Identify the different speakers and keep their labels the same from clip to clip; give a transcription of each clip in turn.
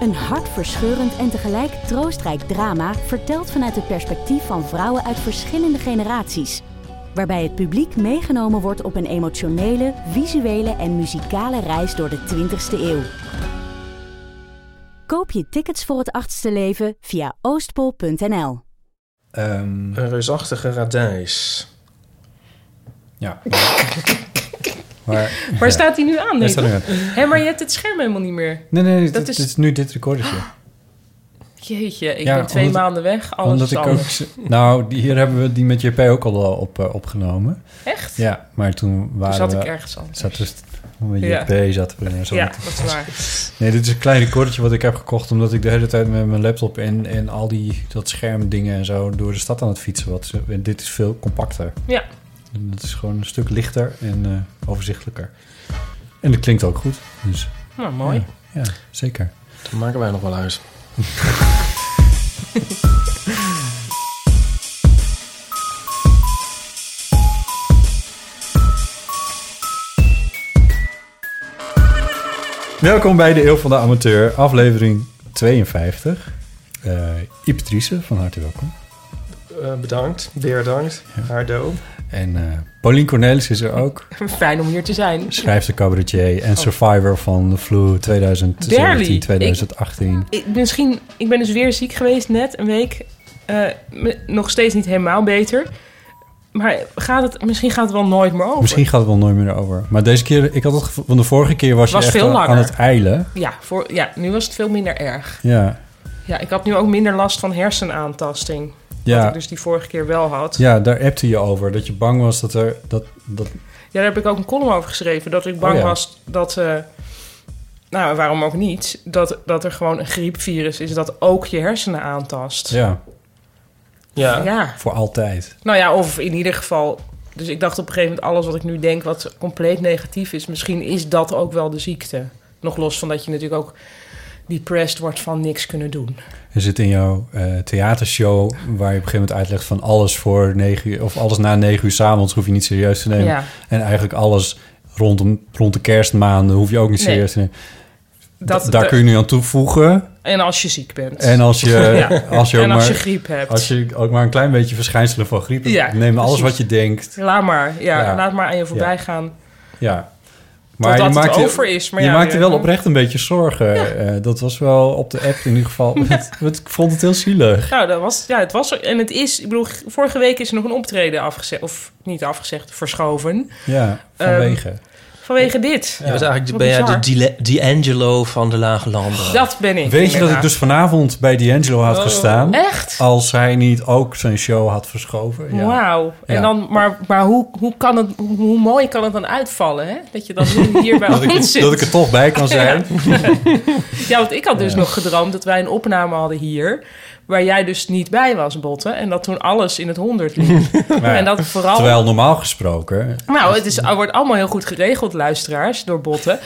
Speaker 1: Een hartverscheurend en tegelijk troostrijk drama... verteld vanuit het perspectief van vrouwen uit verschillende generaties waarbij het publiek meegenomen wordt op een emotionele, visuele en muzikale reis door de 20ste eeuw. Koop je tickets voor het achtste leven via oostpol.nl.
Speaker 2: Ehm,
Speaker 3: Een reusachtige radijs.
Speaker 2: ja. maar,
Speaker 4: Waar staat hij nu aan?
Speaker 2: Daar
Speaker 4: denk
Speaker 2: staat
Speaker 4: ik?
Speaker 2: nu aan.
Speaker 4: Hé, maar je hebt het scherm helemaal niet meer.
Speaker 2: Nee, nee, dat
Speaker 4: Dat
Speaker 2: dit,
Speaker 4: is-
Speaker 2: dit is nu dit recordertje.
Speaker 4: Jeetje, ik
Speaker 2: Ja,
Speaker 4: ben twee
Speaker 2: omdat-
Speaker 4: maanden weg. Alles
Speaker 2: Omdat
Speaker 4: Oh, is
Speaker 2: ik ook...
Speaker 4: anders.
Speaker 2: Nou, die- hier hebben we die met JP ook al eh, op, eh, opgenomen.
Speaker 4: Echt?
Speaker 2: Ja, maar toen waren
Speaker 4: Toen zat ik
Speaker 2: we...
Speaker 4: ergens anders.
Speaker 2: Zat dus met
Speaker 4: Ja.
Speaker 2: JP zaten we er zo
Speaker 4: ja,
Speaker 2: met-
Speaker 4: dat is waar.
Speaker 2: Nee, dit is een klein recordje wat ik heb gekocht... omdat ik de hele tijd met mijn laptop en, en al die dat schermdingen en zo... door de stad aan het fietsen was. En dit is veel compacter.
Speaker 4: Ja,
Speaker 2: En dat is gewoon een stuk lichter en eh, overzichtelijker. En dat klinkt ook goed. Dus
Speaker 4: nou mooi.
Speaker 2: ja, zeker.
Speaker 3: Dat maken wij nog wel uit.
Speaker 2: Welkom bij de Eeuw van de Amateur, aflevering 52. Eh Ipatrice, van harte welkom.
Speaker 3: Eh, bedankt. Beerdankt. Hardo.
Speaker 2: En eh Paulien Cornelis is er ook.
Speaker 4: Fijn om hier te zijn.
Speaker 2: Schrijfster, cabaretier en survivor van de Flu 2017,
Speaker 4: Oh. Barely.
Speaker 2: 2018.
Speaker 4: Ik, misschien, ik ben dus weer ziek geweest net een week. Eh, me- nog steeds niet helemaal beter. Maar gaat het, misschien gaat het wel nooit meer over.
Speaker 2: Misschien gaat het wel nooit meer over. Maar deze keer, ik had het gevoel, van de vorige keer was,
Speaker 4: Was
Speaker 2: je echt
Speaker 4: veel
Speaker 2: aan-
Speaker 4: langer.
Speaker 2: aan het eilen.
Speaker 4: Ja, voor, ja, nu was het veel minder erg.
Speaker 2: Ja,
Speaker 4: Ja, ik had nu ook minder last van hersenaantasting. Wat
Speaker 2: ja,
Speaker 4: ik dus die vorige keer wel had. Ja.
Speaker 2: ja daar appte je over. Dat je bang was dat er... Dat, dat,
Speaker 4: daar heb ik ook een column over geschreven. Dat ik bang
Speaker 2: Oh ja.
Speaker 4: was dat... eh, nou, waarom ook niet? Dat, dat er gewoon een griepvirus is dat ook je hersenen aantast.
Speaker 2: ja,
Speaker 3: Ja.
Speaker 4: ja.
Speaker 2: voor altijd.
Speaker 4: Nou ja, of in ieder geval. Dus ik dacht op een gegeven moment: alles wat ik nu denk, wat compleet negatief is, misschien is dat ook wel de ziekte. Nog los van dat je natuurlijk ook depressed wordt van niks kunnen doen.
Speaker 2: Er zit in jouw eh, theatershow waar je op een gegeven moment uitlegt van alles voor negen uur of alles na negen uur s'avonds hoef je niet serieus te nemen.
Speaker 4: Ja.
Speaker 2: En eigenlijk alles rondom, rond de kerstmaanden hoef je ook niet
Speaker 4: Nee.
Speaker 2: serieus te nemen.
Speaker 4: Dat,
Speaker 2: Daar kun je nu aan toevoegen.
Speaker 4: En als je ziek bent.
Speaker 2: En als je,
Speaker 4: Ja.
Speaker 2: als je, ook
Speaker 4: En
Speaker 2: maar,
Speaker 4: als je griep hebt.
Speaker 2: als je ook maar een klein beetje verschijnselen van griep hebt,
Speaker 4: Ja,
Speaker 2: neem alles
Speaker 4: precies.
Speaker 2: wat je denkt.
Speaker 4: Laat maar, ja,
Speaker 2: Ja.
Speaker 4: laat maar aan je voorbij gaan.
Speaker 2: Ja.
Speaker 4: Totdat het over is, maar
Speaker 2: je
Speaker 4: ja,
Speaker 2: maakte
Speaker 4: ja.
Speaker 2: wel oprecht een beetje zorgen. Eh, dat was wel op de app in ieder geval. Want- want ik vond het heel zielig.
Speaker 4: Nou, dat was, ja, het was er. En het is, ik bedoel, vorige week is er nog een optreden afgezegd, of niet afgezegd, verschoven.
Speaker 2: Ja,
Speaker 4: Ehm,
Speaker 2: vanwege.
Speaker 4: Vanwege dit.
Speaker 5: Je was eigenlijk,
Speaker 4: Wat
Speaker 5: ben jij de
Speaker 4: bizar.
Speaker 5: Dile- D'Angelo van de Lage Landen?
Speaker 4: Dat ben ik.
Speaker 2: Weet je dat ik
Speaker 4: inderdaad. Oh.
Speaker 2: dus vanavond bij D'Angelo had gestaan?
Speaker 4: Echt?
Speaker 2: Als hij niet ook zijn show had verschoven. Ja.
Speaker 4: Wauw. En
Speaker 2: Ja.
Speaker 4: dan, maar maar hoe, hoe, kan het, hoe, hoe mooi kan het dan uitvallen, hè? Dat je dan nu hier bij
Speaker 2: Dat, ik,
Speaker 4: ons zit.
Speaker 2: dat ik er toch bij kan zijn.
Speaker 4: Ja, want ik had dus nog gedroomd dat wij een opname hadden hier... waar jij dus niet bij was, Botte. En dat toen alles in het honderd liep.
Speaker 2: Maar
Speaker 4: En dat vooral...
Speaker 2: Terwijl normaal gesproken...
Speaker 4: Nou, het, is, het wordt allemaal heel goed geregeld, luisteraars, door Botte.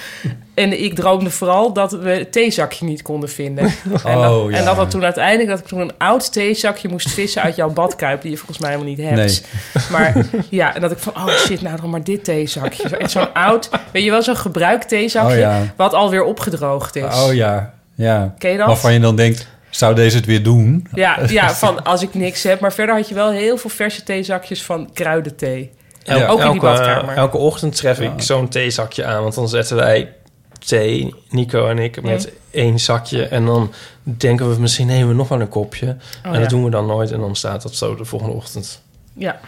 Speaker 4: En ik droomde vooral dat we het theezakje niet konden vinden. en, dat,
Speaker 2: Oh, ja.
Speaker 4: en dat dat toen uiteindelijk dat ik toen een oud theezakje moest vissen uit jouw badkuip, die je volgens mij helemaal niet hebt.
Speaker 2: Nee.
Speaker 4: Maar ja, en dat ik van, oh shit, nou dan maar dit theezakje. Zo- Echt zo'n oud, weet je wel, zo'n gebruikt theezakje,
Speaker 2: Oh, ja.
Speaker 4: wat alweer opgedraogd is.
Speaker 2: Oh ja, ja.
Speaker 4: Ken je dat?
Speaker 2: Waarvan je dan denkt, zou deze het weer doen?
Speaker 4: Ja, ja, van als ik niks heb. Maar verder had je wel heel veel verse theezakjes van kruidenthee.
Speaker 3: El-
Speaker 2: Ja.
Speaker 4: Ook in die
Speaker 3: elke,
Speaker 4: badkamer.
Speaker 3: elke ochtend tref ik zo'n theezakje aan. Want dan zetten wij thee, Nico en ik, met één zakje. En dan denken we, misschien nemen we nog wel een kopje. en
Speaker 4: Oh, ja.
Speaker 3: dat doen we dan nooit. En dan staat dat zo de volgende ochtend.
Speaker 4: Ja.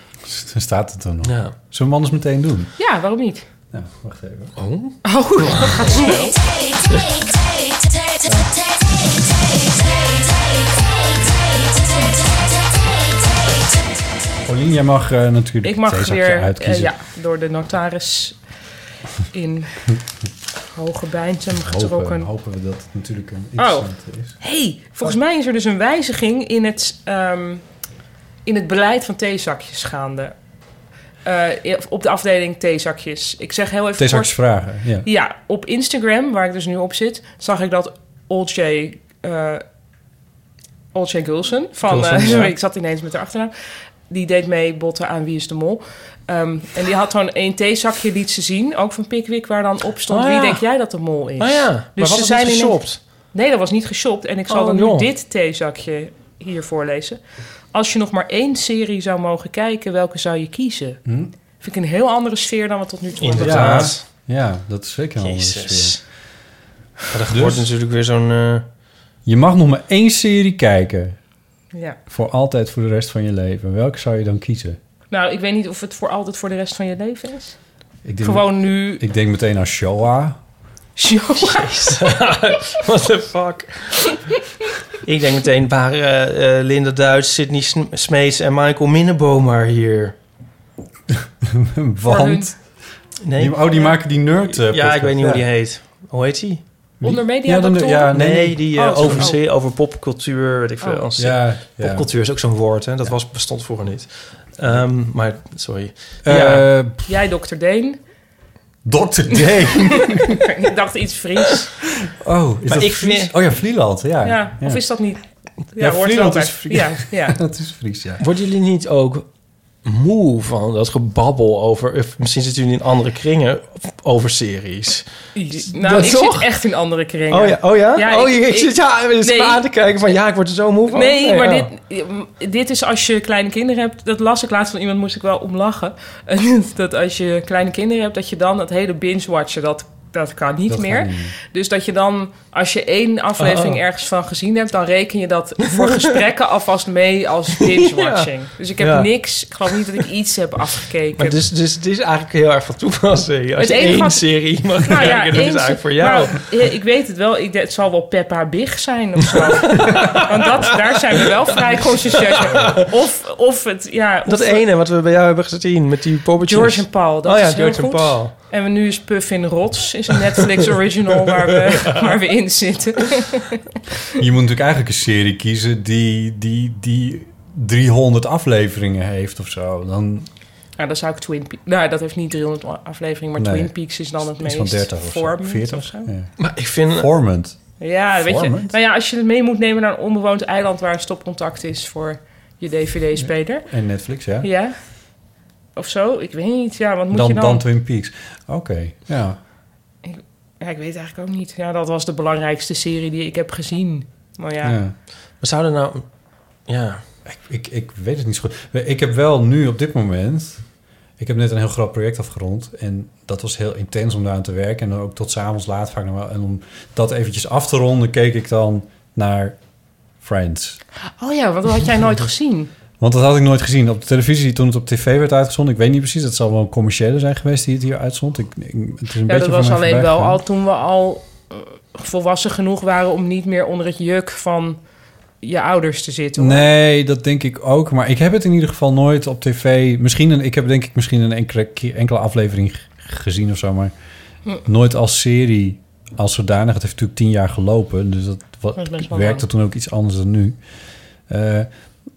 Speaker 2: Dan staat het er nog.
Speaker 3: Ja.
Speaker 2: Zullen we hem anders meteen doen?
Speaker 4: ja, waarom niet?
Speaker 2: Nou, wacht even. Paulien, jij mag eh, natuurlijk
Speaker 4: Ik mag eh,
Speaker 2: het theezakje
Speaker 4: weer eh,
Speaker 2: uitkiezen.
Speaker 4: ja, door de notaris in Hoge Bijntem
Speaker 2: Hopen,
Speaker 4: getrokken.
Speaker 2: hopen we dat het natuurlijk
Speaker 4: Oh.
Speaker 2: een interessante is.
Speaker 4: hey, volgens mij is er dus een wijziging in het, ehm, in het beleid van theezakjes gaande. Eh, op de afdeling theezakjes. Ik zeg heel even
Speaker 2: Theezakjes
Speaker 4: kort-
Speaker 2: vragen, ja.
Speaker 4: Ja, op Instagram, waar ik dus nu op zit, zag ik dat Olcay... eh Olcay Gulsen van...
Speaker 2: Gulsen,
Speaker 4: eh,
Speaker 2: ja.
Speaker 4: sorry, ik zat ineens met de achternaam. Die deed mee botten aan Wie is de Mol. Ehm, en die had gewoon een theezakje liet ze zien, ook van Pickwick, waar dan op stond...
Speaker 3: Oh,
Speaker 4: Wie
Speaker 3: ja.
Speaker 4: denk jij dat de mol is?
Speaker 3: Oh ja, maar
Speaker 4: Dus
Speaker 3: was
Speaker 4: ze
Speaker 3: het
Speaker 4: zijn
Speaker 3: niet
Speaker 4: in-
Speaker 3: geshopt?
Speaker 4: Nee, dat was niet geshopt. En ik zal
Speaker 3: Oh,
Speaker 4: dan
Speaker 3: joh.
Speaker 4: nu dit theezakje hier voorlezen. Als je nog maar één serie zou mogen kijken, welke zou je kiezen?
Speaker 3: Hm?
Speaker 4: Vind ik een heel andere sfeer dan we tot nu toe hebben.
Speaker 3: Inderdaad.
Speaker 2: Ja, Oh, dat is zeker een andere sfeer.
Speaker 3: Jezus. Dus- Maar dat wordt natuurlijk weer zo'n... eh,
Speaker 2: Je mag nog maar één serie kijken.
Speaker 4: Ja.
Speaker 2: Voor altijd voor de rest van je leven. Welke zou je dan kiezen?
Speaker 4: Nou, ik weet niet of het voor altijd voor de rest van je leven is.
Speaker 2: Ik
Speaker 4: Gewoon nu.
Speaker 2: Ik denk meteen aan Shoah.
Speaker 3: What the fuck? ik denk meteen, waren eh, eh, Linda Duits, Sidney Sm- Smeets en Michael Minnebomer hier?
Speaker 4: Voor hun
Speaker 2: Want...
Speaker 3: Nee?
Speaker 2: Die, oh, die maken die nerd eh,
Speaker 3: ja, ik weet niet hoe die
Speaker 2: podcast.
Speaker 3: heet. Hoe heet die?
Speaker 4: onder media
Speaker 2: Ja, dan-
Speaker 4: doctoren?
Speaker 2: ja, nee.
Speaker 3: Nee, die eh,
Speaker 4: Oh, sorry.
Speaker 3: over, zee- over popcultuur, weet ik veel.
Speaker 4: Oh.
Speaker 3: als-
Speaker 2: Ja, ja.
Speaker 3: Popcultuur is ook zo'n woord, hè? Dat was, bestond vroeger niet. Ehm, maar, sorry.
Speaker 2: Eh,
Speaker 3: Ja.
Speaker 4: Jij, dokter Deen.
Speaker 2: Dr. Dave.
Speaker 4: ik dacht iets Fries.
Speaker 2: Oh, is
Speaker 3: Maar
Speaker 2: dat
Speaker 3: ik
Speaker 2: Fries?
Speaker 3: vind-
Speaker 2: Oh ja, Vlieland, ja.
Speaker 4: Ja, Of is dat niet?
Speaker 2: Ja,
Speaker 4: hoort
Speaker 2: Vlieland
Speaker 4: wel
Speaker 2: is
Speaker 4: bij-
Speaker 2: Fries.
Speaker 4: Ja, ja. Nou,
Speaker 2: dat is Fries, ja.
Speaker 3: Worden jullie niet ook moe van dat gebabbel over... Of misschien zitten jullie in andere kringen over series.
Speaker 4: Nou,
Speaker 3: Dat
Speaker 4: ik
Speaker 3: toch?
Speaker 4: zit echt in andere kringen.
Speaker 3: Oh ja? Oh, ja?
Speaker 4: Ja,
Speaker 3: oh,
Speaker 4: ik-
Speaker 3: je ik
Speaker 4: ik-
Speaker 3: zit ja, ik zit
Speaker 4: Nee.
Speaker 3: me aan te kijken van... Ja, ik word er zo moe van.
Speaker 4: Nee, maar
Speaker 3: ja.
Speaker 4: dit, dit is als je kleine kinderen hebt. Dat las ik laatst van iemand, moest ik wel om lachen. dat als je kleine kinderen hebt, dat je dan dat hele binge-watchen, dat, dat kan niet
Speaker 2: Dat
Speaker 4: meer.
Speaker 2: kan niet
Speaker 4: Dus dat je dan, als je één aflevering
Speaker 3: Oh.
Speaker 4: ergens van gezien hebt, dan reken je dat voor gesprekken alvast mee als binge-watching. Dus ik heb
Speaker 3: Ja.
Speaker 4: niks, ik geloof niet dat ik iets heb afgekeken.
Speaker 3: Maar dus, dus het is eigenlijk heel erg van toepassing. Als
Speaker 4: Het
Speaker 3: je
Speaker 4: enige
Speaker 3: één
Speaker 4: wat-
Speaker 3: serie mag
Speaker 4: Nou
Speaker 3: kijken, dat is
Speaker 4: eens-
Speaker 3: eigenlijk voor jou.
Speaker 4: Nou, eh, ik weet het wel. Ik, denk, het zal wel Peppa Big zijn of zo. Want dat, daar zijn we wel vrij consciëntieus mee. Of, of het, ja... of
Speaker 3: dat ene wat we bij jou hebben gezien met die poppetjes.
Speaker 4: George en Paul, dat
Speaker 3: oh ja,
Speaker 4: is heel
Speaker 3: George en
Speaker 4: goed.
Speaker 3: Paul.
Speaker 4: En we nu is Puffin Rots, is een Netflix original waar we, waar we in zitten.
Speaker 2: Je moet natuurlijk eigenlijk een serie kiezen die, die, die 300 afleveringen heeft of zo. Dan
Speaker 4: Nou, dan zou ik Twin Peaks... Nou, dat heeft niet 300 afleveringen, maar
Speaker 2: Nee.
Speaker 4: Twin Peaks is dan het
Speaker 2: iets van
Speaker 4: meest
Speaker 2: 30 of zo.
Speaker 4: vormend
Speaker 2: 40
Speaker 4: of zo.
Speaker 2: Ja.
Speaker 3: Maar ik vind...
Speaker 2: Formant.
Speaker 4: Ja, weet je.
Speaker 2: Vormend?
Speaker 4: Nou ja, als je het mee moet nemen naar een onbewoond eiland waar een stopcontact is voor je dvd-speler.
Speaker 2: En Netflix, ja.
Speaker 4: Ja. Of zo, ik weet niet. Ja, wat moet
Speaker 2: Dan,
Speaker 4: je
Speaker 2: dan?
Speaker 4: dan?
Speaker 2: Twin Peaks. Oké, ja.
Speaker 4: Ja, ik weet eigenlijk ook niet. Ja, dat was de belangrijkste serie die ik heb gezien. Maar ja,
Speaker 2: ja.
Speaker 3: We zouden nou... Ja.
Speaker 2: Ik, ik, ik weet het niet zo goed. Ik heb wel nu op dit moment... Ik heb net een heel groot project afgerond. En dat was heel intens om daar aan te werken. En dan ook tot s'avonds laat vaak nog wel. En om dat eventjes af te ronden, keek ik dan naar Friends.
Speaker 4: oh ja, want dat had jij nooit gezien.
Speaker 2: Want dat had ik nooit gezien op de televisie toen het op tv werd uitgezonden. Ik weet niet precies, dat zal wel een commerciële zijn geweest die het hier uitzond. Ik, ik- het is een beetje
Speaker 4: Ja, dat
Speaker 2: van
Speaker 4: was
Speaker 2: mij
Speaker 4: alleen
Speaker 2: voorbij
Speaker 4: wel
Speaker 2: gegaan.
Speaker 4: al toen we al eh, volwassen genoeg waren om niet meer onder het juk van je ouders te zitten. hoor.
Speaker 2: Nee, dat denk ik ook. Maar ik heb het in ieder geval nooit op tv. Misschien een, ik heb denk ik misschien een enkele, keer- enkele aflevering g- gezien of zo, maar
Speaker 4: Hm.
Speaker 2: nooit als serie als zodanig. Het heeft natuurlijk tien jaar gelopen, dus dat, wa-
Speaker 4: Dat is best wel
Speaker 2: werkte
Speaker 4: lang.
Speaker 2: toen ook iets anders dan nu. Eh,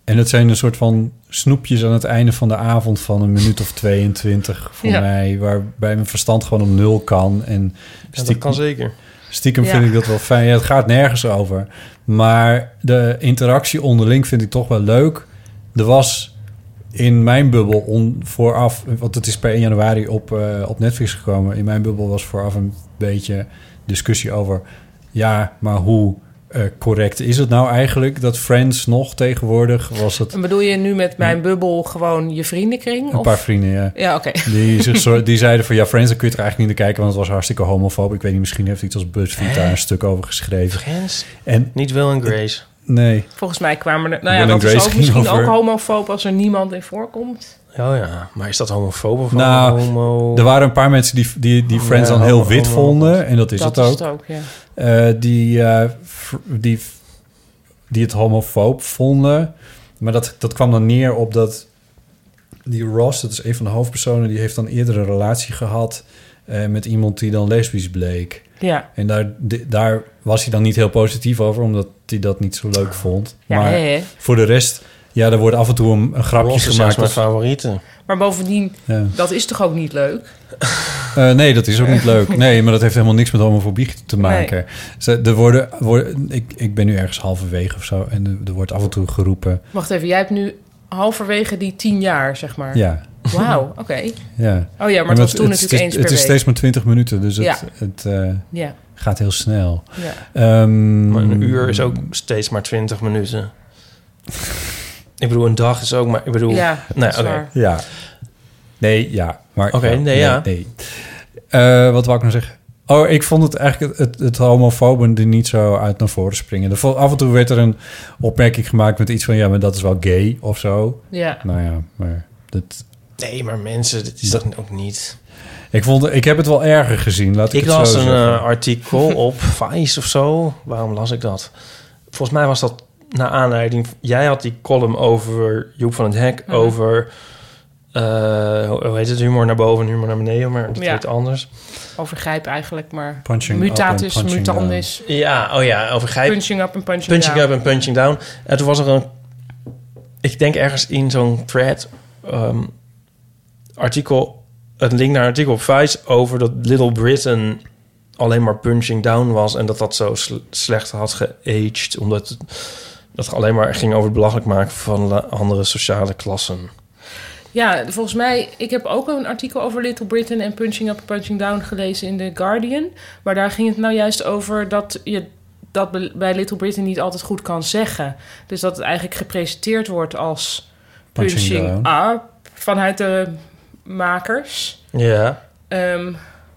Speaker 2: en dat zijn een soort van snoepjes aan het einde van de avond van een minuut of 22 voor
Speaker 4: Ja.
Speaker 2: mij, waarbij mijn verstand gewoon op nul kan en
Speaker 3: Ja, dat kan zeker.
Speaker 2: Stiekem
Speaker 4: Ja.
Speaker 2: vind ik dat wel fijn. Ja, het gaat nergens over. Maar de interactie onderling vind ik toch wel leuk. Er was in mijn bubbel on, vooraf... Want het is per 1 januari op, eh, op Netflix gekomen. In mijn bubbel was vooraf een beetje discussie over... Ja, maar hoe eh, correct is het nou eigenlijk? Dat Friends nog tegenwoordig was het...
Speaker 4: En bedoel je nu met mijn bubbel gewoon je vriendenkring?
Speaker 2: Een
Speaker 4: of-
Speaker 2: paar vrienden, ja.
Speaker 4: Ja, oké.
Speaker 2: Die, zich zo, die zeiden van ja, Friends, dan kun je er eigenlijk niet naar kijken, want het was hartstikke homofoob. Ik weet niet, misschien heeft iets als BuzzFeed daar een stuk over geschreven.
Speaker 3: Friends?
Speaker 2: En
Speaker 3: Niet Will en Grace.
Speaker 2: nee,
Speaker 4: Volgens mij kwamen er... Nou ja,
Speaker 2: Will and
Speaker 4: dat is
Speaker 2: Grace
Speaker 4: ook
Speaker 2: ging
Speaker 4: misschien
Speaker 2: over-
Speaker 4: ook homofoob als er niemand in voorkomt.
Speaker 3: Oh ja. Maar is dat homofoob of
Speaker 2: Nou,
Speaker 3: homo?
Speaker 2: Er waren een paar mensen die, die, die Friends
Speaker 3: Ja,
Speaker 2: dan heel
Speaker 3: homo-
Speaker 2: wit
Speaker 3: homo-
Speaker 2: vonden. En dat is
Speaker 4: dat
Speaker 2: het ook.
Speaker 4: is het ook, ja.
Speaker 2: Eh, die, eh, fr- die, die het homofoob vonden. Maar dat, dat kwam dan neer op dat... Die Ross, dat is een van de hoofdpersonen... die heeft dan eerder een relatie gehad... eh, met iemand die dan lesbisch bleek.
Speaker 4: Ja.
Speaker 2: En daar, di- daar was hij dan niet heel positief over, omdat hij dat niet zo
Speaker 5: Ah.
Speaker 2: leuk vond.
Speaker 4: Ja,
Speaker 2: maar
Speaker 4: hè, hè?
Speaker 2: voor de rest, ja, er wordt af en toe een, een grapje
Speaker 5: Ross is zelfs
Speaker 2: gemaakt.
Speaker 5: mijn
Speaker 2: of-
Speaker 5: favoriete.
Speaker 4: Maar bovendien,
Speaker 2: ja.
Speaker 4: dat is toch ook niet leuk?
Speaker 2: Eh, nee, dat is ook niet leuk. Nee, maar dat heeft helemaal niks met homofobie te maken. Ze, er worden, worden, ik, ik ben nu ergens halverwege of zo en er- er wordt af en toe geroepen.
Speaker 4: Wacht even, jij hebt nu halverwege die tien jaar, zeg maar.
Speaker 2: Ja,
Speaker 4: Wauw, oké.
Speaker 2: ja.
Speaker 4: Oh ja, maar het was toen
Speaker 2: is-
Speaker 4: natuurlijk eens per
Speaker 2: Het is
Speaker 4: week.
Speaker 2: steeds maar 20 minuten, dus het,
Speaker 4: Ja.
Speaker 2: het eh,
Speaker 4: Ja,
Speaker 2: gaat heel snel.
Speaker 4: ja.
Speaker 2: Ehm,
Speaker 5: Maar een uur is ook steeds maar 20 minuten. ik bedoel, een dag is ook maar... Ik bedoel,
Speaker 4: ja dat
Speaker 5: nee,
Speaker 4: is
Speaker 5: oké.
Speaker 4: waar.
Speaker 2: Ja. Nee, ja. Maar,
Speaker 5: Oké,
Speaker 2: ja,
Speaker 5: nee, ja.
Speaker 2: nee. Eh, wat wou ik nou zeggen? Oh, ik vond het eigenlijk het, het, het homofoben die niet zo uit naar voren springen. Er vo- af en toe werd er een opmerking gemaakt met iets van... ja, maar dat is wel gay of zo.
Speaker 4: Ja.
Speaker 2: Nou ja, maar dat...
Speaker 5: Nee, maar mensen, dit is dat ook niet.
Speaker 2: Ik, vond, ik heb het wel erger gezien, laat ik,
Speaker 5: Ik
Speaker 2: het zo
Speaker 5: las een
Speaker 2: zeggen.
Speaker 5: eh, artikel op Vice of zo. Waarom las ik dat? Volgens mij was dat naar aanleiding... Jij had die column over Joep van het Hek...
Speaker 4: Mhm.
Speaker 5: over... eh, hoe hoe heet het? Humor naar boven, humor naar beneden. Maar dat
Speaker 4: Ja.
Speaker 5: heet anders.
Speaker 4: Overgrijp eigenlijk, maar
Speaker 2: Punching up
Speaker 4: mutatis,
Speaker 2: and punching down.
Speaker 4: mutandis,
Speaker 5: Ja, oh ja, over grijp,
Speaker 4: punching up en punching,
Speaker 5: punching
Speaker 4: down.
Speaker 5: up en punching down. En toen was er een, ik denk ergens in zo'n thread, ehm, artikel, een link naar een artikel op Vice over dat Little Britain alleen maar punching down was en dat dat zo sle- slecht had geaged, omdat het, dat het alleen maar ging over het belachelijk maken van la- andere sociale klassen.
Speaker 4: Ja, volgens mij, ik heb ook een artikel over Little Britain en Punching Up en Punching Down gelezen in The Guardian. Maar daar ging het nou juist over dat je dat be- bij Little Britain niet altijd goed kan zeggen. Dus dat het eigenlijk gepresenteerd wordt als
Speaker 2: Punching
Speaker 4: punching,
Speaker 2: down.
Speaker 4: up vanuit de makers.
Speaker 5: Ja,
Speaker 4: Ehm,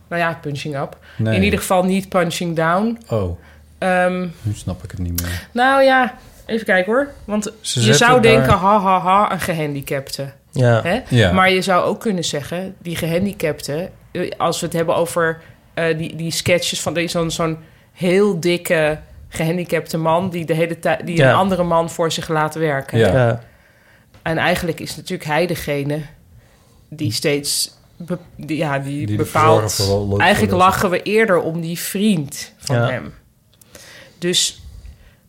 Speaker 4: nou ja, punching up.
Speaker 2: Nee.
Speaker 4: In ieder geval niet punching down.
Speaker 2: Oh,
Speaker 4: Ehm,
Speaker 2: nu snap ik het niet meer.
Speaker 4: nou ja, even kijken hoor. Want
Speaker 5: Ze
Speaker 4: je
Speaker 5: zetten
Speaker 4: zou
Speaker 5: daar-
Speaker 4: denken, ha ha ha, een gehandicapte.
Speaker 5: ja.
Speaker 4: Hè?
Speaker 2: Ja.
Speaker 4: Maar je zou ook kunnen zeggen, die gehandicapten... eh, als we het hebben over eh, die, die sketches van die- zo'n zo'n heel dikke gehandicapte man... die, de hele tijd die
Speaker 5: Ja.
Speaker 4: een andere man voor zich laat werken.
Speaker 2: Ja.
Speaker 5: ja.
Speaker 4: En eigenlijk is natuurlijk hij degene die steeds... be- die, ja, die,
Speaker 2: Die
Speaker 4: bepaalt...
Speaker 2: zorgen voor- voor
Speaker 4: eigenlijk
Speaker 2: dat-
Speaker 4: lachen we eerder om die vriend van
Speaker 5: Ja.
Speaker 4: hem. Dus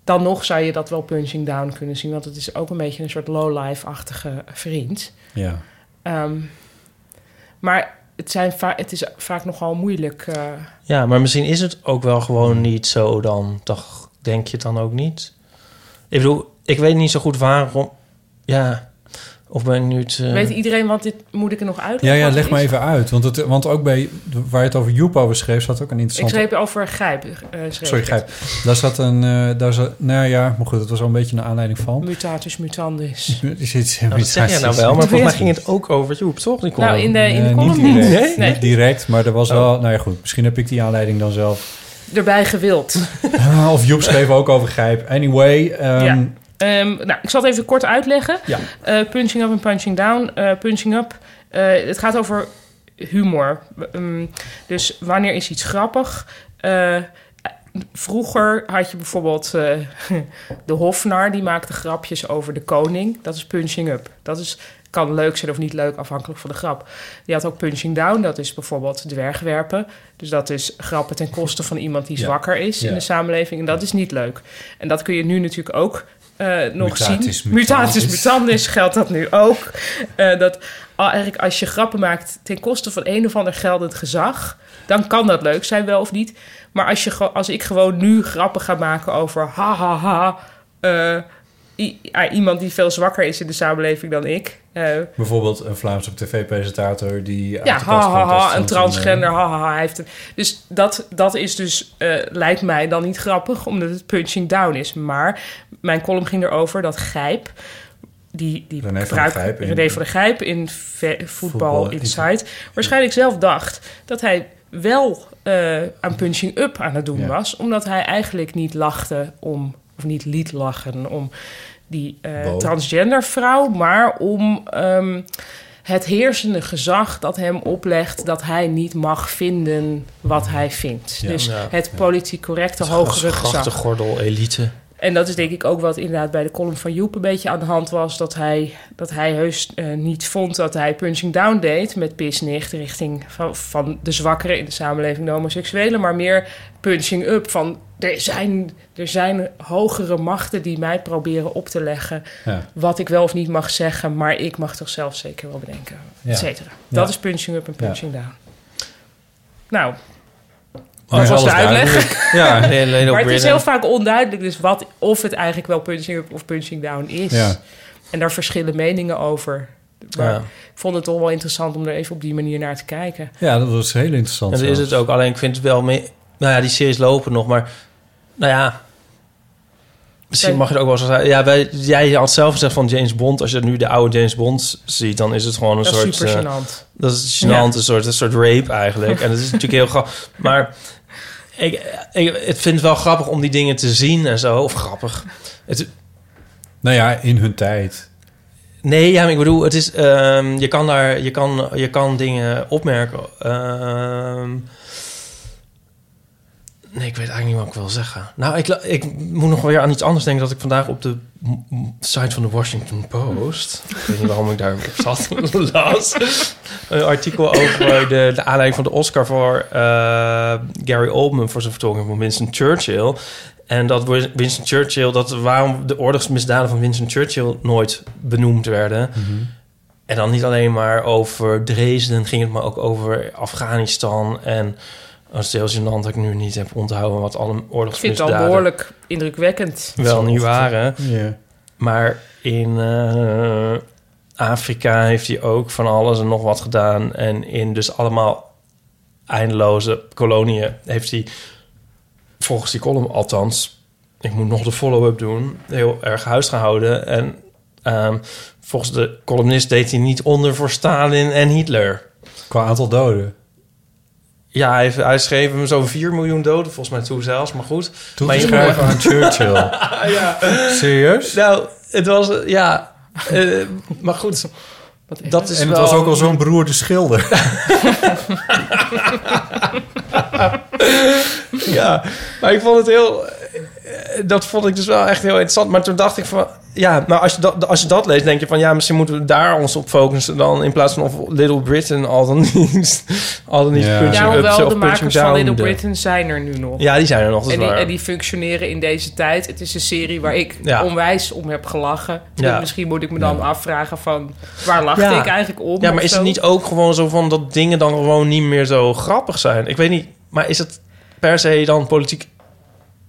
Speaker 4: dan nog zou je dat wel punching down kunnen zien... want het is ook een beetje een soort lowlife-achtige vriend...
Speaker 2: Ja.
Speaker 4: Ehm, maar het, zijn va- het is vaak nogal moeilijk. eh.
Speaker 5: Ja, maar misschien is het ook wel gewoon niet zo dan. Toch denk je het dan ook niet? Ik bedoel, ik weet niet zo goed waarom. Ja, of ben ik nu te...
Speaker 4: Weet iedereen, want dit moet ik er nog uitleggen.
Speaker 2: Ja, ja,
Speaker 4: wat het
Speaker 2: leg maar
Speaker 4: is?
Speaker 2: even uit. Want, het, want ook bij waar je het over Joep over schreef, zat ook een
Speaker 4: Ik
Speaker 2: interessante...
Speaker 4: schreef over grijp. eh, schreef
Speaker 2: Sorry,
Speaker 4: ik.
Speaker 2: Gijp. Daar zat een... eh, daar zat, nou ja, maar goed, dat was al een beetje naar aanleiding van.
Speaker 4: Mutatis mutandis.
Speaker 2: Er zit-
Speaker 5: Nou, dat zeg jij nou wel, maar volgens mij ging het ook over Joep, toch? Die
Speaker 4: Nou, in de, in de
Speaker 2: Eh,
Speaker 4: column
Speaker 2: niet
Speaker 4: niet.
Speaker 2: direct,
Speaker 4: Nee?
Speaker 2: Niet direct, maar er was
Speaker 5: Oh.
Speaker 2: wel... Nou ja, goed, misschien heb ik die aanleiding dan zelf.
Speaker 4: Erbij gewild.
Speaker 2: of Joep schreef ook over Gijp. Anyway, ehm,
Speaker 4: Ja. Ehm, nou, ik zal het even kort uitleggen.
Speaker 2: Ja.
Speaker 4: Eh, punching up en punching down. Eh, punching up, eh, het gaat over humor. Ehm, dus wanneer is iets grappig? Eh, vroeger had je bijvoorbeeld eh, de hofnar, die maakte grapjes over de koning. Dat is punching up. Dat is, kan leuk zijn of niet leuk, afhankelijk van de grap. Die had ook punching down, dat is bijvoorbeeld dwergwerpen. Dus dat is grappen ten koste van iemand die
Speaker 2: Ja.
Speaker 4: zwakker is
Speaker 2: Ja.
Speaker 4: in de samenleving. En dat is niet leuk. En dat kun je nu natuurlijk ook eh, nog
Speaker 2: Mutatis
Speaker 4: zien.
Speaker 2: mutandis.
Speaker 4: Mutatis mutandis geldt dat nu ook. Eh, dat al- eigenlijk als je grappen maakt ten koste van een of ander geldend gezag... dan kan dat leuk zijn, wel of niet. Maar als, je, gewo- als ik gewoon nu grappen ga maken over... ha, ha, ha... eh, i- ah, iemand die veel zwakker is in de samenleving dan ik... eh,
Speaker 2: bijvoorbeeld een Vlaamse tv-presentator die...
Speaker 4: ja, ha, ha, ha,
Speaker 2: eh,
Speaker 4: een transgender, ha, ha, ha, hij heeft een... Dus dat, dat is dus, eh, lijkt mij dan niet grappig, omdat het punching down is. Maar mijn column ging erover dat Gijp, die, die
Speaker 2: René van de
Speaker 4: gebruik-
Speaker 2: Gijp in-
Speaker 4: René van de Gijp in ve-
Speaker 2: Voetbal
Speaker 4: Voetbal Insight, waarschijnlijk zelf dacht dat hij wel eh, aan punching up aan het doen
Speaker 2: Ja.
Speaker 4: was. Omdat hij eigenlijk niet lachte om, of niet liet lachen om die eh,
Speaker 2: Bo.
Speaker 4: transgender vrouw, maar om... ehm, het heersende gezag dat hem oplegt dat hij niet mag vinden wat hij vindt. dus
Speaker 5: ja,
Speaker 4: het politiek correcte hogere gezag.
Speaker 5: grachtengordel elite.
Speaker 4: En dat is denk ik ook wat inderdaad bij de column van Joep een beetje aan de hand was. Dat hij, dat hij heus eh, niet vond dat hij punching down deed met pisnicht richting van, van de zwakkeren in de samenleving, de homoseksuelen. Maar meer punching up van er zijn, er zijn hogere machten die mij proberen op te leggen
Speaker 2: Ja.
Speaker 4: wat ik wel of niet mag zeggen. Maar ik mag toch zelf zeker wel bedenken,
Speaker 2: Ja.
Speaker 4: et cetera. Dat
Speaker 2: Ja.
Speaker 4: is punching up en
Speaker 2: Ja.
Speaker 4: punching down. Nou,
Speaker 2: Maar
Speaker 4: Dat
Speaker 2: is
Speaker 4: was
Speaker 2: alles
Speaker 4: de uitleg.
Speaker 2: duidelijk. Ja,
Speaker 5: Nee, alleen op
Speaker 4: maar het is
Speaker 5: Britain.
Speaker 4: heel vaak onduidelijk dus wat, of het eigenlijk wel punching up of punching down is.
Speaker 2: Ja.
Speaker 4: En daar verschillen meningen over. Maar
Speaker 5: Ja.
Speaker 4: ik vond het toch wel interessant om er even op die manier naar te kijken.
Speaker 2: ja, dat was heel interessant.
Speaker 5: En dat is
Speaker 2: zelfs.
Speaker 5: het ook. Alleen ik vind het wel meer... Nou ja, die series lopen nog, maar... Nou ja... Misschien
Speaker 4: Wij-
Speaker 5: mag je het ook wel zo zeggen. Ja, wij, jij had zelf gezegd van James Bond. Als je nu de oude James Bond ziet, dan is het gewoon een
Speaker 4: dat
Speaker 5: soort...
Speaker 4: is super
Speaker 5: eh,
Speaker 4: gênant.
Speaker 5: dat is gênant, een, soort, een soort rape eigenlijk. En dat is natuurlijk heel grappig. Maar ik, ik het vind het wel grappig om die dingen te zien en zo. Of grappig. Het,
Speaker 2: Nou ja, in hun tijd.
Speaker 5: Nee, ja, maar ik bedoel, het is, ehm, je, kan daar, je, kan, je kan dingen opmerken. Ehm, nee, ik weet eigenlijk niet wat ik wil zeggen. Nou, ik, la- ik moet nog weer aan iets anders denken... dat ik vandaag op de m- m- site van de Washington Post... ik weet niet waarom ik daar op zat, las... een artikel over de, de aanleiding van de Oscar... voor eh, Gary Oldman voor zijn vertolking van Winston Churchill... En dat Win- Winston Churchill, dat waarom de oorlogsmisdaden van Winston Churchill nooit benoemd werden.
Speaker 4: Mhm.
Speaker 5: En dan niet alleen maar over Dresden ging het, maar ook over Afghanistan. En dat is heel gênant dat ik nu niet heb onthouden wat alle
Speaker 4: Ik vind het
Speaker 5: oorlogsmisdaden
Speaker 4: al behoorlijk indrukwekkend.
Speaker 5: wel niet waren.
Speaker 2: Ja.
Speaker 5: Maar in eh, Afrika heeft hij ook van alles en nog wat gedaan. En in dus allemaal eindeloze koloniën heeft hij, volgens die column althans... ik moet nog de follow-up doen, heel erg huisgehouden. En ehm, volgens de columnist deed hij niet onder voor Stalin en Hitler.
Speaker 2: Qua aantal doden.
Speaker 5: Ja, hij, heeft- hij schreef hem zo'n 4 miljoen doden, volgens mij toen zelfs, maar goed.
Speaker 2: Toen
Speaker 5: Maar je-
Speaker 2: schrijven aan Churchill. ja. Serieus?
Speaker 5: Nou, het was, ja... eh, maar goed,
Speaker 4: Wat echt-
Speaker 5: dat is
Speaker 2: en het
Speaker 5: wel-
Speaker 2: was ook al zo'n beroerde schilder.
Speaker 5: Ja, maar ik vond het heel... eh, Dat vond ik dus wel echt heel interessant. Maar toen dacht ik van... Ja, maar als je dat, als je dat leest, denk je van... Ja, misschien moeten we daar ons op focussen dan... In plaats van of Little Britain al dan niet... Al dan niet
Speaker 2: Ja.
Speaker 5: punching
Speaker 4: ja,
Speaker 5: up,
Speaker 4: hoewel
Speaker 5: zelf punching
Speaker 4: de makers van
Speaker 5: down
Speaker 4: Little
Speaker 5: de-
Speaker 4: Britain zijn er nu nog.
Speaker 5: Ja, die zijn er nog, dat is
Speaker 4: en, die,
Speaker 5: waar.
Speaker 4: en die functioneren in deze tijd. Het is een serie waar ik
Speaker 5: Ja.
Speaker 4: onwijs om heb gelachen.
Speaker 5: Ja.
Speaker 4: Dus misschien moet ik me dan afvragen van... waar lachte
Speaker 5: Ja.
Speaker 4: ik eigenlijk om?
Speaker 5: ja,
Speaker 4: of
Speaker 5: maar is
Speaker 4: zo?
Speaker 5: het niet ook gewoon zo van... Dat dingen dan gewoon niet meer zo grappig zijn? Ik weet niet, maar is het per se dan politiek...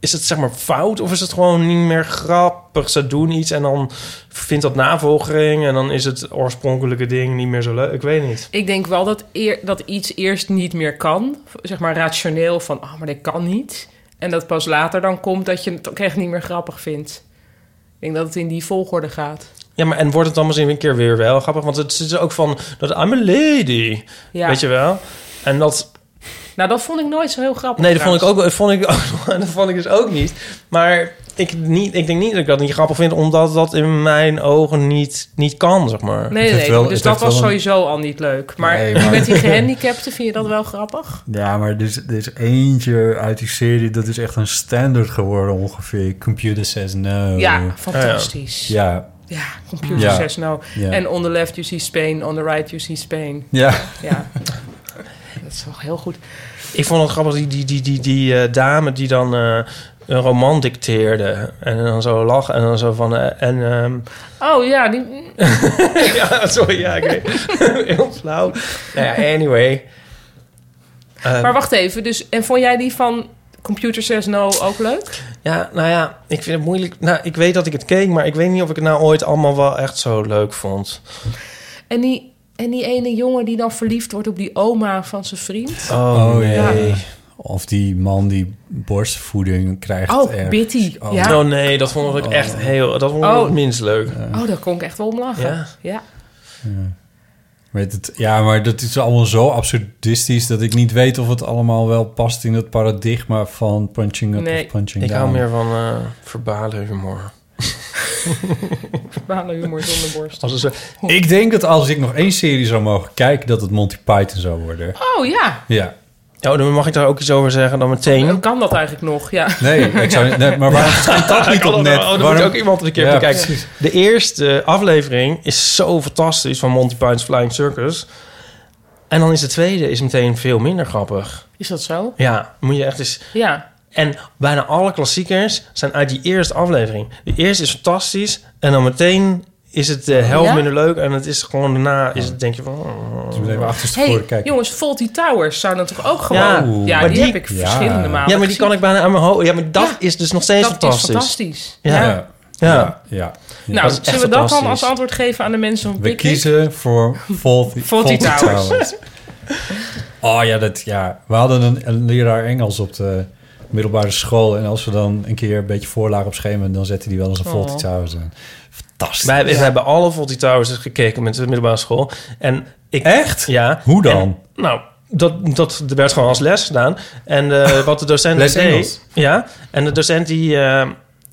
Speaker 5: Is het zeg maar fout of is het gewoon niet meer grappig? Ze doen iets en dan vindt dat navolging... en dan is het oorspronkelijke ding niet meer zo leuk. Ik weet niet.
Speaker 4: Ik denk wel dat, eer, dat iets eerst niet meer kan. Zeg maar rationeel van, ah, maar dit kan niet. En dat pas later dan komt dat je het ook echt niet meer grappig vindt. Ik denk dat het in die volgorde gaat.
Speaker 5: Ja, maar en wordt het dan misschien een keer weer wel grappig? Want het is ook van dat I'm a lady,
Speaker 4: Ja.
Speaker 5: weet je wel? En dat,
Speaker 4: Nou, dat vond ik nooit zo heel grappig.
Speaker 5: nee, dat vond ik
Speaker 4: trouwens.
Speaker 5: ook, dat vond ik ook, dat vond ik dus ook niet. Maar ik, niet, ik denk niet dat ik dat niet grappig vind, omdat dat in mijn ogen niet, niet kan, zeg maar.
Speaker 4: Nee,
Speaker 2: Het
Speaker 4: nee,
Speaker 2: heeft wel-
Speaker 4: dus
Speaker 2: het
Speaker 4: dat
Speaker 2: heeft
Speaker 4: was
Speaker 2: wel een-
Speaker 4: sowieso al niet leuk. Maar,
Speaker 2: Nee, maar-
Speaker 4: met die gehandicapten vind je dat wel grappig?
Speaker 2: Ja, maar er is, er is eentje uit die serie... dat is echt een standaard geworden ongeveer. Computer says no.
Speaker 4: ja, fantastisch. Ja,
Speaker 2: Ja.
Speaker 4: computer
Speaker 2: Ja.
Speaker 4: says no.
Speaker 2: Ja.
Speaker 4: En on the left you see Spain, on the right you see Spain.
Speaker 2: ja.
Speaker 4: Ja, dat is wel heel goed.
Speaker 5: Ik vond het grappig, die, die, die, die, die eh, dame die dan eh, een roman dicteerde. En dan zo lag en dan zo van... eh, en, ehm,
Speaker 4: Oh ja, die,
Speaker 5: ja, sorry, ja, ik weet Heel flauw. Nou ja, anyway. Ehm,
Speaker 4: Maar wacht even, dus, en vond jij die van Computer Says No ook leuk?
Speaker 5: Ja, nou ja, ik vind het moeilijk. Nou, ik weet dat ik het keek, maar ik weet niet of ik het nou ooit allemaal wel echt zo leuk vond.
Speaker 4: En die, en die ene jongen die dan verliefd wordt op die oma van zijn vriend?
Speaker 2: Oh,
Speaker 4: nee.
Speaker 2: ja. Of die man die borstvoeding krijgt.
Speaker 4: Oh,
Speaker 2: ergens.
Speaker 4: Bitty,
Speaker 2: Oh,
Speaker 4: ja.
Speaker 5: Oh nee, dat vond ik echt heel. Dat vond ik
Speaker 4: Oh.
Speaker 5: het minst leuk.
Speaker 4: Oh, daar kon ik echt wel om lachen.
Speaker 5: Ja.
Speaker 4: Ja.
Speaker 2: Weet het, ja, maar dat is allemaal zo absurdistisch dat ik niet weet of het allemaal wel past in het paradigma van punching up
Speaker 4: Nee,
Speaker 2: of punching
Speaker 5: Ik
Speaker 2: down.
Speaker 5: hou meer van eh verbale humor.
Speaker 4: Verbale humor zonder borst.
Speaker 5: Als het zo,
Speaker 2: Ik denk dat als ik nog één serie zou mogen kijken, dat het Monty Python zou worden.
Speaker 4: Oh ja,
Speaker 2: Ja.
Speaker 5: Ja, dan mag ik daar ook iets over zeggen dan meteen.
Speaker 4: Hoe kan dat eigenlijk nog? Ja.
Speaker 2: Nee, ik zou, nee maar waarom verschijnt dat niet op net?
Speaker 5: Oh, dan moet
Speaker 2: Waarom-
Speaker 5: ook iemand een keer
Speaker 2: Ja,
Speaker 5: bekijken.
Speaker 2: precies.
Speaker 5: De eerste aflevering is zo fantastisch van Monty Python's Flying Circus. En dan is de tweede is meteen veel minder grappig.
Speaker 4: Is dat zo?
Speaker 5: Ja, moet je echt eens...
Speaker 4: Ja.
Speaker 5: En bijna alle klassiekers zijn uit die eerste aflevering. De eerste is fantastisch en dan meteen is het de helft
Speaker 4: Oh, Ja?
Speaker 5: minder leuk. En het is gewoon daarna, is het, denk je van... oh.
Speaker 2: Dus we even achterstevoren
Speaker 4: Hey,
Speaker 2: kijken.
Speaker 4: jongens, Faulty Towers zou dan toch ook
Speaker 5: Ja,
Speaker 4: gewoon... Ja,
Speaker 5: maar
Speaker 4: die,
Speaker 5: die-
Speaker 4: heb ik
Speaker 2: Ja.
Speaker 4: verschillende malen
Speaker 5: Ja, maar die kan ik bijna aan mijn hoofd... Ja, maar dat
Speaker 4: Ja,
Speaker 5: is dus nog steeds
Speaker 4: Dat
Speaker 5: fantastisch.
Speaker 4: is fantastisch.
Speaker 5: Ja.
Speaker 2: Ja.
Speaker 5: Ja.
Speaker 2: Ja. ja.
Speaker 4: Nou,
Speaker 5: is echt
Speaker 4: zullen we dat dan als
Speaker 5: fantastisch.
Speaker 4: antwoord geven aan de mensen van
Speaker 2: We
Speaker 4: Picnic?
Speaker 2: kiezen voor Faulty,
Speaker 4: Faulty Towers.
Speaker 2: Oh ja, dat, ja, we hadden een, een leraar Engels op de middelbare school. En als we dan een keer een beetje voorlaag op schema... dan zette die wel eens een Faulty
Speaker 4: Oh.
Speaker 2: Towers in. Fantastisch.
Speaker 5: Wij, hebben- wij hebben alle Volty Towers dus gekeken met de middelbare school. En ik,
Speaker 2: Echt?
Speaker 5: Ja.
Speaker 2: Hoe dan?
Speaker 5: En, nou, dat, dat werd gewoon als les gedaan. En eh, wat de docent
Speaker 2: Les
Speaker 5: deed...
Speaker 2: Engels?
Speaker 5: Ja, en de docent die eh,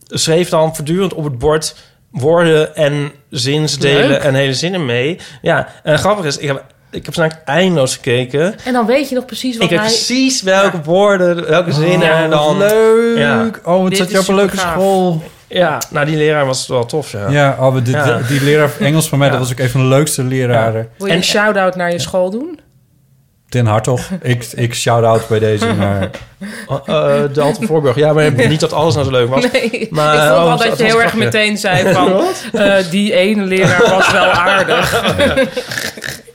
Speaker 5: schreef dan voortdurend op het bord... woorden en zinsdelen
Speaker 4: Leuk.
Speaker 5: en hele zinnen mee. Ja, en grappig is, ik heb, ik heb vandaag eindeloos gekeken.
Speaker 4: En dan weet je nog precies wat
Speaker 5: Ik weet
Speaker 4: hij...
Speaker 5: precies welke woorden, welke zinnen
Speaker 4: ja,
Speaker 5: en dan...
Speaker 2: Leuk.
Speaker 5: Ja.
Speaker 2: Oh, wat
Speaker 4: Oh, Dit
Speaker 2: zat je
Speaker 4: is
Speaker 2: op een leuke
Speaker 4: supergaaf.
Speaker 2: school.
Speaker 5: Ja, nou die leraar was wel tof, ja.
Speaker 2: Ja, oh, we- dit-
Speaker 5: Ja.
Speaker 2: die leraar Engels van mij... dat was ook een van de leukste leraren.
Speaker 4: Wil je
Speaker 5: En-
Speaker 4: een shout-out naar je school doen?
Speaker 2: Ten Hartog. ik, ik shout-out bij deze naar...
Speaker 5: Eh, eh, de Alte Voorburg. Ja, maar niet dat alles nou zo leuk was.
Speaker 4: Nee,
Speaker 5: Maar,
Speaker 4: ik vond
Speaker 5: oh,
Speaker 4: wel
Speaker 5: dat
Speaker 4: dat je
Speaker 5: was
Speaker 4: heel erg
Speaker 5: grappig.
Speaker 4: meteen zei van... eh, die ene leraar was wel aardig.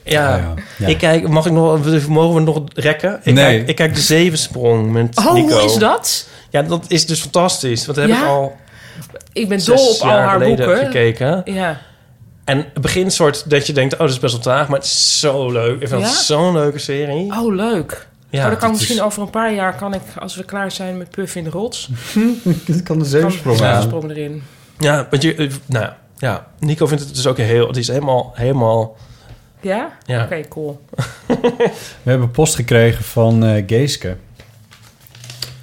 Speaker 5: Ja.
Speaker 2: Ja, ja.
Speaker 5: Ik kijk, mag ik nog, mogen we nog rekken? Ik,
Speaker 2: Nee.
Speaker 5: kijk, ik kijk de zevensprong met
Speaker 4: Oh,
Speaker 5: Nico.
Speaker 4: hoe is dat?
Speaker 5: Ja, dat is dus fantastisch. Want dat heb
Speaker 4: Ja?
Speaker 5: ik al
Speaker 4: Ik ben dol
Speaker 5: zes
Speaker 4: op al
Speaker 5: jaar
Speaker 4: haar
Speaker 5: geleden
Speaker 4: boeken.
Speaker 5: gekeken.
Speaker 4: Ja.
Speaker 5: En het begint soort dat je denkt, oh, dat is best wel traag. Maar het is zo leuk. Ik vind
Speaker 4: Ja?
Speaker 5: het zo'n leuke serie.
Speaker 4: Oh, leuk.
Speaker 5: Ja,
Speaker 4: oh, dan kan
Speaker 5: dat
Speaker 4: misschien
Speaker 5: is-
Speaker 4: over een paar jaar, kan ik, als we klaar zijn met Puff in de Rots...
Speaker 2: Dit kan de
Speaker 4: kan
Speaker 2: zeepsprong
Speaker 4: Ja,
Speaker 2: aan.
Speaker 4: sprong erin.
Speaker 5: Ja, want je, eh, nou ja, Nico vindt het dus ook heel, het is helemaal, helemaal,
Speaker 4: Ja?
Speaker 5: ja.
Speaker 4: Oké, cool.
Speaker 2: We hebben post gekregen van eh, Geeske.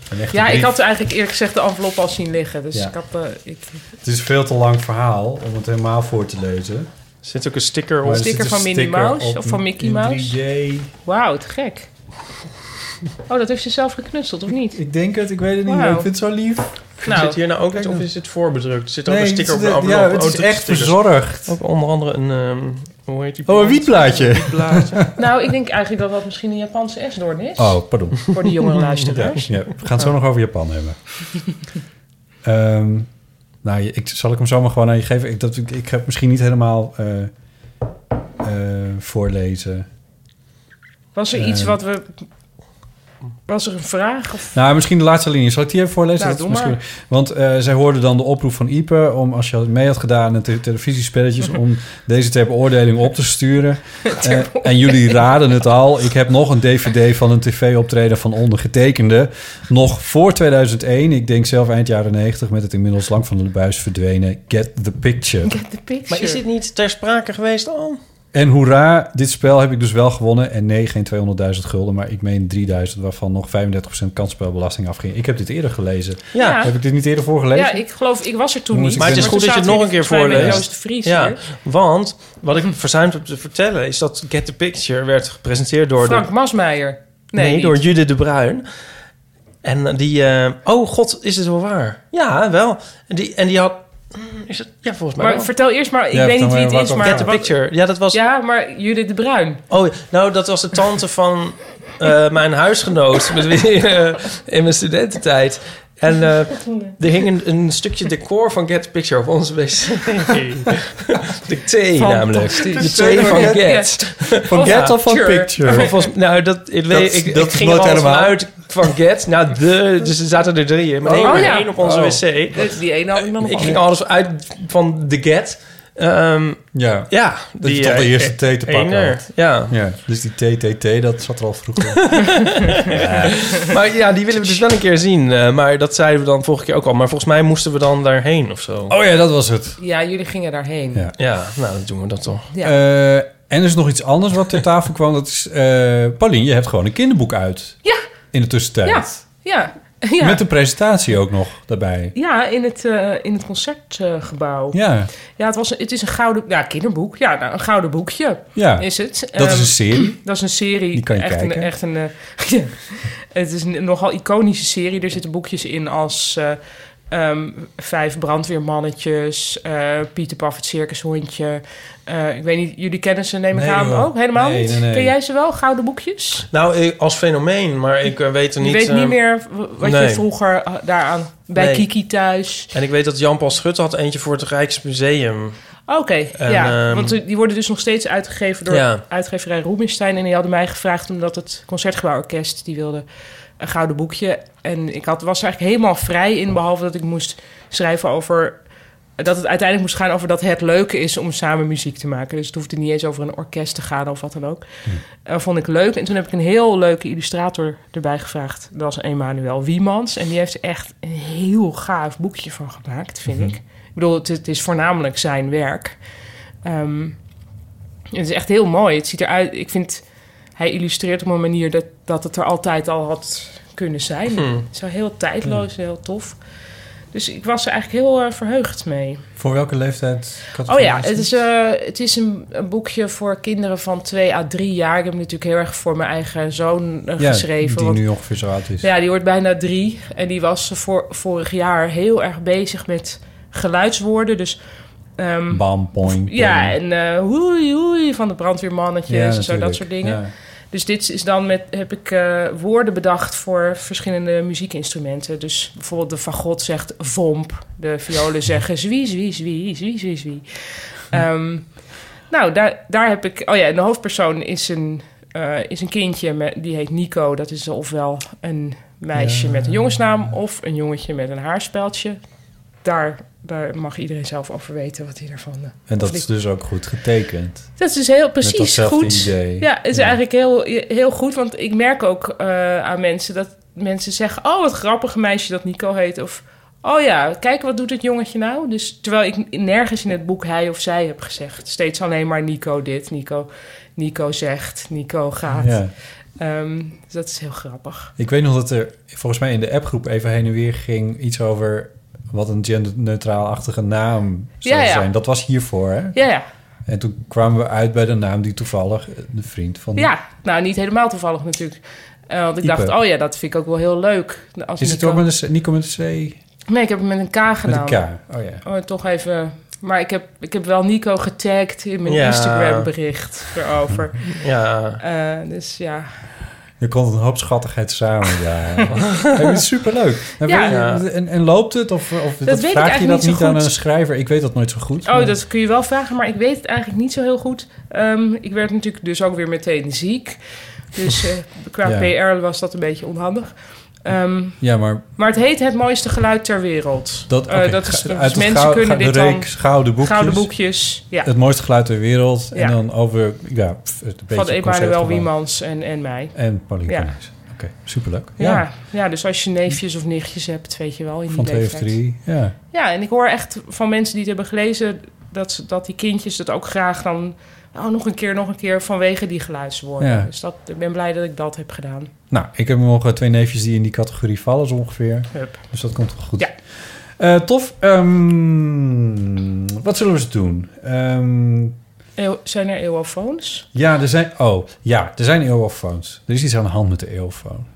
Speaker 2: Een echte
Speaker 4: Ja,
Speaker 2: brief.
Speaker 4: ik had eigenlijk eerlijk gezegd de envelop al zien liggen. Dus
Speaker 2: Ja.
Speaker 4: ik had... eh, ik,
Speaker 2: Het is een veel te lang verhaal om het helemaal voor te lezen.
Speaker 5: Er zit ook een sticker
Speaker 2: Maar
Speaker 5: op.
Speaker 2: er
Speaker 4: sticker
Speaker 2: zit een
Speaker 4: van Minnie Mouse
Speaker 2: op
Speaker 4: of van Mickey
Speaker 2: in
Speaker 4: Mouse?
Speaker 2: 3D.
Speaker 4: wauw, te gek. Oh, dat heeft ze zelf geknutseld, of niet?
Speaker 2: Ik denk het, ik weet het niet.
Speaker 4: Wauw.
Speaker 2: maar Ik vind het zo lief.
Speaker 4: Nou,
Speaker 5: zit hier nou ook iets of is het voorbedrukt? Er zit ook een sticker op
Speaker 2: het
Speaker 5: de
Speaker 2: is,
Speaker 5: envelop.
Speaker 2: ja, het
Speaker 5: Oh,
Speaker 2: is
Speaker 5: dat
Speaker 2: echt
Speaker 5: stickers.
Speaker 2: verzorgd.
Speaker 5: Ook onder andere een, ehm, hoe heet die?
Speaker 2: Oh, een
Speaker 5: plant?
Speaker 2: wietplaatje.
Speaker 5: Wietblaadje.
Speaker 4: nou, ik denk eigenlijk dat dat misschien een Japanse esdoorn is.
Speaker 2: Oh, pardon.
Speaker 4: Voor de jongere
Speaker 2: Ja,
Speaker 4: luisteraars.
Speaker 2: ja, we gaan het zo nog over Japan hebben. Ehm, nou, je- ik, zal ik hem zomaar gewoon aan je geven? Ik, dat, ik, ik ga het misschien niet helemaal eh, eh, voorlezen.
Speaker 4: Was er
Speaker 2: Eh.
Speaker 4: iets wat we... Was er een vraag? Of...
Speaker 2: Nou, misschien de laatste linie. Zal ik die even voorlezen?
Speaker 4: Nou,
Speaker 2: Dat is
Speaker 4: doe maar.
Speaker 2: misschien- Want eh, zij hoorden dan de oproep van Ipe om, als je mee had gedaan aan de te- televisiespelletjes, om deze ter beoordeling op te sturen. Eh, en jullie raden het al. Ik heb nog een DVD van een tv-optreden van ondergetekende. Nog voor 2001, ik denk zelf eind jaren 90, met het inmiddels lang van de buis verdwenen Get the Picture.
Speaker 4: Get the picture.
Speaker 5: Maar is dit niet ter sprake geweest Oh, al?
Speaker 2: En hoera, dit spel heb ik dus wel gewonnen. En nee, geen 200.000 gulden, maar ik meen 3000, waarvan nog 35% kansspelbelasting afging. Ik heb dit eerder gelezen.
Speaker 5: Ja.
Speaker 4: Ja.
Speaker 2: Heb ik dit niet eerder voorgelezen?
Speaker 4: Ja, ik geloof, ik was er toen
Speaker 2: Jongens,
Speaker 4: niet.
Speaker 2: ik Maar het is
Speaker 5: goed dat je
Speaker 4: toen
Speaker 5: het nog
Speaker 4: zaten
Speaker 5: een
Speaker 4: we
Speaker 5: keer
Speaker 4: volgens mij met
Speaker 5: voorleest.
Speaker 4: Joost de Vries
Speaker 5: Ja,
Speaker 4: hier.
Speaker 5: want wat ik verzuimd heb te vertellen is dat Get the Picture werd gepresenteerd door,
Speaker 4: Frank
Speaker 5: de,
Speaker 4: Masmeijer.
Speaker 5: nee,
Speaker 4: Nee, niet.
Speaker 5: door Judith de Bruin. En die, eh, oh god, is het wel waar? Ja, wel. En die, en die had, mm, is het, ja, volgens mij.
Speaker 4: Maar
Speaker 5: wel.
Speaker 4: vertel eerst maar, ik
Speaker 2: Ja,
Speaker 4: weet
Speaker 2: vertel
Speaker 4: niet wie het
Speaker 2: maar
Speaker 4: is,
Speaker 2: wat
Speaker 4: maar...
Speaker 5: Get the Picture, ja, dat was,
Speaker 4: Ja, maar Judith de Bruin.
Speaker 5: oh, nou, dat was de tante van eh, mijn huisgenoot met wie, eh, in mijn studententijd. En eh, er hing een, een stukje decor van Get the Picture op onze wc. De thee namelijk. De thee van
Speaker 4: Get.
Speaker 5: Get.
Speaker 2: Van Get of van
Speaker 4: Sure.
Speaker 5: Maar
Speaker 2: Picture?
Speaker 5: volgens- nou, dat, ik, weet,
Speaker 2: Dat-
Speaker 5: ik, ik
Speaker 2: dat
Speaker 5: ging er
Speaker 2: klopt
Speaker 5: altijd
Speaker 2: helemaal.
Speaker 5: vanuit van Get naar de. Dus er zaten er drieën. Met
Speaker 4: Oh,
Speaker 5: één,
Speaker 4: ja.
Speaker 5: één op onze
Speaker 2: Oh.
Speaker 5: wc.
Speaker 4: Dus die ene had ik dan nog
Speaker 5: Ik ging
Speaker 4: al.
Speaker 5: alles uit van de Get. Ehm,
Speaker 2: Ja.
Speaker 5: ja,
Speaker 2: Dat je toch de
Speaker 5: eh,
Speaker 2: eerste thee te pakken
Speaker 5: ene.
Speaker 2: had.
Speaker 5: Ja.
Speaker 2: ja. Dus die TTT, dat zat er al vroeger.
Speaker 5: Maar ja, die willen we dus wel een keer zien. eh, maar dat zeiden we dan vorige keer ook al. Maar volgens mij moesten we dan daarheen of zo.
Speaker 2: oh ja, dat was het.
Speaker 4: Ja, jullie gingen daarheen.
Speaker 2: Ja.
Speaker 5: Ja, nou, dan doen we dat toch.
Speaker 4: Ja.
Speaker 2: Eh, en er is nog iets anders wat ter tafel kwam. Dat is, eh Paulien, je hebt gewoon een kinderboek uit
Speaker 4: Ja.
Speaker 2: in de tussentijd.
Speaker 4: Ja, ja. Ja,
Speaker 2: Met de presentatie ook nog daarbij.
Speaker 4: ja in het, eh, in het concertgebouw. Ja,
Speaker 2: Ja,
Speaker 4: het, was, het is een gouden... Ja, kinderboek. Ja, nou, een gouden boekje
Speaker 2: ja.
Speaker 4: is het.
Speaker 2: dat is
Speaker 4: Ehm,
Speaker 2: een serie.
Speaker 4: Dat is een serie.
Speaker 2: Die kan je
Speaker 4: echt
Speaker 2: kijken.
Speaker 4: Een, echt een, eh, ja. het is een nogal iconische serie. Er zitten boekjes in als eh, ehm, Vijf brandweermannetjes, eh Pieter Paf het circushondje. Eh, ik weet niet, jullie kennen ze neem ik
Speaker 2: Nee,
Speaker 4: aan
Speaker 2: joh.
Speaker 4: ook? Helemaal
Speaker 2: Nee,
Speaker 4: niet?
Speaker 2: nee, nee.
Speaker 4: Ken jij ze wel, gouden boekjes?
Speaker 5: Nou, ik- als fenomeen, maar ik eh, weet er
Speaker 4: Je
Speaker 5: niet...
Speaker 4: weet niet
Speaker 5: eh,
Speaker 4: meer w- wat je
Speaker 5: nee.
Speaker 4: vroeger eh, daaraan... Bij
Speaker 5: Nee.
Speaker 4: Kiki thuis.
Speaker 5: En ik weet dat Jan-Paul Schutte had eentje voor het Rijksmuseum.
Speaker 4: Oké,
Speaker 5: En,
Speaker 4: ja.
Speaker 5: ehm,
Speaker 4: want eh, die worden dus nog steeds uitgegeven door
Speaker 5: Ja.
Speaker 4: uitgeverij Rubinstein. En die hadden mij gevraagd omdat het Concertgebouworkest... die wilde een gouden boekje. En ik had, was er eigenlijk helemaal vrij in... behalve dat ik moest schrijven over... dat het uiteindelijk moest gaan over dat het leuke is... om samen muziek te maken. Dus het hoefde niet eens over een orkest te gaan of wat dan ook. Eh, vond ik leuk. En toen heb ik een heel leuke illustrator erbij gevraagd. Dat was Emanuel Wiemans. En die heeft er echt een heel gaaf boekje van gemaakt, vind ik. Ik bedoel, het, het is voornamelijk zijn werk. Ehm, het is echt heel mooi. Het ziet eruit. Ik vind, hij illustreert op een manier dat, dat het er altijd al had kunnen zijn.
Speaker 2: Hmm.
Speaker 4: Zo heel tijdloos, heel tof. Dus ik was er eigenlijk heel eh, verheugd mee.
Speaker 2: Voor welke leeftijd?
Speaker 4: Oh ja, het is, eh, het is een, een boekje voor kinderen van 2 à 3 jaar. Ik heb hem natuurlijk heel erg voor mijn eigen zoon eh, geschreven.
Speaker 2: Die
Speaker 4: want-
Speaker 2: nu ongeveer zo oud is.
Speaker 4: ja, die wordt bijna drie. En die was voor, vorig jaar heel erg bezig met geluidswoorden. Dus ehm,
Speaker 2: Bam, point.
Speaker 4: ja,
Speaker 2: point.
Speaker 4: en eh hoei hoei van de brandweermannetjes en zo, dat
Speaker 2: natuurlijk.
Speaker 4: soort dingen.
Speaker 2: Ja.
Speaker 4: Dus dit is dan met, heb ik eh, woorden bedacht voor verschillende muziekinstrumenten. Dus bijvoorbeeld de fagot zegt vomp, de violen zeggen zwie, zwie, zwie, zwie, zwie, zwie. Ehm, nou, daar, daar heb ik... Oh ja, en de hoofdpersoon is een, eh, is een kindje, met, die heet Nico. Dat is ofwel een meisje met een jongensnaam of een jongetje met een haarspeldje. Daar, daar mag iedereen zelf over weten wat hij ervan... eh,
Speaker 2: En dat
Speaker 4: of
Speaker 2: is dus ook goed getekend.
Speaker 4: dat is dus heel precies
Speaker 2: datzelfde
Speaker 4: goed.
Speaker 2: idee.
Speaker 4: Ja, het is
Speaker 2: Ja.
Speaker 4: eigenlijk heel, heel goed. Want ik merk ook eh, aan mensen dat mensen zeggen... oh, wat grappig een meisje dat Nico heet. Of, oh ja, kijk, wat doet het jongetje nou? Dus terwijl ik nergens in het boek hij of zij heb gezegd. Steeds alleen maar Nico dit, Nico, Nico zegt, Nico gaat.
Speaker 2: Ja.
Speaker 4: Ehm, dus dat is heel grappig.
Speaker 2: Ik weet nog dat er volgens mij in de appgroep even heen en weer ging iets over wat een genderneutraal-achtige naam zou
Speaker 4: Ja, ja.
Speaker 2: zijn. Dat was hiervoor, hè?
Speaker 4: Ja, ja.
Speaker 2: En toen kwamen we uit bij de naam die toevallig de vriend van...
Speaker 4: ja, nou niet helemaal toevallig natuurlijk. Eh, want ik
Speaker 2: Ipe.
Speaker 4: dacht, oh ja, dat vind ik ook wel heel leuk. Als
Speaker 2: Is het
Speaker 4: Nico-
Speaker 2: ook met een C? Nico met een C?
Speaker 4: Nee, ik heb hem met een K
Speaker 2: Met
Speaker 4: gedaan.
Speaker 2: een K. Oh ja.
Speaker 4: Oh, toch even. Maar ik heb, ik heb wel Nico getagd in mijn
Speaker 5: Ja.
Speaker 4: Instagram bericht erover.
Speaker 5: Ja,
Speaker 4: Eh, dus ja.
Speaker 2: Er komt een hoop schattigheid samen. Ja. Hey, het is superleuk. En,
Speaker 4: Ja.
Speaker 2: en, en, loopt het? Of, of dat
Speaker 4: weet ik
Speaker 2: vraag je
Speaker 4: eigenlijk
Speaker 2: dat
Speaker 4: niet
Speaker 2: niet,
Speaker 4: zo
Speaker 2: aan
Speaker 4: goed.
Speaker 2: een schrijver? Ik weet dat nooit zo goed.
Speaker 4: Oh,
Speaker 2: maar-
Speaker 4: dat kun je wel vragen, maar ik weet het eigenlijk niet zo heel goed. Ehm, ik werd natuurlijk dus ook weer meteen ziek. Dus eh, qua PR was dat een beetje onhandig. Ehm,
Speaker 2: Ja, maar
Speaker 4: maar het heet Het Mooiste Geluid ter Wereld.
Speaker 2: dat,
Speaker 4: Eh,
Speaker 2: oké,
Speaker 4: dat is,
Speaker 2: ga-
Speaker 4: dus
Speaker 2: uit het
Speaker 4: mensen
Speaker 2: gou-
Speaker 4: kunnen
Speaker 2: de
Speaker 4: dit
Speaker 2: reeks gouden
Speaker 4: dan...
Speaker 2: boekjes.
Speaker 4: Gouden boekjes. Ja,
Speaker 2: Het mooiste geluid ter wereld.
Speaker 4: Ja.
Speaker 2: En dan over ja, pff, een beetje
Speaker 4: van Emanuel
Speaker 2: concertgebouw.
Speaker 4: Wiemans en, en mij.
Speaker 2: En Pauline
Speaker 4: Ja.
Speaker 2: Cornelis. Oké, superleuk.
Speaker 4: Ja.
Speaker 2: Ja,
Speaker 4: Ja, dus als je neefjes of nichtjes hebt, weet je wel. In die
Speaker 2: van twee of
Speaker 4: leeftijd.
Speaker 2: drie. Ja.
Speaker 4: Ja, en ik hoor echt van mensen die het hebben gelezen... dat, ze- dat die kindjes het ook graag dan... nou, nog een keer, nog een keer vanwege die geluidswoorden.
Speaker 2: Ja.
Speaker 4: Dus dat, ik ben blij dat ik dat heb gedaan.
Speaker 2: Nou, ik heb nog eh, twee neefjes die in die categorie vallen, zo ongeveer.
Speaker 4: Hup.
Speaker 2: Dus dat komt wel goed.
Speaker 4: Ja.
Speaker 2: Eh, tof. Ehm, wat zullen we ze doen? Ehm,
Speaker 4: Eeuw- zijn er eeuwofoons?
Speaker 2: ja, er zijn... Oh, ja, er zijn eeuwofoons. Er is iets aan de hand met de eeuwofoon.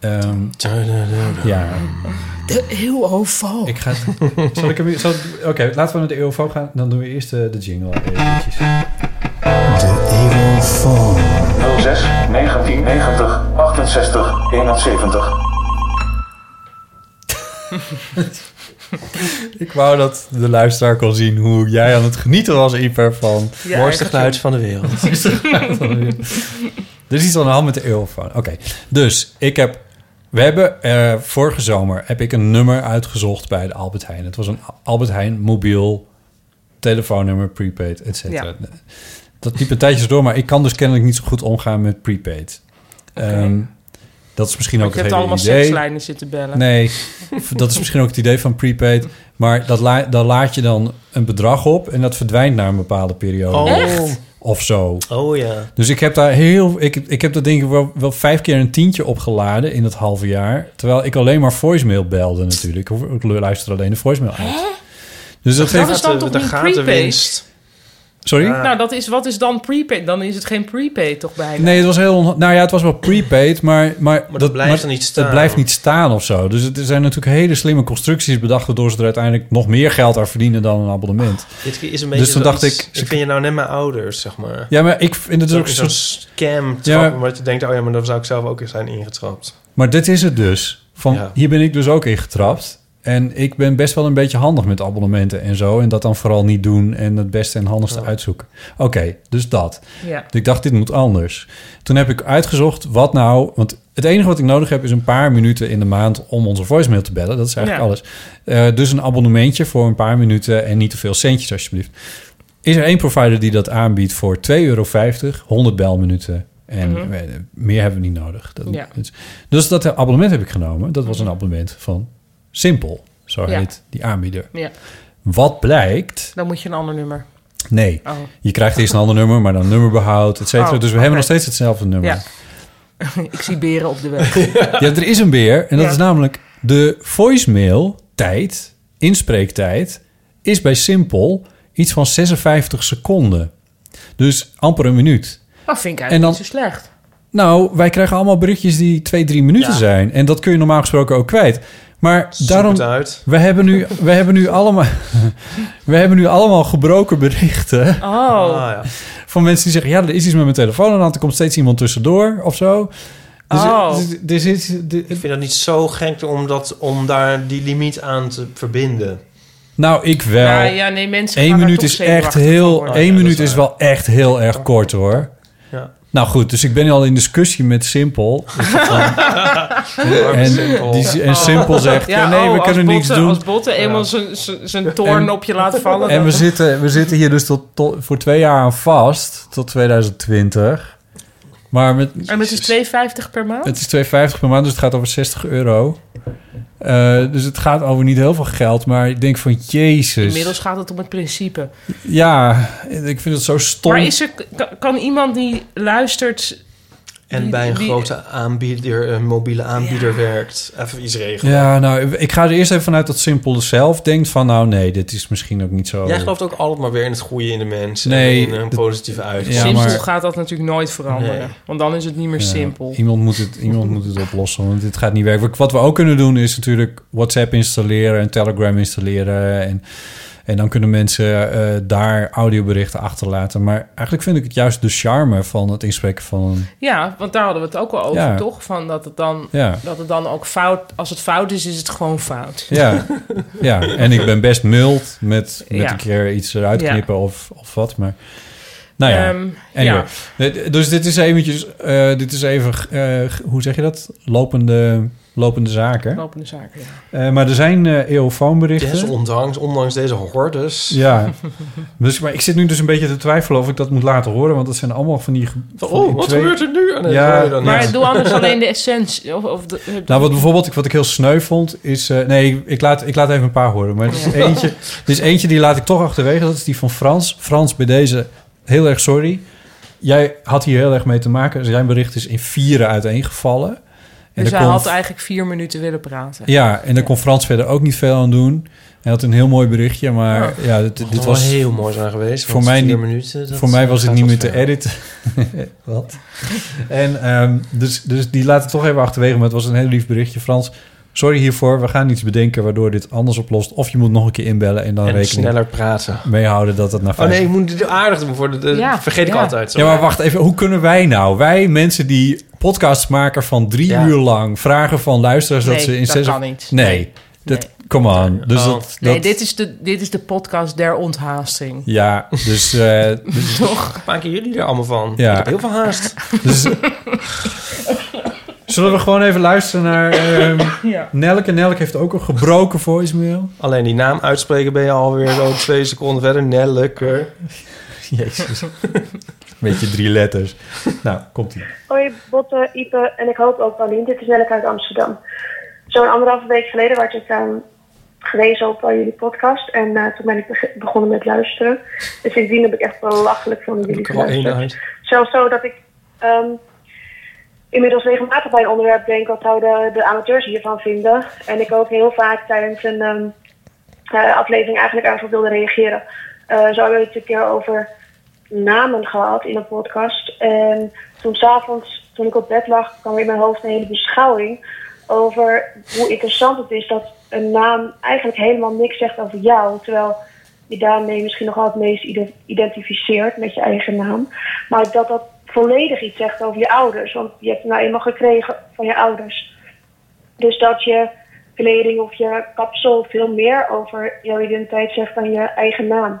Speaker 2: Ehm, ja,
Speaker 4: De eeuwofoon.
Speaker 2: ik ga... Zal ik hem... zal- Oké, laten we naar de eeuwofoon gaan. Dan doen we eerst eh, de jingle eventjes.
Speaker 6: 06 1990 68 71.
Speaker 2: Ik wou dat de luisteraar kon zien hoe jij aan het genieten was, Iper, van...
Speaker 4: Ja,
Speaker 5: mooiste
Speaker 4: ergens
Speaker 5: geluid van de wereld.
Speaker 2: Er is iets aan de hand met de eeuwfoon. Oké, dus ik heb... We hebben eh, vorige zomer heb ik een nummer uitgezocht bij de Albert Heijn. Het was een Albert Heijn mobiel telefoonnummer, prepaid, et cetera. Dat liep een tijdje door, maar ik kan dus kennelijk niet zo goed omgaan met prepaid. Ehm, dat is misschien
Speaker 4: in.
Speaker 2: ook
Speaker 4: Ik
Speaker 2: het
Speaker 4: heb
Speaker 2: hele
Speaker 4: allemaal
Speaker 2: idee.
Speaker 4: sekslijnen zitten bellen.
Speaker 2: Nee, dat is misschien ook het idee van prepaid. Maar dat la- daar laat je dan een bedrag op en dat verdwijnt na een bepaalde periode.
Speaker 5: Oh,
Speaker 4: Echt?
Speaker 2: of zo.
Speaker 5: Oh ja.
Speaker 2: Dus ik heb daar heel... Ik, ik heb dat denk ik wel, wel vijf keer een tientje opgeladen in dat halve jaar. Terwijl ik alleen maar voicemail belde natuurlijk. Ik hoef- Ik luister alleen de voicemail uit. Dus dat
Speaker 4: Dat
Speaker 2: heeft...
Speaker 4: is dan toch
Speaker 5: Daar
Speaker 4: niet
Speaker 5: gaat de
Speaker 4: prepaid?
Speaker 5: winst.
Speaker 2: Sorry?
Speaker 4: Nou, dat is, wat is dan prepaid? Dan is het geen prepaid toch bijna?
Speaker 2: Nee, het was heel. onha- Nou ja, het was wel prepaid, maar. Maar,
Speaker 5: dat blijft er niet staan.
Speaker 2: Het blijft niet staan of zo. Dus het er zijn natuurlijk hele slimme constructies bedacht, waardoor ze er uiteindelijk nog meer geld aan verdienen dan een abonnement.
Speaker 5: Dit is een beetje
Speaker 2: Dus toen
Speaker 5: zoiets-
Speaker 2: dacht ik-
Speaker 5: Ik vind je nou net mijn ouders, zeg maar.
Speaker 2: Ja, maar ik vind het
Speaker 5: Zo'n
Speaker 2: ook zo.
Speaker 5: zo'n scam
Speaker 2: Ja.
Speaker 5: trappen, maar dat je denkt, oh ja, maar daar zou ik zelf ook in zijn ingetrapt.
Speaker 2: Maar dit is het dus. Van,
Speaker 5: Ja.
Speaker 2: Hier ben ik dus ook in getrapt. En ik ben best wel een beetje handig met abonnementen en zo. En dat dan vooral niet doen en het beste en handigste uitzoeken. Oké, dus dat.
Speaker 4: Ja.
Speaker 2: Ik dacht, dit moet anders. Toen heb ik uitgezocht wat nou... Want het enige wat ik nodig heb is een paar minuten in de maand... om onze voicemail te bellen. Dat is eigenlijk
Speaker 4: Ja.
Speaker 2: alles. Eh, dus een abonnementje voor een paar minuten... en niet te veel centjes, alsjeblieft. Is er één provider die dat aanbiedt voor 2,50 euro, 100 belminuten... En eh, meer hebben we niet nodig. Dat,
Speaker 4: Mhm. Ja. Mhm.
Speaker 2: dus, dus dat abonnement heb ik genomen. Dat was een abonnement van Simpel. Zo
Speaker 4: Ja.
Speaker 2: heet die aanbieder.
Speaker 4: ja,
Speaker 2: Wat blijkt...
Speaker 4: dan moet je een ander nummer.
Speaker 2: Nee.
Speaker 4: Oh.
Speaker 2: Je krijgt eerst een ander nummer, maar dan nummerbehoud, et cetera.
Speaker 4: Oh,
Speaker 2: dus we
Speaker 4: oké.
Speaker 2: hebben nog steeds hetzelfde nummer.
Speaker 4: Ja.
Speaker 2: Ja.
Speaker 4: Ik zie beren op de weg.
Speaker 2: er is een beer. En dat
Speaker 4: Ja.
Speaker 2: is namelijk de voicemail-tijd, inspreektijd, is bij Simpel iets van 56 seconden. Dus amper een minuut.
Speaker 4: Dat vind ik eigenlijk
Speaker 2: En dan-
Speaker 4: niet zo slecht.
Speaker 2: Nou, wij krijgen allemaal berichtjes die 2, 3 minuten
Speaker 5: Ja.
Speaker 2: zijn. En dat kun je normaal gesproken ook kwijt. Maar
Speaker 5: Zoek
Speaker 2: daarom,
Speaker 5: het uit.
Speaker 2: we hebben, nu, we, hebben nu allemaal, we hebben nu allemaal gebroken berichten.
Speaker 4: Oh,
Speaker 5: Ah, ja.
Speaker 2: van mensen die zeggen... ja, er is iets met mijn telefoon aan de hand. Er komt steeds iemand tussendoor of zo. Dus,
Speaker 4: Oh.
Speaker 2: dus, dus, is- de-
Speaker 5: Ik vind dat niet zo gek om, dat, om daar die limiet aan te verbinden.
Speaker 2: nou, ik wel.
Speaker 4: ja, ja, nee, mensen
Speaker 2: Eén
Speaker 4: gaan daar
Speaker 2: minuut
Speaker 4: toch
Speaker 2: is echt
Speaker 4: zenuwachtig van
Speaker 2: heel...
Speaker 4: worden.
Speaker 2: één
Speaker 5: Ja, dat
Speaker 2: minuut
Speaker 5: is
Speaker 2: is wel echt heel erg kort, hoor.
Speaker 5: Ja.
Speaker 2: Nou goed, dus ik ben al in discussie met Simpel. en, die, en Simpel zegt, ja, nee,
Speaker 4: oh,
Speaker 2: we
Speaker 4: als
Speaker 2: kunnen niks
Speaker 4: Botte-
Speaker 2: doen.
Speaker 4: Als Botte eenmaal zijn- zijn- zijn toorn
Speaker 2: En-
Speaker 4: op je laat vallen...
Speaker 2: En
Speaker 4: dan-
Speaker 2: we zitten, we zitten hier dus tot, tot, voor twee jaar aan vast, tot 2020. Maar met,
Speaker 4: en het is 2,50 per maand?
Speaker 2: Het is 2,50 per maand, dus het gaat over 60 euro. Eh, dus het gaat over niet heel veel geld, maar ik denk van Jezus.
Speaker 4: Inmiddels gaat het om het principe.
Speaker 2: Ja, ik vind het zo stom.
Speaker 4: Maar is er, kan, kan iemand die luistert...
Speaker 5: En
Speaker 4: Die-
Speaker 5: bij een
Speaker 4: die-
Speaker 5: grote aanbieder, een mobiele aanbieder werkt. Even iets regelen.
Speaker 2: Ja, nou, ik ga er eerst even vanuit dat Simpel zelf denkt van, nou nee, dit is misschien ook niet zo.
Speaker 5: Jij gelooft ook altijd maar weer in het goede in de mensen.
Speaker 2: Nee,
Speaker 5: en in een
Speaker 2: dat-
Speaker 5: positieve uitgang.
Speaker 2: Ja,
Speaker 4: simpel
Speaker 2: maar-
Speaker 4: gaat dat natuurlijk nooit veranderen.
Speaker 5: Nee.
Speaker 4: Want dan is het niet meer
Speaker 2: Ja,
Speaker 4: simpel.
Speaker 2: Iemand moet, het, iemand moet het oplossen, want dit gaat niet werken. Wat we ook kunnen doen is natuurlijk WhatsApp installeren en Telegram installeren. En, en dan kunnen mensen eh, daar audioberichten achterlaten. Maar eigenlijk vind ik het juist de charme van het inspreken van een...
Speaker 4: Ja, want daar hadden we het ook al over,
Speaker 2: Ja.
Speaker 4: toch? Van dat, het dan,
Speaker 2: Ja.
Speaker 4: dat het dan ook fout... Als het fout is, is het gewoon fout.
Speaker 2: Ja, ja. en ik ben best mild met, met
Speaker 4: Ja.
Speaker 2: een keer iets eruit
Speaker 4: Ja.
Speaker 2: knippen of, of wat. Maar nou ja,
Speaker 4: Ehm,
Speaker 2: anyway.
Speaker 4: ja.
Speaker 2: Eh, Dus dit is eventjes, eh, dit is even, eh, hoe zeg je dat? Lopende, lopende zaken.
Speaker 4: Lopende zaken, ja.
Speaker 2: Eh, maar er zijn eh eeuwfoonberichten.
Speaker 5: Desondanks, ondanks deze hordes.
Speaker 2: Ja, dus, maar ik zit nu dus een beetje te twijfelen of ik dat moet laten horen, want dat zijn allemaal van die... ge- van die
Speaker 5: Oh, wat
Speaker 2: twee-
Speaker 5: gebeurt er nu? En dan
Speaker 2: Ja,
Speaker 5: hoor je dan
Speaker 4: Maar
Speaker 5: niet.
Speaker 4: doe anders alleen de essentie. Of, of de,
Speaker 2: Nou, wat bijvoorbeeld, ik- wat ik heel sneu vond, is... eh, nee, ik- ik laat, ik laat even een paar horen. Maar er is, eentje, er is eentje die laat ik toch achterwege. Dat is die van Frans. Frans, bij deze heel erg sorry. Jij had hier heel erg mee te maken. dus Zijn bericht is in vieren uiteengevallen.
Speaker 4: dus
Speaker 2: daar
Speaker 4: hij
Speaker 2: kon-
Speaker 4: had eigenlijk vier minuten willen praten.
Speaker 2: Ja, en daar kon Frans verder ook niet veel aan doen. Hij had een heel mooi berichtje, maar
Speaker 4: Ja.
Speaker 2: ja, dit,
Speaker 5: Het
Speaker 2: dit
Speaker 5: was
Speaker 2: was...
Speaker 5: heel mooi zijn geweest.
Speaker 2: voor
Speaker 5: want
Speaker 2: mij
Speaker 5: vier
Speaker 2: niet-
Speaker 5: minuten, dat
Speaker 2: Voor mij was het
Speaker 5: gaat
Speaker 2: niet
Speaker 5: wat
Speaker 2: meer te
Speaker 5: ver.
Speaker 2: editen. Wat? En ehm, dus, dus die laat ik toch even achterwege. Maar het was een heel lief berichtje. Frans, sorry hiervoor. We gaan iets bedenken waardoor dit anders oplost. Of je moet nog een keer inbellen en dan
Speaker 5: En
Speaker 2: rekening
Speaker 5: sneller praten.
Speaker 2: mee houden dat het naar
Speaker 5: Oh
Speaker 2: vijf...
Speaker 5: nee, ik moet dit aardig doen. Voor de, dat
Speaker 4: Ja,
Speaker 5: vergeet ik
Speaker 4: ja.
Speaker 5: altijd. Zo.
Speaker 2: Ja, maar wacht even. Hoe kunnen wij nou? Wij mensen die podcasts maken van drie
Speaker 5: Ja.
Speaker 2: uur lang... vragen van luisteraars dat
Speaker 4: Nee,
Speaker 2: ze in
Speaker 4: dat
Speaker 2: zes...
Speaker 4: kan niet.
Speaker 2: Nee,
Speaker 4: Nee.
Speaker 2: dat...
Speaker 4: Nee.
Speaker 2: Come on. Dus
Speaker 5: Oh.
Speaker 2: dat...
Speaker 4: Nee,
Speaker 2: dat-
Speaker 4: dit is, de, dit is de podcast der onthaasting.
Speaker 2: Ja, dus... eh, dus,
Speaker 5: Maken jullie er allemaal van?
Speaker 2: Ja.
Speaker 5: Ik heb heel veel haast.
Speaker 2: dus- Zullen we gewoon even luisteren naar ehm
Speaker 4: Ja.
Speaker 2: Nelke? Nelke heeft ook een gebroken voicemail.
Speaker 5: Alleen die naam uitspreken ben je alweer zo twee seconden verder. Nelleke.
Speaker 2: Jezus. Beetje drie letters. Nou, komt ie.
Speaker 7: Hoi Botte, Ipe en ik hoop ook Paulien. Dit is Nelleke uit Amsterdam. Zo'n anderhalve week geleden was ik aan gelezen op eh, jullie podcast. En eh, toen ben ik beg- begonnen met luisteren. En sindsdien heb ik echt belachelijk van jullie
Speaker 5: ik er al één uit.
Speaker 7: geluisterd. Zelfs zo dat ik ehm, inmiddels regelmatig bij een onderwerp denk... wat zouden de amateurs hiervan vinden. En ik ook heel vaak tijdens een ehm, eh, aflevering eigenlijk ergens op wilde reageren. Eh, zo hebben we het een keer over namen gehad in een podcast. En toen s'avonds, toen ik op bed lag, kwam in mijn hoofd een hele beschouwing... over hoe interessant het is dat een naam eigenlijk helemaal niks zegt over jou... terwijl je daarmee misschien nog wel het meest ide- identificeert met je eigen naam. Maar dat dat volledig iets zegt over je ouders. Want je hebt het nou eenmaal gekregen van je ouders. Dus dat je kleding of je kapsel veel meer over jouw identiteit zegt dan je eigen naam.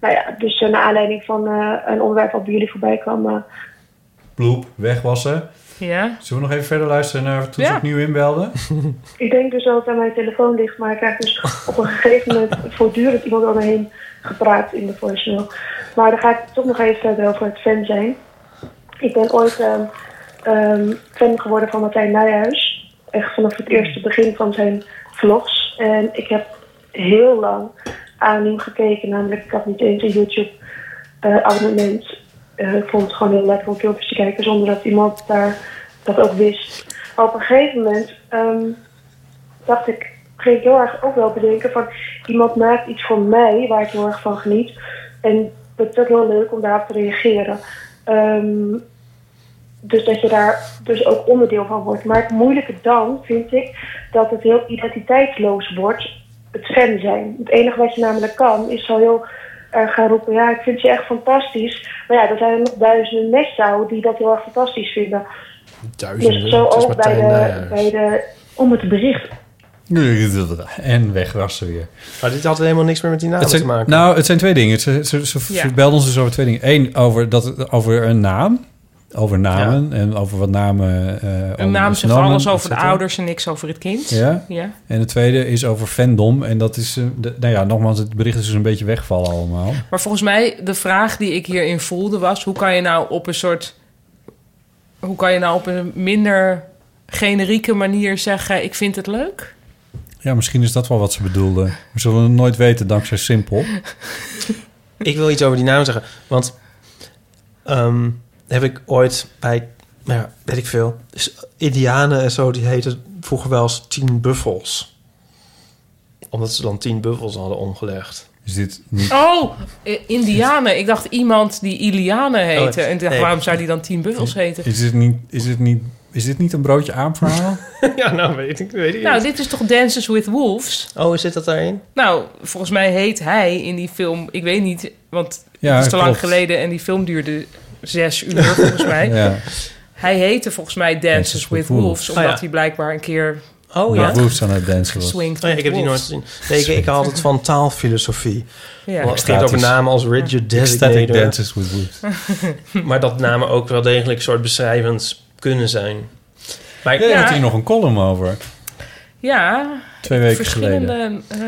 Speaker 7: Nou ja, dus eh, naar aanleiding van eh, een onderwerp wat bij jullie voorbij kwam. eh,
Speaker 2: Bloep, wegwassen.
Speaker 4: Ja.
Speaker 2: Zullen we nog even verder luisteren naar toen ze
Speaker 4: Ja.
Speaker 2: opnieuw inbelden?
Speaker 7: ik denk dus dat het aan mijn telefoon ligt, maar ik krijg dus op een gegeven moment voortdurend iemand om me heen gepraat in de voicemail. Maar dan ga ik toch nog even verder over het fan zijn. Ik ben ooit ehm, ehm, fan geworden van Martijn Nijhuis. Echt vanaf het eerste begin van zijn vlogs. En ik heb heel lang aan hem gekeken. Namelijk, ik had niet eens een YouTube-abonnement. Eh, ik vond het gewoon heel lekker om filmpjes te kijken zonder dat iemand daar dat ook wist. Maar op een gegeven moment ehm, dacht ik, ging ik heel erg ook wel bedenken van iemand maakt iets voor mij waar ik heel erg van geniet. En dat is ook heel leuk om daarop te reageren. Ehm, dus dat je daar dus ook onderdeel van wordt. Maar het moeilijke dan vind ik dat het heel identiteitsloos wordt, het fan zijn. Het enige wat je namelijk kan, is zo heel erg gaan roepen, ja, ik vind je echt fantastisch. Maar ja, er zijn nog duizenden mensen die dat heel erg fantastisch vinden. Dus zo
Speaker 5: het is
Speaker 7: ook bij
Speaker 5: Martijn nou
Speaker 7: de,
Speaker 5: Nijhuis.
Speaker 7: bij de... Om het bericht.
Speaker 2: En wegwassen weer.
Speaker 5: Maar dit had helemaal niks meer met die naam
Speaker 2: Het
Speaker 5: te
Speaker 2: zijn,
Speaker 5: maken.
Speaker 2: nou, het zijn twee dingen. Ze, ze, ze, ze
Speaker 4: Ja.
Speaker 2: belden ons dus over twee dingen. Eén, over, dat, over een naam. Over namen en over wat namen... eh,
Speaker 4: Een
Speaker 2: over
Speaker 4: naam zegt
Speaker 2: synoniemen,
Speaker 4: alles over de
Speaker 2: et cetera.
Speaker 4: ouders en niks over het kind.
Speaker 2: Ja.
Speaker 4: Ja.
Speaker 2: En de tweede is over fandom. En dat is... eh, de- nou ja, nogmaals, het bericht is dus een beetje weggevallen allemaal.
Speaker 4: Maar volgens mij, de vraag die ik hierin voelde was... hoe kan je nou op een soort... hoe kan je nou op een minder generieke manier zeggen... ik vind het leuk?
Speaker 2: Ja, misschien is dat wel wat ze bedoelden. We zullen het nooit weten dankzij Simpel.
Speaker 5: Ik wil iets over die naam zeggen. Want ehm, heb ik ooit bij, nou ja, weet ik veel, dus Indianen en zo, die heten vroeger wel eens tien buffels. Omdat ze dan tien buffels hadden omgelegd.
Speaker 2: Is dit niet...
Speaker 4: Oh, eh, Indianen. Ik dacht iemand die Iliane heette.
Speaker 5: Oh,
Speaker 4: en ik dacht,
Speaker 5: nee.
Speaker 4: waarom zou die dan tien buffels heten?
Speaker 2: Is dit niet... Is dit niet... Is dit niet een broodje aanverhaal?
Speaker 5: ja, nou weet ik, weet ik
Speaker 4: Nou,
Speaker 5: niet.
Speaker 4: dit is toch Dances with Wolves?
Speaker 5: Oh, zit dat daarin?
Speaker 4: Nou, volgens mij heet hij in die film... Ik weet niet, want
Speaker 2: Ja,
Speaker 4: het is te lang
Speaker 2: klopt.
Speaker 4: geleden... en die film duurde zes uur, volgens mij.
Speaker 2: ja.
Speaker 4: Hij heette volgens mij Dances,
Speaker 2: Dances
Speaker 4: with
Speaker 2: with
Speaker 4: Wolves...
Speaker 2: Wolves.
Speaker 4: omdat
Speaker 5: Oh, ja.
Speaker 4: hij blijkbaar een keer
Speaker 5: Oh
Speaker 2: Dat Woest aan het dansen was.
Speaker 4: swingt.
Speaker 5: Oh ja, ik heb die nooit gezien. Nee, ik, ik had het van taalfilosofie.
Speaker 4: Ja.
Speaker 5: Want Het ging over namen als rigid
Speaker 2: Static
Speaker 5: designator.
Speaker 2: dances with Woest.
Speaker 5: Maar dat namen ook wel degelijk soort beschrijvend kunnen zijn. Maar
Speaker 2: Daar had
Speaker 4: Ja.
Speaker 2: hier nog een column over.
Speaker 4: Ja,
Speaker 2: Twee weken geleden.
Speaker 4: verschillende. eh,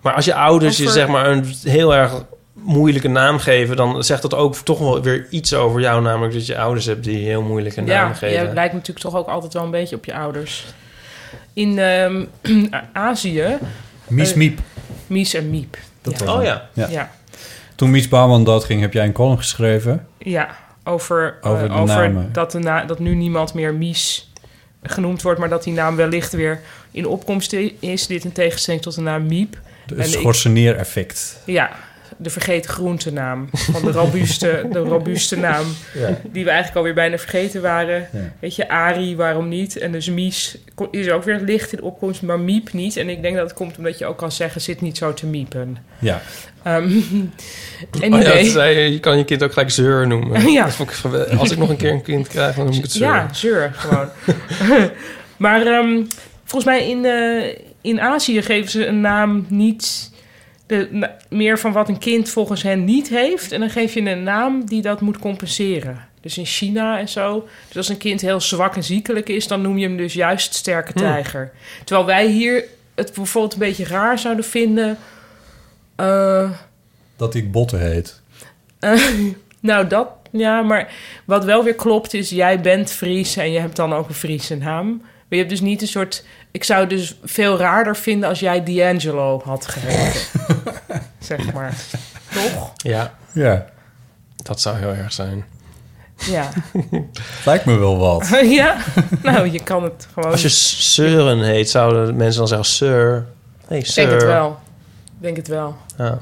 Speaker 5: Maar als je ouders je
Speaker 4: Over-
Speaker 5: zeg maar een heel erg moeilijke naam geven, dan zegt dat ook toch wel weer iets over jou, namelijk dat je ouders hebt die heel moeilijke namen
Speaker 4: ja,
Speaker 5: geven.
Speaker 4: je lijkt natuurlijk toch ook altijd wel een beetje op je ouders. In ehm, Azië,
Speaker 2: Mies
Speaker 4: Eh,
Speaker 2: Miep.
Speaker 4: Mies en Miep. ja.
Speaker 2: was
Speaker 5: Oh ja.
Speaker 2: ja.
Speaker 4: Ja,
Speaker 2: Toen Mies Bouwman doodging, heb jij een column geschreven.
Speaker 4: ja, over, eh,
Speaker 2: Over
Speaker 4: over,
Speaker 2: de namen.
Speaker 4: dat, de na- dat nu niemand meer Mies genoemd wordt, maar dat die naam wellicht weer in opkomst i- is. Dit in tegenstelling tot de naam Miep. En
Speaker 2: Het
Speaker 4: ik-
Speaker 2: schorseneer-effect.
Speaker 4: Ja, de vergeten groentenaam. Van de robuuste, de robuuste naam. Die we eigenlijk alweer bijna vergeten waren.
Speaker 2: Ja.
Speaker 4: Weet je, Ari, waarom niet? En dus Mies ko- is ook weer licht in opkomst, maar Miep niet. En ik denk dat het komt omdat je ook kan zeggen, zit niet zo te miepen.
Speaker 2: Ja.
Speaker 4: Ehm
Speaker 5: Oh ja,
Speaker 4: anyway.
Speaker 5: dat zei je, je kan je kind ook gelijk zeur noemen.
Speaker 4: Ja.
Speaker 5: Dat vond ik gewel- Als ik nog een keer een kind krijg, dan noem ik het zeur.
Speaker 4: Ja, zeur gewoon. maar ehm, volgens mij in, eh, in Azië geven ze een naam niet de, na- meer van wat een kind volgens hen niet heeft. En dan geef je een naam die dat moet compenseren. Dus in China en zo. Dus als een kind heel zwak en ziekelijk is, dan noem je hem dus juist sterke tijger. Terwijl wij hier het bijvoorbeeld een beetje raar zouden vinden. eh,
Speaker 2: Dat ik botten heet.
Speaker 4: nou, dat ja, maar wat wel weer klopt is: jij bent Fries en je hebt dan ook een Friese naam. Maar je hebt dus niet een soort... Ik zou het dus veel raarder vinden als jij D'Angelo had geheten. zeg maar. Toch?
Speaker 5: Ja,
Speaker 2: Ja,
Speaker 5: dat zou heel erg zijn.
Speaker 4: Ja.
Speaker 2: het lijkt me wel wat.
Speaker 4: ja? Nou, je kan het gewoon.
Speaker 5: Als je Søren heet, zouden mensen dan zeggen Sir? Nee,
Speaker 4: Ik
Speaker 5: Sir.
Speaker 4: denk het wel. Ik denk het wel.
Speaker 5: Ja.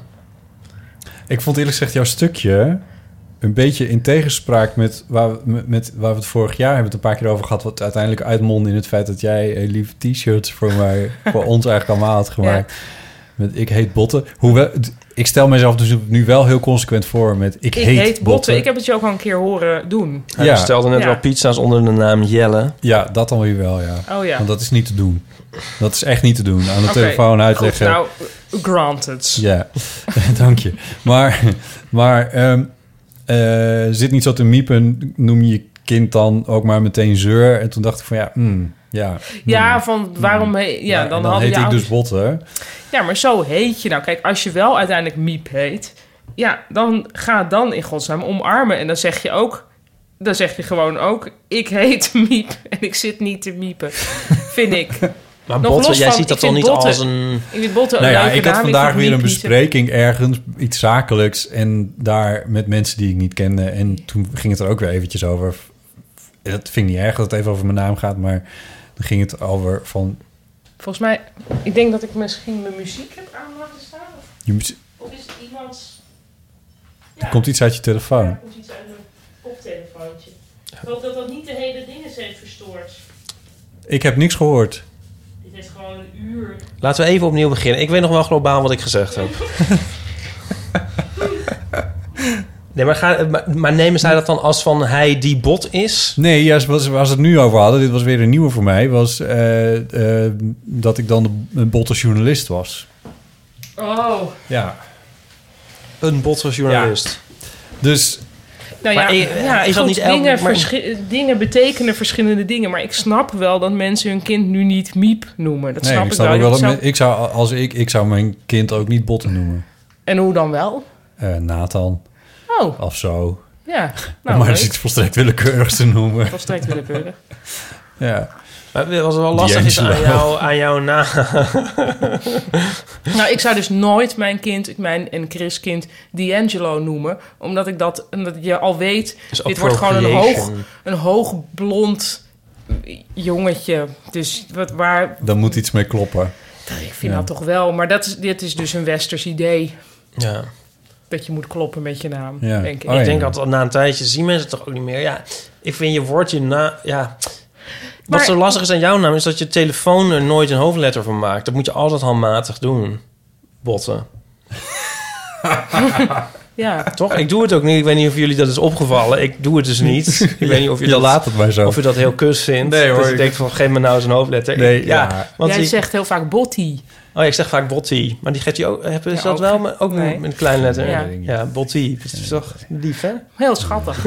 Speaker 2: Ik vond eerlijk gezegd jouw stukje een beetje in tegenspraak met waar, we- met, met waar we het vorig jaar hebben het een paar keer over gehad. Wat uiteindelijk uitmondde in het feit dat jij eh, lieve t-shirts voor mij, voor ons eigenlijk allemaal had gemaakt. Met ik heet botten. Hoewel, d- ik stel mezelf dus nu wel heel consequent voor met ik,
Speaker 4: Ik
Speaker 2: heet,
Speaker 4: heet,
Speaker 2: botten.
Speaker 4: botten. Ik heb het je ook al een keer horen doen.
Speaker 5: Hij
Speaker 2: Ja.
Speaker 5: bestelde net
Speaker 4: Ja.
Speaker 5: wel pizza's onder de naam Jelle.
Speaker 2: Ja, dat dan weer wel, ja.
Speaker 4: Oh ja.
Speaker 2: Want dat is niet te doen. Dat is echt niet te doen. Aan de
Speaker 4: Oké,
Speaker 2: telefoon
Speaker 4: Goed,
Speaker 2: uitleggen.
Speaker 4: nou, granted.
Speaker 2: Ja, dank je. Maar, maar ehm, eh, zit niet zo te miepen, noem je je kind dan ook maar meteen zeur. En toen dacht ik van ja, hmm, ja.
Speaker 4: Ja, van waarom... he- ja,
Speaker 2: en
Speaker 4: dan,
Speaker 2: nou, dan
Speaker 4: had
Speaker 2: heet
Speaker 4: je
Speaker 2: ik
Speaker 4: ouders-
Speaker 2: dus Botte.
Speaker 4: Ja, maar zo heet je nou. Kijk, als je wel uiteindelijk Miep heet... Ja, dan ga het dan in godsnaam omarmen. En dan zeg je ook... Dan zeg je gewoon ook... Ik heet Miep en ik zit niet te miepen. Vind ik.
Speaker 5: Maar
Speaker 4: Nog
Speaker 5: Botten,
Speaker 4: los
Speaker 5: jij
Speaker 4: van-
Speaker 5: ziet dat
Speaker 4: ik
Speaker 5: dan niet
Speaker 4: vind Botten-
Speaker 5: als een...
Speaker 4: Ik vind botten een
Speaker 2: Nou ja,
Speaker 4: leuke
Speaker 2: ik had
Speaker 4: naam.
Speaker 2: vandaag
Speaker 4: vind
Speaker 2: weer een
Speaker 4: Miep niet zo-
Speaker 2: bespreking ergens, iets zakelijks. En daar met mensen die ik niet kende. En toen ging het er ook weer eventjes over. Dat vind ik niet erg dat het even over mijn naam gaat, maar... Dan ging het over van...
Speaker 4: Volgens mij... Ik denk dat ik misschien mijn muziek heb aan laten staan. Of,
Speaker 2: Je, moet-
Speaker 4: of is het iemands...
Speaker 2: er komt iets uit je
Speaker 4: Ja,
Speaker 2: telefoon.
Speaker 4: er komt iets uit mijn koptelefoontje. Ik hoop dat dat niet de hele ding is heeft verstoord.
Speaker 2: Ik heb niks gehoord.
Speaker 4: Dit is gewoon een uur.
Speaker 5: Laten we even opnieuw beginnen. Ik weet nog wel globaal wat ik gezegd heb. nee, maar, ga, maar, maar nemen zij dat dan als van hij die bot is?
Speaker 2: Nee, juist was, was het nu over hadden. Dit was weer een nieuwe voor mij. Was eh, eh, dat ik dan de, een botte journalist was.
Speaker 4: Oh.
Speaker 2: Ja.
Speaker 5: Een bot als journalist.
Speaker 2: Dus
Speaker 4: Nou ja,
Speaker 5: Maar i-
Speaker 4: ja
Speaker 5: is dat
Speaker 4: goed,
Speaker 5: niet elk-
Speaker 4: dingen,
Speaker 5: maar-
Speaker 4: verschi- dingen betekenen verschillende dingen. Maar ik snap wel dat mensen hun kind nu niet Miep noemen. Dat
Speaker 2: nee,
Speaker 4: snap
Speaker 2: ik,
Speaker 4: ik,
Speaker 2: snap
Speaker 4: wel.
Speaker 2: ook wel dat
Speaker 4: Dat zou-
Speaker 2: men- ik zou als ik ik zou mijn kind ook niet botte noemen.
Speaker 4: En hoe dan wel?
Speaker 2: Eh, Nathan
Speaker 4: Oh,
Speaker 2: of zo.
Speaker 4: ja.
Speaker 2: Om
Speaker 4: Nou,
Speaker 2: maar
Speaker 4: leuk.
Speaker 2: eens iets volstrekt willekeurigs te noemen.
Speaker 4: Volstrekt willekeurig.
Speaker 2: Ja.
Speaker 5: Maar wat wel lastig is aan,
Speaker 2: D'Angelo.
Speaker 5: jou, aan jouw naam.
Speaker 4: Nou, ik zou dus nooit mijn kind, mijn en Chris kind, D'Angelo noemen. Omdat ik dat, omdat je al weet, dit wordt gewoon een hoog, een hoog blond jongetje. Dus wat, waar,
Speaker 2: Dan moet iets mee kloppen.
Speaker 4: ik vind
Speaker 2: Ja.
Speaker 4: dat toch wel. Maar dat is, dit is dus een westers idee.
Speaker 5: Ja.
Speaker 4: Dat je moet kloppen met je naam,
Speaker 2: Ja.
Speaker 4: denk ik.
Speaker 2: Oh, ja.
Speaker 5: Ik denk altijd na een tijdje zien mensen het toch ook niet meer. Ja, ik vind je woordje na... Ja. Wat
Speaker 4: Maar-
Speaker 5: zo lastig is aan jouw naam is dat je telefoon er nooit een hoofdletter van maakt. Dat moet je altijd handmatig doen. Botten.
Speaker 4: Ja.
Speaker 5: Toch? Ik doe het ook niet. Ik weet niet of jullie dat is opgevallen. Ik doe het dus niet. Ik weet niet of je,
Speaker 2: Je
Speaker 5: dat,
Speaker 2: laat het maar zo.
Speaker 5: of je dat heel kus vindt.
Speaker 2: Nee, hoor,
Speaker 5: Dat je
Speaker 2: ik-
Speaker 5: denkt van geef me nou eens een hoofdletter.
Speaker 2: Nee,
Speaker 5: Ik-
Speaker 2: ja.
Speaker 5: Want
Speaker 4: Jij
Speaker 5: ik,
Speaker 4: zegt heel vaak Botti.
Speaker 5: oh, ja, ik zeg vaak botti. Maar die geeft je ook... Heb, is
Speaker 4: Ja,
Speaker 5: dat
Speaker 4: ook.
Speaker 5: wel? Maar ook
Speaker 4: Nee.
Speaker 5: met een klein letter.
Speaker 4: Ja.
Speaker 5: Ja, botti. Dat is toch lief, hè?
Speaker 4: Heel schattig.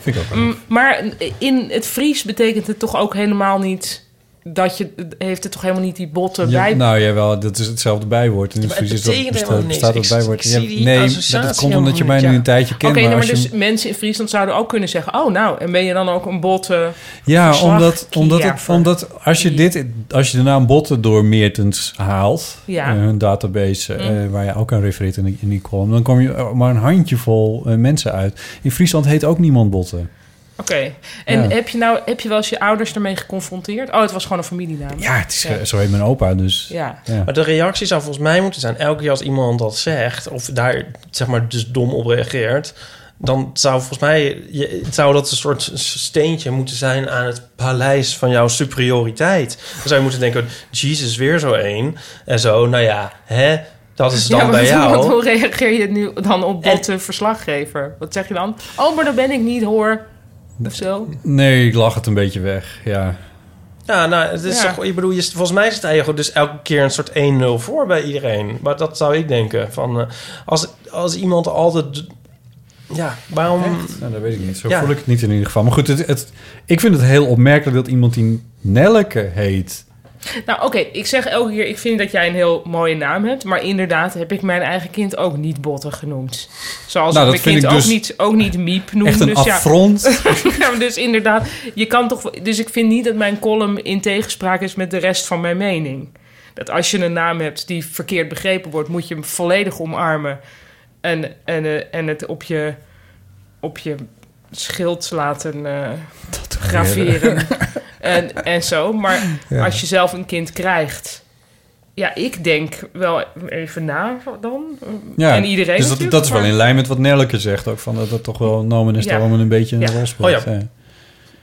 Speaker 2: Vind ik ook wel.
Speaker 4: Mm, maar in het Fries betekent het toch ook helemaal niet... dat je... heeft het toch helemaal niet die botten
Speaker 2: Ja,
Speaker 4: bij...
Speaker 2: nou jawel, dat is hetzelfde bijwoord. In het Fries is dat
Speaker 5: betekent
Speaker 2: bestaat-
Speaker 5: helemaal niks.
Speaker 2: bestaat dat
Speaker 5: Ik-
Speaker 2: bijwoord.
Speaker 5: ik zie die
Speaker 2: nee,
Speaker 5: associatie
Speaker 2: dat komt omdat je
Speaker 5: helemaal
Speaker 2: mij
Speaker 5: niet,
Speaker 2: nu
Speaker 5: ja.
Speaker 2: een tijdje
Speaker 4: Oké,
Speaker 2: kent.
Speaker 4: nee,
Speaker 2: maar
Speaker 4: maar
Speaker 2: als je
Speaker 4: dus
Speaker 2: hem-
Speaker 4: mensen in Friesland zouden ook kunnen zeggen... oh nou, en ben je dan ook een botte...
Speaker 2: Ja,
Speaker 4: Verslag
Speaker 2: omdat, omdat, het,
Speaker 4: Kiever.
Speaker 2: omdat als, je dit, als je de naam Botten door Meertens haalt,
Speaker 4: Ja. Mhm.
Speaker 2: eh, hun database eh, waar je ook aan refereert in die, in die column, dan kom je er maar een handjevol eh, mensen uit. In Friesland heet ook niemand Botten.
Speaker 4: Oké. En
Speaker 2: Ja.
Speaker 4: heb, je nou, heb je wel eens je ouders ermee geconfronteerd? Oh, het was gewoon een familienaam.
Speaker 2: Ja, het is,
Speaker 4: Ja.
Speaker 2: zo heet mijn opa dus.
Speaker 4: Ja.
Speaker 2: Ja.
Speaker 5: Maar de reactie zou volgens mij moeten zijn: elke keer als iemand dat zegt, of daar zeg maar dus dom op reageert, dan zou volgens mij je, zou dat een soort steentje moeten zijn aan het paleis van jouw superioriteit. Dan zou je moeten denken: Jesus, weer zo één. En zo, nou ja, hè, dat is dan
Speaker 4: ja, maar
Speaker 5: bij jou.
Speaker 4: hoe- Hoe reageer je nu dan op botte verslaggever? Wat zeg je dan? Oh, maar dat ben ik niet hoor. Of zo.
Speaker 2: Nee, ik lach het een beetje weg. Ja.
Speaker 5: Ja, nou, het is
Speaker 4: Ja.
Speaker 5: toch, ik bedoel, je, volgens mij zit hij dus elke keer een soort 1-0 voor bij iedereen. Maar dat zou ik denken. Van, eh, als, als iemand altijd. Ja, waarom.
Speaker 2: Nou, dat weet ik niet. Zo
Speaker 5: Ja.
Speaker 2: voel ik het niet in ieder geval. Maar goed, het, het- ik vind het heel opmerkelijk dat iemand die Nelleke heet,
Speaker 4: Nou, oké, ik zeg elke keer, ik vind dat jij een heel mooie naam hebt. Maar inderdaad heb ik mijn eigen kind ook niet botten genoemd. Zoals
Speaker 2: Nou,
Speaker 4: ik
Speaker 2: dat vind
Speaker 4: mijn kind
Speaker 2: ik
Speaker 4: ook,
Speaker 2: dus
Speaker 4: niet, ook niet Miep noem.
Speaker 2: Echt een
Speaker 4: dus ja.
Speaker 2: affront.
Speaker 4: Ja, maar dus inderdaad, je kan toch. Dus ik vind niet dat mijn column in tegenspraak is met de rest van mijn mening. Dat als je een naam hebt die verkeerd begrepen wordt, moet je hem volledig omarmen. En, en, eh, en het op je, op je schild laten eh graveren. en, en zo. Maar
Speaker 2: Ja.
Speaker 4: als je zelf een kind krijgt. Ja, ik denk wel even na dan. eh,
Speaker 2: Ja,
Speaker 4: En iedereen
Speaker 2: Dus dat,
Speaker 4: natuurlijk,
Speaker 2: dat is wel
Speaker 4: maar-
Speaker 2: in lijn met wat Nelleke zegt ook. Van dat dat toch wel nomen is
Speaker 4: Ja.
Speaker 2: daarom een beetje een
Speaker 4: Ja.
Speaker 2: rol speelt.
Speaker 5: Oh ja.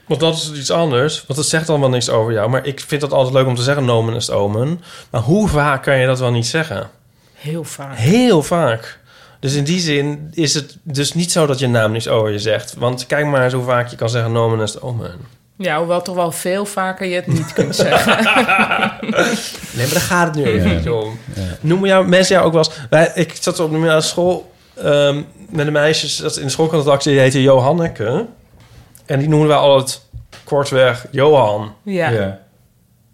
Speaker 5: Want dat is dus iets anders. Want het zegt allemaal niks over jou. Maar ik vind het altijd leuk om te zeggen nomen is omen. Maar hoe vaak kan je dat wel niet zeggen?
Speaker 4: Heel vaak.
Speaker 5: Heel vaak. Dus in die zin is het dus niet zo dat je naam niks over je zegt. Want kijk maar eens hoe vaak je kan zeggen nomen is omen.
Speaker 4: Ja, hoewel toch wel veel vaker je het niet kunt zeggen.
Speaker 5: Nee, maar daar gaat het nu
Speaker 2: Ja.
Speaker 5: even niet om. Noemen jou, mensen jou ook wel eens... Wij, ik zat op de middelbare school ehm, met een meisje dat in de schoolkantactie, die heette Johanneke. En die noemden wij altijd kortweg Johan.
Speaker 4: Ja.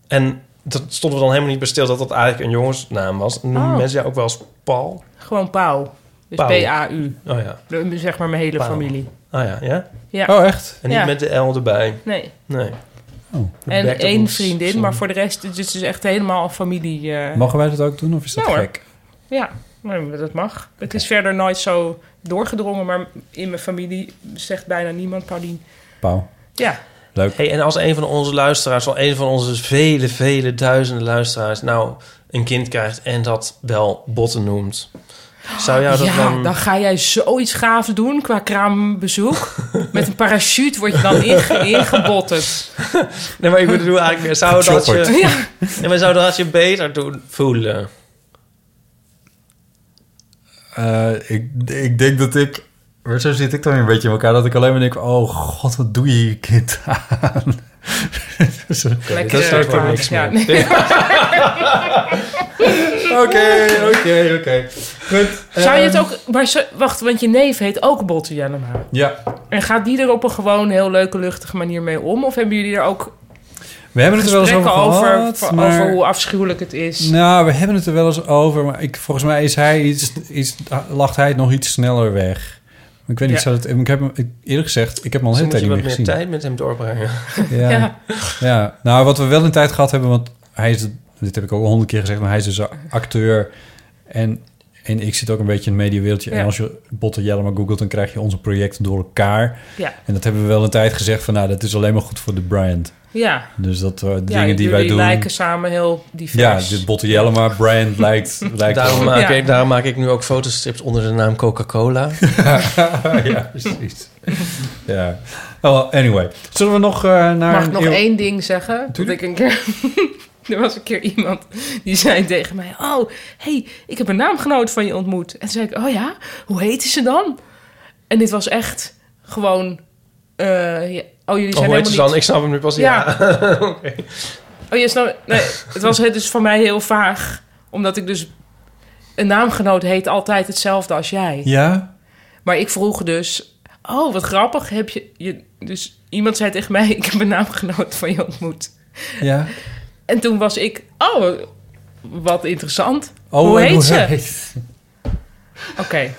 Speaker 5: En dat stonden we dan helemaal niet bij stil dat dat eigenlijk een jongensnaam was. En noemen
Speaker 4: Oh.
Speaker 5: mensen jou ook wel eens Paul?
Speaker 4: Gewoon Pauw. Dus
Speaker 5: Pauw.
Speaker 4: P-A-U.
Speaker 5: Oh ja.
Speaker 4: De- Zeg maar mijn hele
Speaker 5: Pauw.
Speaker 4: familie.
Speaker 5: Ah ja, ja.
Speaker 4: Ja.
Speaker 2: Oh, echt?
Speaker 5: En niet
Speaker 4: Ja.
Speaker 5: met de L erbij.
Speaker 4: Nee.
Speaker 5: Nee.
Speaker 2: Oh.
Speaker 4: En
Speaker 5: Back to
Speaker 4: één
Speaker 5: ons,
Speaker 4: vriendin,
Speaker 5: zo.
Speaker 4: maar voor de rest het is dus echt helemaal familie. eh,
Speaker 2: Mogen wij dat ook doen of is dat
Speaker 4: Ja, Nou, hoor.
Speaker 2: gek?
Speaker 4: ja, Nee, maar dat mag. Het is verder nooit zo doorgedrongen, maar in mijn familie zegt bijna niemand Pauline.
Speaker 2: Pauw.
Speaker 4: Ja,
Speaker 2: Leuk.
Speaker 5: Hey, en als een van onze luisteraars, wel een van onze vele, vele duizenden luisteraars, nou een kind krijgt en dat wel botten noemt. Zou jou Nou, dat
Speaker 4: ja
Speaker 5: dan...
Speaker 4: dan... ga jij zoiets gaafs doen qua kraambezoek. Met een parachute word je dan inge- ingebotterd.
Speaker 5: Nee, maar ik bedoel eigenlijk meer, zou dat je...
Speaker 4: Ja.
Speaker 5: Nee, maar zou dat je beter doen voelen?
Speaker 2: Eh, ik, ik denk dat ik... Maar zo zit ik dan weer een beetje in elkaar. Dat ik alleen maar denk... Oh god, wat doe je hier kind aan? Dus, Oké,
Speaker 4: Lekker
Speaker 5: dat is ook wel
Speaker 4: eh,
Speaker 5: niks
Speaker 4: ja,
Speaker 5: meer.
Speaker 4: nee.
Speaker 2: oké, oké, oké. Goed.
Speaker 4: Zou je het
Speaker 5: Ehm.
Speaker 4: ook... Maar zo- wacht, want je neef heet ook Botte Jellema.
Speaker 2: Ja.
Speaker 4: En gaat die er op een gewoon heel leuke, luchtige manier mee om? Of hebben jullie er ook
Speaker 2: We hebben het er wel eens over
Speaker 4: gesprekken over,
Speaker 2: gehad.
Speaker 4: over,
Speaker 2: maar-
Speaker 4: hoe afschuwelijk het is?
Speaker 2: Nou, we hebben het er wel eens over, maar ik, volgens mij is hij iets, iets, lacht hij het nog iets sneller weg. Ik weet niet,
Speaker 4: Ja.
Speaker 2: zou dat, ik heb hem, ik, eerlijk gezegd, ik heb hem al een
Speaker 5: Dus
Speaker 2: hele
Speaker 5: moet
Speaker 2: tijd
Speaker 5: je
Speaker 2: niet meer gezien.
Speaker 5: wat meer tijd met hem doorbrengen.
Speaker 2: Ja. Ja.
Speaker 4: Ja.
Speaker 2: nou, wat we wel een tijd gehad hebben, want hij is, dit heb ik ook al honderd keer gezegd, maar hij is dus een acteur. En, en ik zit ook een beetje in het mediawereldje. En
Speaker 4: Ja.
Speaker 2: als je Botte Jellema googelt, dan krijg je onze projecten door elkaar.
Speaker 4: Ja.
Speaker 2: En dat hebben we wel een tijd gezegd van, nou, dat is alleen maar goed voor de brand.
Speaker 4: Ja,
Speaker 2: Dus dat eh,
Speaker 4: ja
Speaker 2: dingen die
Speaker 4: jullie
Speaker 2: wij doen.
Speaker 4: lijken samen heel
Speaker 2: ja,
Speaker 4: divers.
Speaker 2: de Botte Jellema brand lijkt, lijkt
Speaker 5: Daarom maak,
Speaker 4: Ja.
Speaker 5: ik, daarom maak ik nu ook fotostrips onder de naam Coca-Cola.
Speaker 2: ja, precies. ja. Oh, well, anyway. Zullen we nog eh, naar...
Speaker 4: Mag ik
Speaker 2: een
Speaker 4: nog
Speaker 2: eeuw-
Speaker 4: één ding zeggen? Dat
Speaker 2: Tuurlijk.
Speaker 4: ik een keer... er was een keer iemand die zei tegen mij... Oh, hey, ik heb een naamgenoot van je ontmoet. En toen zei ik, oh ja? Hoe heette ze dan? En dit was echt gewoon... eh, ja, Oh, jullie
Speaker 5: Of
Speaker 4: zijn
Speaker 5: hoe heet
Speaker 4: helemaal
Speaker 5: ze
Speaker 4: niet...
Speaker 5: dan? Ik snap hem nu pas. Ja.
Speaker 4: Ja. Oh, je snapt. Nee, het was dus voor mij heel vaag. Omdat ik dus... Een naamgenoot heet altijd hetzelfde als jij.
Speaker 2: Ja?
Speaker 4: Maar ik vroeg dus... Oh, wat grappig. Heb je, je... Dus iemand zei tegen mij... Ik heb een naamgenoot van je ontmoet.
Speaker 2: Ja?
Speaker 4: En toen was ik... Oh, wat interessant.
Speaker 2: Oh,
Speaker 4: hoe
Speaker 2: en
Speaker 4: heet ze?
Speaker 2: heet-
Speaker 4: Oké.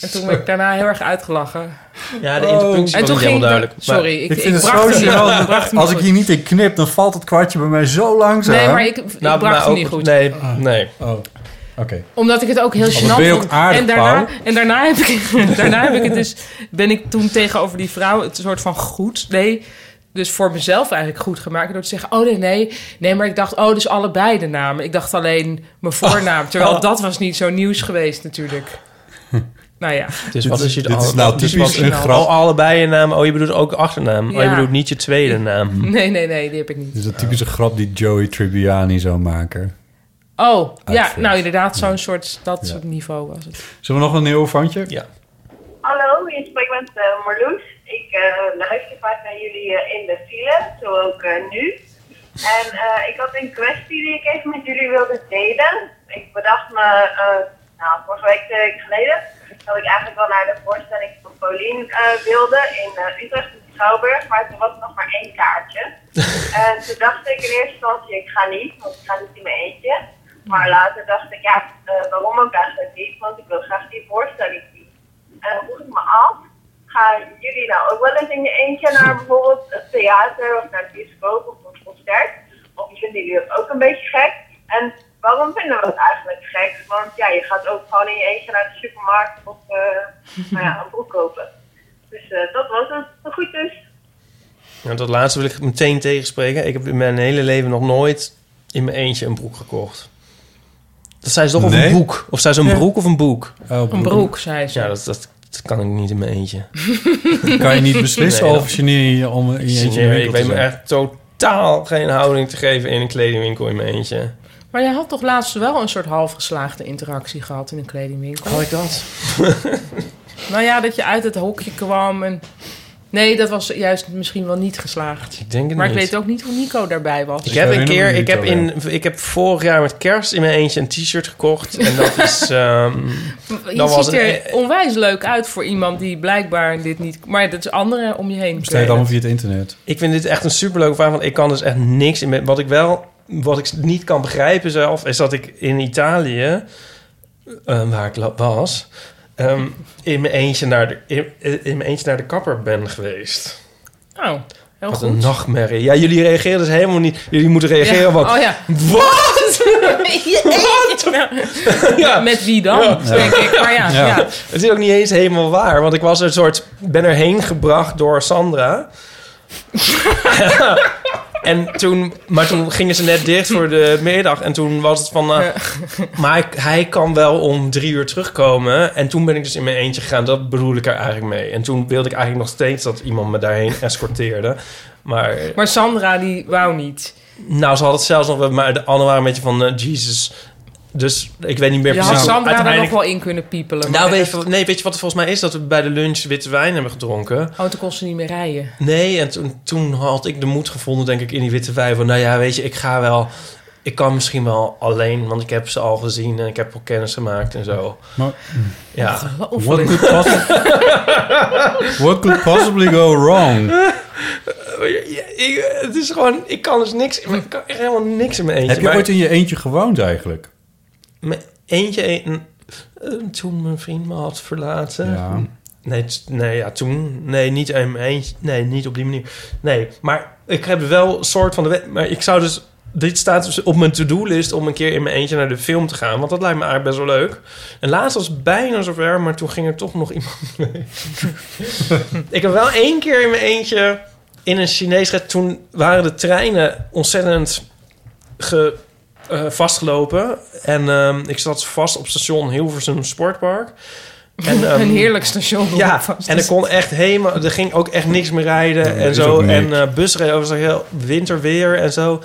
Speaker 4: En toen werd ik daarna heel erg uitgelachen.
Speaker 5: Ja, de
Speaker 2: Oh.
Speaker 5: interpunctie
Speaker 4: en
Speaker 5: was
Speaker 4: toen
Speaker 5: niet helemaal
Speaker 4: ging
Speaker 5: duidelijk.
Speaker 4: ik... Sorry,
Speaker 5: Maar,
Speaker 4: ik,
Speaker 2: Ik vind het
Speaker 4: bracht
Speaker 2: zo
Speaker 4: hem niet-
Speaker 2: gênant.
Speaker 4: ik bracht hem
Speaker 2: Als ik
Speaker 4: niet goed.
Speaker 2: hier niet in knip, dan valt het kwartje bij mij zo langzaam.
Speaker 4: Nee, maar ik, ik
Speaker 5: nou,
Speaker 4: bracht
Speaker 5: maar
Speaker 4: hem
Speaker 5: ook,
Speaker 4: niet goed. Ah.
Speaker 5: Nee, nee.
Speaker 2: Oh, oké.
Speaker 4: Omdat ik het ook heel
Speaker 2: ben
Speaker 4: gênant
Speaker 2: je ook
Speaker 4: vond.
Speaker 2: aardig,
Speaker 4: en daarna, en daarna, heb ik, daarna heb ik het dus... Ben ik toen tegenover die vrouw het soort van goed... Nee, dus voor mezelf eigenlijk goed gemaakt. Door te zeggen, oh nee, nee. Nee, maar ik dacht, oh, dus allebei de namen. Ik dacht alleen mijn voornaam. Terwijl dat was niet zo nieuws geweest natuurlijk. Nou ja.
Speaker 5: Dus
Speaker 2: Dit
Speaker 5: wat
Speaker 2: is-
Speaker 5: is je
Speaker 2: dit is
Speaker 5: al-
Speaker 2: nou
Speaker 5: wat is
Speaker 2: typisch
Speaker 5: wat-
Speaker 2: een grap.
Speaker 5: Oh, allebei je naam. Oh, je bedoelt ook achternaam. Oh, je
Speaker 4: Ja.
Speaker 5: bedoelt niet je tweede
Speaker 2: Mhm.
Speaker 5: naam.
Speaker 4: Nee, nee, nee, die heb ik niet.
Speaker 2: Dit is dat typische grap die Joey Tribbiani zou maken.
Speaker 4: Oh, ja,
Speaker 2: Uitvinding.
Speaker 4: nou inderdaad, zo'n soort, dat
Speaker 2: Ja.
Speaker 4: soort niveau was het.
Speaker 2: Zullen we nog een nieuw vondje?
Speaker 5: Ja.
Speaker 7: Hallo, je spreekt met eh, Marloes. Ik eh, luister vaak naar jullie eh, in de file, zo ook eh, nu. En eh, ik had een kwestie die ik even met jullie wilde delen. Ik bedacht me, eh, nou, vorige week, twee weken geleden, dat ik eigenlijk wel naar de voorstelling van Paulien eh, wilde in eh, Utrecht.
Speaker 8: Schouwburg, maar er was nog maar één kaartje. en toen dacht ik in eerste instantie, ik ga niet, want ik ga niet in mijn eentje. Maar later dacht ik, ja, eh, waarom ook eigenlijk niet, want ik wil graag die voorstelling zien. En dan vroeg Eh, ik me af, gaan jullie nou ook wel eens in je eentje naar bijvoorbeeld het theater of naar het bioscoop of een concert? Of vinden jullie dat ook een beetje gek? En waarom vinden we dat eigenlijk gek? Want ja, je gaat ook gewoon in je eentje naar de supermarkt of eh, nou ja, een broek kopen. Dus eh, dat was het. Maar goed dus.
Speaker 5: Nou, dat laatste wil ik meteen tegenspreken. Ik heb in mijn hele leven nog nooit in mijn eentje een broek gekocht. Dat zei ze toch, of
Speaker 2: Nee.
Speaker 5: een boek. Of zei ze een broek of een boek?
Speaker 2: Oh,
Speaker 4: Een broek, zei ze.
Speaker 5: Ja, dat, dat, dat kan ik niet in mijn eentje.
Speaker 2: Kan je niet beslissen
Speaker 5: Nee,
Speaker 2: of je niet om in je eentje in de
Speaker 5: Nee,
Speaker 2: winkel
Speaker 5: ik
Speaker 2: te
Speaker 5: weet me
Speaker 2: zijn?
Speaker 5: echt totaal geen houding te geven in een kledingwinkel in mijn eentje.
Speaker 4: Maar jij had toch laatst wel een soort halfgeslaagde interactie gehad in een kledingwinkel?
Speaker 5: Had ik dat?
Speaker 4: Nou ja, dat je uit het hokje kwam en... Nee, dat was juist misschien wel niet geslaagd.
Speaker 5: Ik denk het
Speaker 4: Maar ik
Speaker 5: niet.
Speaker 4: weet ook niet hoe Nico daarbij was.
Speaker 5: Ik heb een
Speaker 2: herinner me
Speaker 5: keer,
Speaker 2: niet
Speaker 5: ik heb, in, ik heb vorig jaar met kerst in mijn eentje een t-shirt gekocht. En dat is, ehm,
Speaker 4: Je
Speaker 5: Dan was eh,
Speaker 4: ziet
Speaker 5: het-
Speaker 4: er onwijs leuk uit voor iemand die blijkbaar dit niet... Maar dat is anderen om je heen.
Speaker 2: Bestel je het allemaal via het internet.
Speaker 5: ik vind dit echt een superleuke vraag. Want ik kan dus echt niks in. mijn- Wat ik wel, wat ik niet kan begrijpen zelf, is dat ik in Italië, eh, waar ik la- was, ehm, in, mijn eentje naar de, in, in mijn eentje naar de kapper ben geweest.
Speaker 4: Oh, heel
Speaker 5: Wat een
Speaker 4: goed.
Speaker 5: nachtmerrie. Ja, jullie reageren dus helemaal niet. Jullie moeten reageren
Speaker 4: Ja.
Speaker 5: wat.
Speaker 4: Oh ja.
Speaker 5: Wat? Ja.
Speaker 4: Nou, Met wie dan? Denk ik. Maar ja, ja.
Speaker 5: Het is ook niet eens helemaal waar, want ik was een soort ben erheen gebracht door Sandra. en toen, maar toen gingen ze net dicht voor de middag en toen was het van, nou, maar ik- hij kan wel om drie uur terugkomen. En toen ben ik dus in mijn eentje gegaan. Dat bedoel ik er eigenlijk mee. En toen wilde ik eigenlijk nog steeds dat iemand me daarheen escorteerde. Maar
Speaker 4: Maar Sandra, die wou niet.
Speaker 5: nou, ze had het zelfs nog, wel- maar de anderen waren een beetje van, Jesus. Jesus. Dus ik weet niet meer
Speaker 4: Je
Speaker 5: precies.
Speaker 4: had
Speaker 5: hoe
Speaker 4: Sandra er nog
Speaker 5: uiteindelijk-
Speaker 4: wel in kunnen piepelen.
Speaker 5: nou,
Speaker 4: maar
Speaker 5: weet
Speaker 4: echt-
Speaker 5: je, wat- nee, weet je wat het volgens mij is? Dat we bij de lunch witte wijn hebben gedronken.
Speaker 4: Oh, toen kon ze niet meer rijden.
Speaker 5: Nee, en toen, toen had ik de moed gevonden, denk ik, in die witte wijn. Van, nou ja, weet je, ik ga wel... Ik kan misschien wel alleen, want ik heb ze al gezien en ik heb al kennis gemaakt en zo.
Speaker 2: Maar-
Speaker 5: ja,
Speaker 2: What could, possi- What could possibly go wrong?
Speaker 5: Ja, ik, het is gewoon, ik kan dus niks, in mijn- ik kan echt helemaal niks in mijn eentje.
Speaker 2: Heb je
Speaker 5: Maar
Speaker 2: ooit in je eentje gewoond eigenlijk?
Speaker 5: mijn eentje eten, eh, toen mijn vriend me had verlaten.
Speaker 2: Ja.
Speaker 5: Nee, t- nee, ja, toen. Nee, niet in mijn eentje. Nee, niet op die manier. Nee, maar ik heb wel een soort van de wet. Maar ik zou dus. Dit staat dus op mijn to-do-list om een keer in mijn eentje naar de film te gaan. Want dat lijkt me eigenlijk best wel leuk. En laatst was het bijna zover, maar toen ging er toch nog iemand mee. ik heb wel één keer in mijn eentje in een Chinees red. Toen waren de treinen ontzettend ge, eh, vastgelopen. En ehm, ik zat vast op station Hilversum Sportpark. En, ehm,
Speaker 4: Een heerlijk station. om
Speaker 5: ja,
Speaker 4: vast te
Speaker 5: en er kon echt helemaal, er ging ook echt niks meer rijden en
Speaker 2: is
Speaker 5: zo.
Speaker 2: ook niks.
Speaker 5: En eh busrijden was er heel winterweer en zo.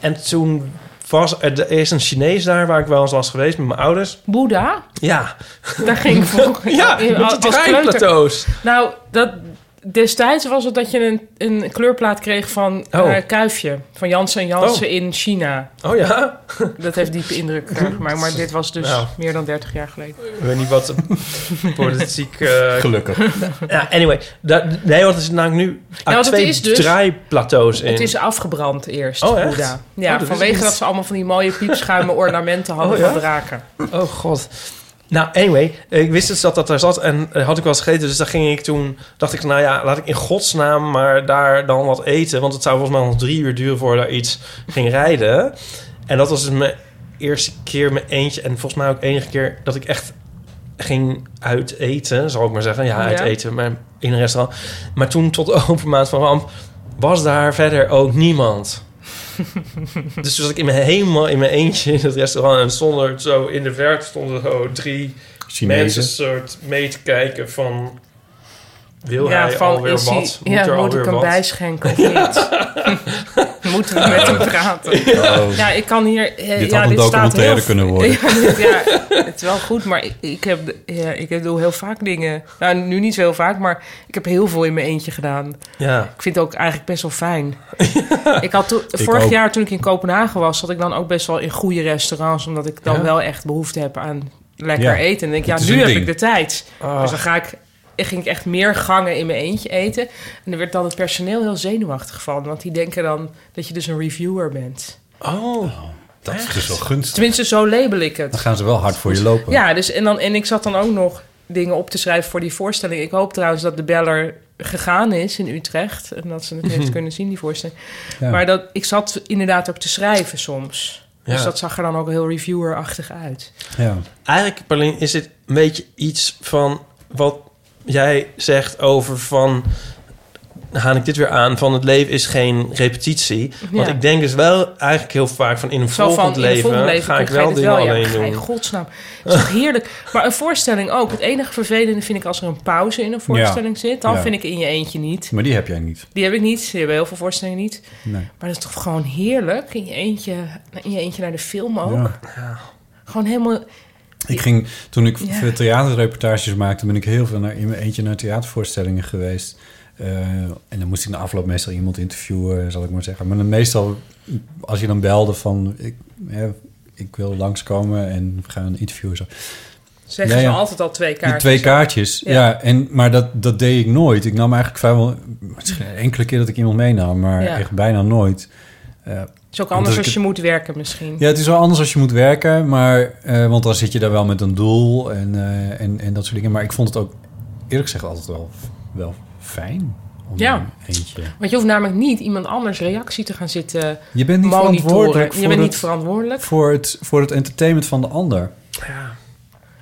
Speaker 5: En toen was er, er is een Chinees daar waar ik wel eens was geweest met mijn ouders.
Speaker 4: Boeddha,
Speaker 5: Ja,
Speaker 4: daar ging ik voor.
Speaker 5: ja,
Speaker 4: in-
Speaker 5: met die
Speaker 4: als kleuter.
Speaker 5: treinplateaus.
Speaker 4: Nou, dat, destijds was het dat je een, een kleurplaat kreeg van
Speaker 5: Oh.
Speaker 4: eh, Kuifje. Van Janssen en Janssen in China.
Speaker 5: Oh ja,
Speaker 4: Dat heeft diepe indruk eh, gemaakt. Maar dit was dus
Speaker 5: Nou.
Speaker 4: meer dan 30 jaar geleden.
Speaker 5: ik weet niet wat politiek... eh,
Speaker 2: Gelukkig.
Speaker 5: ja, anyway, daar, nee, want er zitten namelijk nu
Speaker 4: want het
Speaker 5: twee
Speaker 4: is dus-
Speaker 5: draaiplateaus in.
Speaker 4: Het is afgebrand eerst,
Speaker 5: Oh, echt?
Speaker 4: Boeddha.
Speaker 5: Oh, dat
Speaker 4: Ja,
Speaker 5: wist ik
Speaker 4: vanwege
Speaker 5: niet.
Speaker 4: dat ze allemaal van die mooie piepschuime ornamenten hadden
Speaker 5: Oh, ja?
Speaker 4: van draken.
Speaker 5: Oh god. Nou, anyway, ik wist dus dat dat daar zat en eh, had ik wel eens gegeten. Dus daar ging ik toen, dacht ik, nou ja, laat ik in godsnaam maar daar dan wat eten. Want het zou volgens mij nog drie uur duren voordat daar iets ging rijden. En dat was dus mijn eerste keer mijn eentje. En volgens mij ook enige keer dat ik echt ging uit eten, zal ik maar zeggen. Ja,
Speaker 4: Ja.
Speaker 5: uit eten, maar in een restaurant. Maar toen, tot de overmaat van ramp, was daar verder ook niemand. dus toen zat ik in mijn, helemaal in mijn eentje in het restaurant. En zonder zo in de verte stonden zo drie mensen
Speaker 2: Chinezen.
Speaker 5: soort mee te kijken van... Wil
Speaker 4: ja,
Speaker 5: hij
Speaker 4: van
Speaker 5: alweer
Speaker 4: is hij-
Speaker 5: wat? Moet
Speaker 4: ja,
Speaker 5: er
Speaker 4: moet
Speaker 5: alweer
Speaker 4: ik hem
Speaker 5: wat?
Speaker 4: bijschenken of niet? Moeten we met hem praten?
Speaker 2: Oh.
Speaker 4: Ja, ik kan hier... eh,
Speaker 2: Dit
Speaker 4: ja,
Speaker 2: had een
Speaker 4: dit staat
Speaker 2: documentaire
Speaker 4: heel-
Speaker 2: kunnen worden.
Speaker 4: Ja, dit- ja, het is wel goed, maar ik, ik, heb, ja, ik doe heel vaak dingen... Nou, nu niet zo heel vaak, maar ik heb heel veel in mijn eentje gedaan.
Speaker 5: Ja.
Speaker 4: Ik vind het ook eigenlijk best wel fijn. ik had toen- vorig
Speaker 2: ook.
Speaker 4: jaar toen ik in Kopenhagen was, zat ik dan ook best wel in goede restaurants, omdat ik dan
Speaker 5: Ja.
Speaker 4: wel echt behoefte heb aan lekker
Speaker 2: Ja,
Speaker 4: eten. En denk, ik,
Speaker 2: dat
Speaker 4: ja,
Speaker 2: is
Speaker 4: nu
Speaker 2: een
Speaker 4: heb
Speaker 2: ding.
Speaker 4: ik de tijd.
Speaker 5: Ah.
Speaker 4: Dus dan ga ik ging ik echt meer gangen in mijn eentje eten. En er werd dan het personeel heel zenuwachtig van. Want die denken dan dat je dus een reviewer bent.
Speaker 5: Oh,
Speaker 2: Dat is dus wel gunstig.
Speaker 4: Tenminste, zo label ik het.
Speaker 2: Dan gaan ze wel hard voor je lopen.
Speaker 4: Ja, dus en, dan, en ik zat dan ook nog dingen op te schrijven voor die voorstelling. Ik hoop trouwens dat de beller gegaan is in Utrecht. En dat ze het heeft kunnen zien, die voorstelling.
Speaker 2: Ja.
Speaker 4: Maar dat, ik zat inderdaad ook te schrijven soms. Dus
Speaker 5: Ja.
Speaker 4: dat zag er dan ook heel reviewerachtig uit.
Speaker 2: Ja.
Speaker 5: Eigenlijk, Paulien, is dit een beetje iets van wat jij zegt over van... dan haal ik dit weer aan, van het leven is geen repetitie. Want
Speaker 4: Ja.
Speaker 5: ik denk dus wel eigenlijk heel vaak van in een
Speaker 4: Zo van,
Speaker 5: volgend
Speaker 4: in het
Speaker 5: leven,
Speaker 4: volgende leven
Speaker 5: ga ik
Speaker 4: ga
Speaker 5: wel
Speaker 4: dit
Speaker 5: dingen
Speaker 4: ja,
Speaker 5: alleen
Speaker 4: ga je
Speaker 5: doen.
Speaker 4: in godsnaam. Het is toch heerlijk. Maar een voorstelling ook. Het enige vervelende vind ik als er een pauze in een voorstelling zit. Dan
Speaker 2: Ja.
Speaker 4: vind ik in je eentje niet.
Speaker 2: Maar die heb jij niet.
Speaker 4: Die heb ik niet. Die hebben heel veel voorstellingen niet.
Speaker 2: Nee.
Speaker 4: Maar dat is toch gewoon heerlijk. In je eentje, in je eentje naar de film ook.
Speaker 2: Ja.
Speaker 4: Gewoon helemaal...
Speaker 2: Ik ging, toen ik
Speaker 4: Ja.
Speaker 2: veel theaterreportages maakte, ben ik heel veel naar, in mijn eentje naar theatervoorstellingen geweest. Eh, en dan moest ik na afloop meestal iemand interviewen, zal ik maar zeggen. Maar dan meestal, als je dan belde van, ik, hè, ik wil langskomen en we gaan interviewen. Zo.
Speaker 4: Zeggen
Speaker 2: Ja, ja.
Speaker 4: ze altijd al twee
Speaker 2: Die
Speaker 4: kaartjes.
Speaker 2: twee kaartjes,
Speaker 4: Ja.
Speaker 2: ja. en, maar dat, dat deed ik nooit. Ik nam eigenlijk vrijwel, misschien een enkele keer dat ik iemand meenam, maar
Speaker 4: Ja.
Speaker 2: echt bijna nooit.
Speaker 4: Het is ook anders
Speaker 2: Omdat ik
Speaker 4: als je moet werken misschien.
Speaker 2: Ja, het is wel anders als je moet werken, maar, eh, want dan zit je daar wel met een doel en, eh, en, en dat soort dingen. Maar ik vond het ook eerlijk gezegd altijd wel, wel fijn. Om
Speaker 4: Ja.
Speaker 2: in een Eentje.
Speaker 4: Want je hoeft namelijk niet iemand anders reactie te gaan zitten
Speaker 2: Je bent niet
Speaker 4: monitoren.
Speaker 2: verantwoordelijk voor,
Speaker 4: Je bent
Speaker 2: het,
Speaker 4: niet verantwoordelijk.
Speaker 2: voor, het, voor het entertainment van de ander.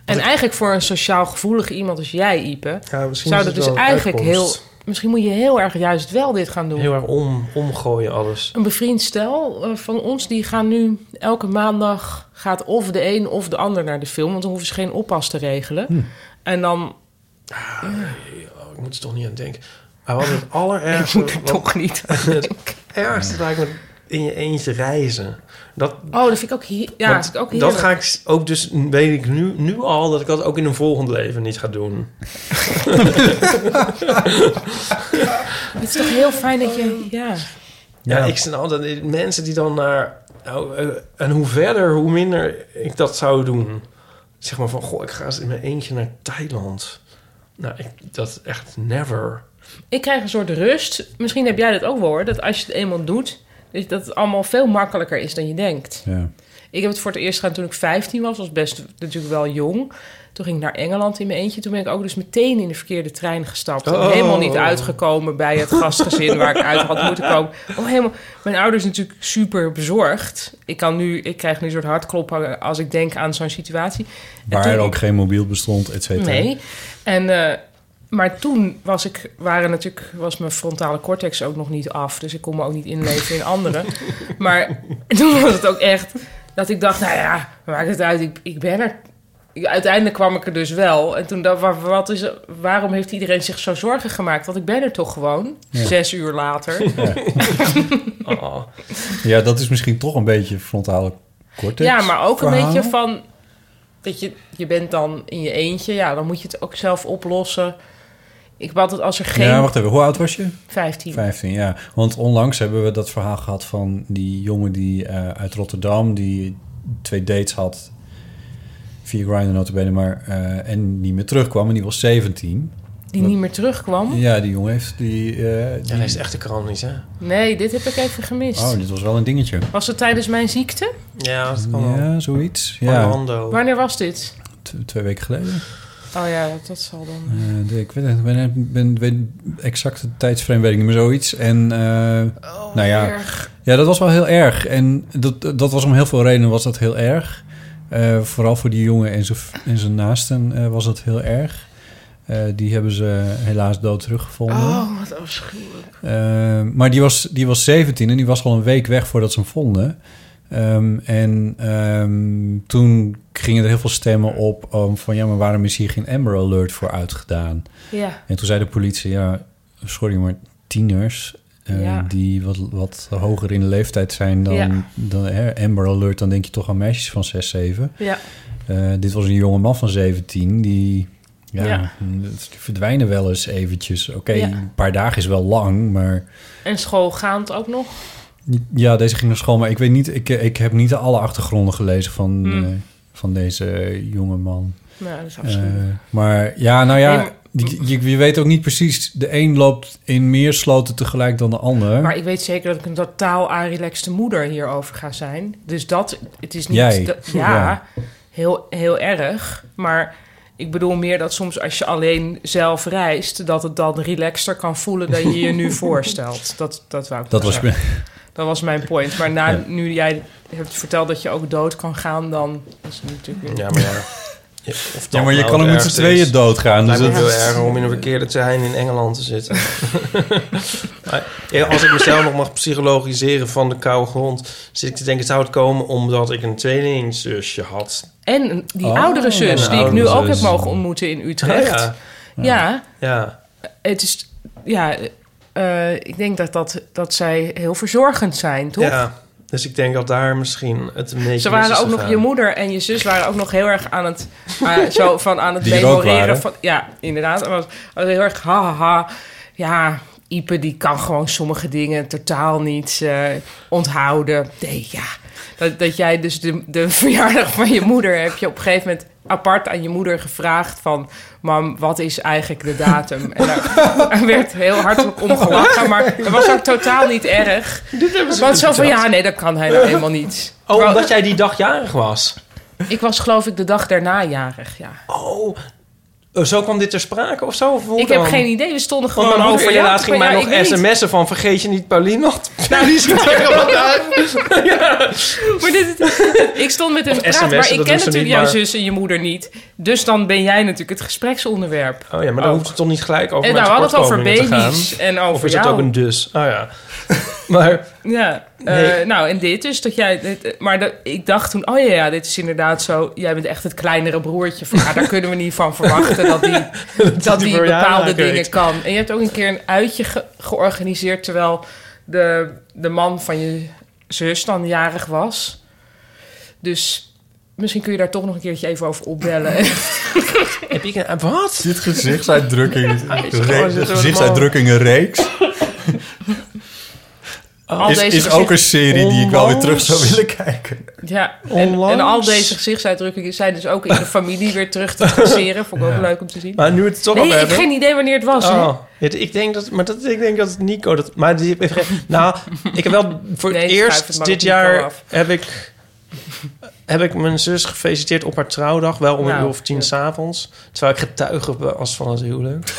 Speaker 4: En eigenlijk voor een sociaal gevoelige iemand als jij, Ipe...
Speaker 5: Ja, misschien
Speaker 4: zou
Speaker 5: is
Speaker 4: dat
Speaker 5: het
Speaker 4: dus
Speaker 5: wel een
Speaker 4: eigenlijk heel...
Speaker 5: uitkomst.
Speaker 4: Misschien moet je heel erg juist wel dit gaan doen.
Speaker 5: Heel erg om, omgooien alles.
Speaker 4: Een bevriend stel eh, van ons, die gaan nu elke maandag... gaat of de een of de ander naar de film... want dan hoeven ze geen oppas te regelen.
Speaker 5: Hm.
Speaker 4: En dan...
Speaker 5: Oh, ik moet er toch niet aan denken. Maar wat het
Speaker 4: Ik
Speaker 5: allerergste...
Speaker 4: moet er toch niet aan denken.
Speaker 5: Het ergste lijkt me in je eentje reizen. Dat,
Speaker 4: Oh, dat vind ik ook, hier, ja, dat
Speaker 5: want
Speaker 4: vind ik ook
Speaker 5: dat
Speaker 4: heerlijk.
Speaker 5: ga ik s- ook dus, weet ik nu, nu al, dat ik dat ook in een volgend leven niet ga doen.
Speaker 4: Het is toch heel fijn dat je... Ja.
Speaker 5: Ja, ik snap altijd die mensen die dan naar... nou, eh, en hoe verder, hoe minder ik dat zou doen. Zeg maar van, goh, ik ga eens in mijn eentje naar Thailand. Nou, ik, dat is echt never.
Speaker 4: Ik krijg een soort rust. Misschien heb jij dat ook wel hoor. Dat als je het eenmaal doet, dat dat het allemaal veel makkelijker is dan je denkt.
Speaker 2: Ja.
Speaker 4: Ik heb het voor het eerst gedaan toen ik 15 was. was best natuurlijk wel jong. Toen ging ik naar Engeland in mijn eentje. Toen ben ik ook dus meteen in de verkeerde trein gestapt. En
Speaker 5: Oh.
Speaker 4: Helemaal niet uitgekomen bij het gastgezin waar ik uit had moeten komen. Oh, helemaal. Mijn ouders natuurlijk super bezorgd. Ik, kan nu, ik krijg nu een soort hartkloppen als ik denk aan zo'n situatie. En
Speaker 2: Waar
Speaker 4: toen
Speaker 2: er
Speaker 4: ik-
Speaker 2: ook geen mobiel bestond, et cetera.
Speaker 4: Nee. En, eh, maar toen was, ik, waren natuurlijk, was mijn frontale cortex ook nog niet af. Dus ik kon me ook niet inleven in anderen. Maar toen was het ook echt dat ik dacht, nou ja, maakt het uit, ik, ik ben er. Ik- Uiteindelijk kwam ik er dus wel. En toen dacht ik, wat is, er- waarom heeft iedereen zich zo zorgen gemaakt? Want ik ben er toch gewoon, zes uur later.
Speaker 5: Oh.
Speaker 2: Ja, dat is misschien toch een beetje frontale cortex.
Speaker 4: Ja, maar ook een
Speaker 2: verhaal.
Speaker 4: beetje van... Dat je, je bent dan in je eentje. Ja, dan moet je het ook zelf oplossen. Ik had het als er geen...
Speaker 2: Ja, wacht even. Hoe oud was je?
Speaker 4: 15.
Speaker 2: 15, ja. Want onlangs hebben we dat verhaal gehad van die jongen die eh, uit Rotterdam... die twee dates had via Grindr notabene, maar... eh, en niet meer terugkwam en die was 17.
Speaker 4: Die niet meer terugkwam?
Speaker 2: Ja, die jongen heeft die... eh, die-
Speaker 5: Ja, dat is echt de krant niet, hè?
Speaker 4: Nee, dit heb ik even gemist.
Speaker 2: Oh, dit was wel een dingetje.
Speaker 4: Was het tijdens mijn ziekte?
Speaker 5: Ja, dat kan wel.
Speaker 2: Ja, zoiets. Ja,
Speaker 5: Orlando.
Speaker 4: Wanneer was dit?
Speaker 2: t- twee weken geleden.
Speaker 4: Oh ja, dat zal dan.
Speaker 2: Eh, ik weet het, ben, ben, ben exact het tijdsframe weet ik niet meer zoiets. En eh,
Speaker 4: Oh,
Speaker 2: nou ja, ja, dat was wel heel erg. En dat, dat was om heel veel redenen was dat heel erg. Eh, vooral voor die jongen en zijn, en zijn naasten eh, was dat heel erg. Eh, die hebben ze helaas dood teruggevonden.
Speaker 4: Oh, wat afschuwelijk.
Speaker 2: Eh, maar die was, die was 17 en die was al een week weg voordat ze hem vonden. Ehm, en ehm, toen gingen er heel veel stemmen op ehm, van ja, maar waarom is hier geen Amber Alert voor uitgedaan?
Speaker 4: Ja.
Speaker 2: En toen zei de politie, ja, sorry, maar tieners... eh,
Speaker 4: Ja.
Speaker 2: die wat, wat hoger in de leeftijd zijn dan,
Speaker 4: Ja.
Speaker 2: dan hè, Amber Alert... dan denk je toch aan meisjes van 6, 7.
Speaker 4: Ja.
Speaker 2: Eh, dit was een jonge man van 17 die... Ja,
Speaker 4: Ja.
Speaker 2: die verdwijnen wel eens eventjes. Oké,
Speaker 4: Ja.
Speaker 2: een paar dagen is wel lang, maar...
Speaker 4: En schoolgaand ook nog?
Speaker 2: Ja, deze ging naar school, maar ik weet niet... Ik, eh, ik heb niet alle achtergronden gelezen van,
Speaker 4: Hmm.
Speaker 2: eh, van deze jonge man.
Speaker 4: Nou, dat is
Speaker 2: Eh,
Speaker 4: afschuwelijk.
Speaker 2: maar ja, nou ja...
Speaker 4: Nee, maar-
Speaker 2: Je, je- je weet ook niet precies, de een loopt in meer sloten tegelijk dan de ander.
Speaker 4: Maar ik weet zeker dat ik een totaal arilexte moeder hierover ga zijn. Dus dat, het is niet...
Speaker 2: Jij.
Speaker 4: dat- ja,
Speaker 2: Ja.
Speaker 4: Heel, heel erg. Maar ik bedoel meer dat soms als je alleen zelf reist... dat het dan relaxter kan voelen dan je je nu voorstelt. Dat, dat wou ik
Speaker 2: dat
Speaker 4: nog
Speaker 2: was
Speaker 4: zeggen. Dat was mijn point. Maar na, nu jij hebt verteld dat je ook dood kan gaan, dan is het natuurlijk weer...
Speaker 5: Ja, maar ja. Ja, of dat
Speaker 2: Ja, maar je
Speaker 5: nou
Speaker 2: kan ook
Speaker 5: het
Speaker 2: met z'n
Speaker 5: ergste
Speaker 2: tweeën
Speaker 5: is.
Speaker 2: doodgaan. Dus
Speaker 5: Het lijkt me
Speaker 2: dat-
Speaker 5: heel erg om in een verkeerde trein in Engeland te zitten. Maar, ja, Als ik mezelf nog mag psychologiseren van de koude grond... zit ik te denken, zou het komen omdat ik een tweelingzusje had?
Speaker 4: En die
Speaker 2: Oh,
Speaker 4: oudere zus,
Speaker 5: en
Speaker 4: die ik
Speaker 5: oudere
Speaker 4: nu ook
Speaker 2: zus.
Speaker 4: heb mogen ontmoeten in Utrecht.
Speaker 5: Ja,
Speaker 4: ja,
Speaker 5: ja.
Speaker 4: het is... Ja, eh, ik denk dat, dat, dat zij heel verzorgend zijn, toch?
Speaker 5: ja. Dus ik denk dat daar misschien het een beetje
Speaker 4: Ze
Speaker 5: mis
Speaker 4: waren
Speaker 5: is
Speaker 4: ook nog,
Speaker 5: gegaan.
Speaker 4: je moeder en je zus waren ook nog heel erg aan het, eh, zo van aan het
Speaker 2: Die er ook waren.
Speaker 4: memoreren. Van, ja, inderdaad. Het was was heel erg ha, ha, ha. Ja, Ipe die kan gewoon sommige dingen totaal niet eh, onthouden. Nee, ja. Dat, dat jij dus de, de verjaardag van je moeder heb je op een gegeven moment apart aan je moeder gevraagd van... Mam, wat is eigenlijk de datum? En daar, daar werd heel hartelijk om gelachen, maar dat was ook totaal niet erg. Want zo van, ja, nee, dat kan hij nou helemaal niet.
Speaker 5: Oh,
Speaker 4: Terwijl-
Speaker 5: omdat jij die dag jarig was?
Speaker 4: ik was geloof ik de dag daarna jarig, ja.
Speaker 5: Oh, eh, zo kwam dit ter sprake of zo? Of hoe
Speaker 4: ik heb
Speaker 5: dan?
Speaker 4: geen idee, we stonden
Speaker 5: Want
Speaker 4: gewoon
Speaker 5: mijn
Speaker 4: over.
Speaker 5: moeder
Speaker 4: ja,
Speaker 5: laatst ging
Speaker 4: maar
Speaker 5: mij
Speaker 4: ja,
Speaker 5: nog
Speaker 4: ik weet niet.
Speaker 5: sms'en van... vergeet je niet Paulien nog te feliciteren vandaag.
Speaker 4: Maar dit, ik stond met hem te praten,
Speaker 5: sms'en,
Speaker 4: maar ik
Speaker 5: dat
Speaker 4: ken
Speaker 5: doen ze
Speaker 4: natuurlijk
Speaker 5: niet,
Speaker 4: jouw
Speaker 5: maar-
Speaker 4: zus en je moeder niet. Dus dan ben jij natuurlijk het gespreksonderwerp.
Speaker 5: Oh ja, maar dan
Speaker 4: Ook.
Speaker 5: hoeft het toch niet gelijk over
Speaker 4: en nou,
Speaker 5: mijn
Speaker 4: we hadden het over
Speaker 5: tekortkomingen te gaan?
Speaker 4: baby's en over
Speaker 5: Of is
Speaker 4: jou.
Speaker 5: het ook een dus? Oh ja. maar
Speaker 4: Ja, eh,
Speaker 5: Nee.
Speaker 4: nou en dit dus, dat jij... dit- maar dat- ik dacht toen, oh ja, ja, dit is inderdaad zo... Jij bent echt het kleinere broertje. Van, ja, daar kunnen we niet van verwachten dat die, dat die
Speaker 5: voor jou
Speaker 4: bepaalde
Speaker 5: raken,
Speaker 4: dingen
Speaker 5: weet.
Speaker 4: kan. En je hebt ook een keer een uitje ge- georganiseerd... terwijl de, de man van je zus dan jarig was. Dus misschien kun je daar toch nog een keertje even over opbellen.
Speaker 5: heb ik een... Wat?
Speaker 2: Dit gezichtsuitdrukking,
Speaker 4: gewoon zo-
Speaker 2: gezichtsuitdrukkingen reeks
Speaker 4: Al
Speaker 2: is,
Speaker 4: deze
Speaker 2: is ook een
Speaker 4: gezicht- Oh.
Speaker 2: serie die ik wel weer terug zou
Speaker 5: Onlangs.
Speaker 2: willen kijken.
Speaker 4: Ja, en, en al deze gezichtsuitdrukkingen zijn dus ook in de familie weer terug te traceren. Vond ik ook leuk om te zien.
Speaker 5: Maar nu we het toch
Speaker 4: Nee,
Speaker 5: over
Speaker 4: ik heb
Speaker 5: hebben...
Speaker 4: geen idee wanneer het was. hoor.
Speaker 5: Oh, ja, ik denk dat, maar dat, ik denk dat Nico dat, maar die heeft geen- nou, ik heb wel voor
Speaker 4: Nee,
Speaker 5: het
Speaker 4: schuif het
Speaker 5: eerst
Speaker 4: maar
Speaker 5: dit
Speaker 4: op Nico
Speaker 5: jaar
Speaker 4: af.
Speaker 5: heb ik, heb ik mijn zus gefeliciteerd op haar trouwdag, wel om een
Speaker 4: Nou,
Speaker 5: uur of tien
Speaker 4: ja.
Speaker 5: s'avonds, terwijl ik getuige was van het huwelijk.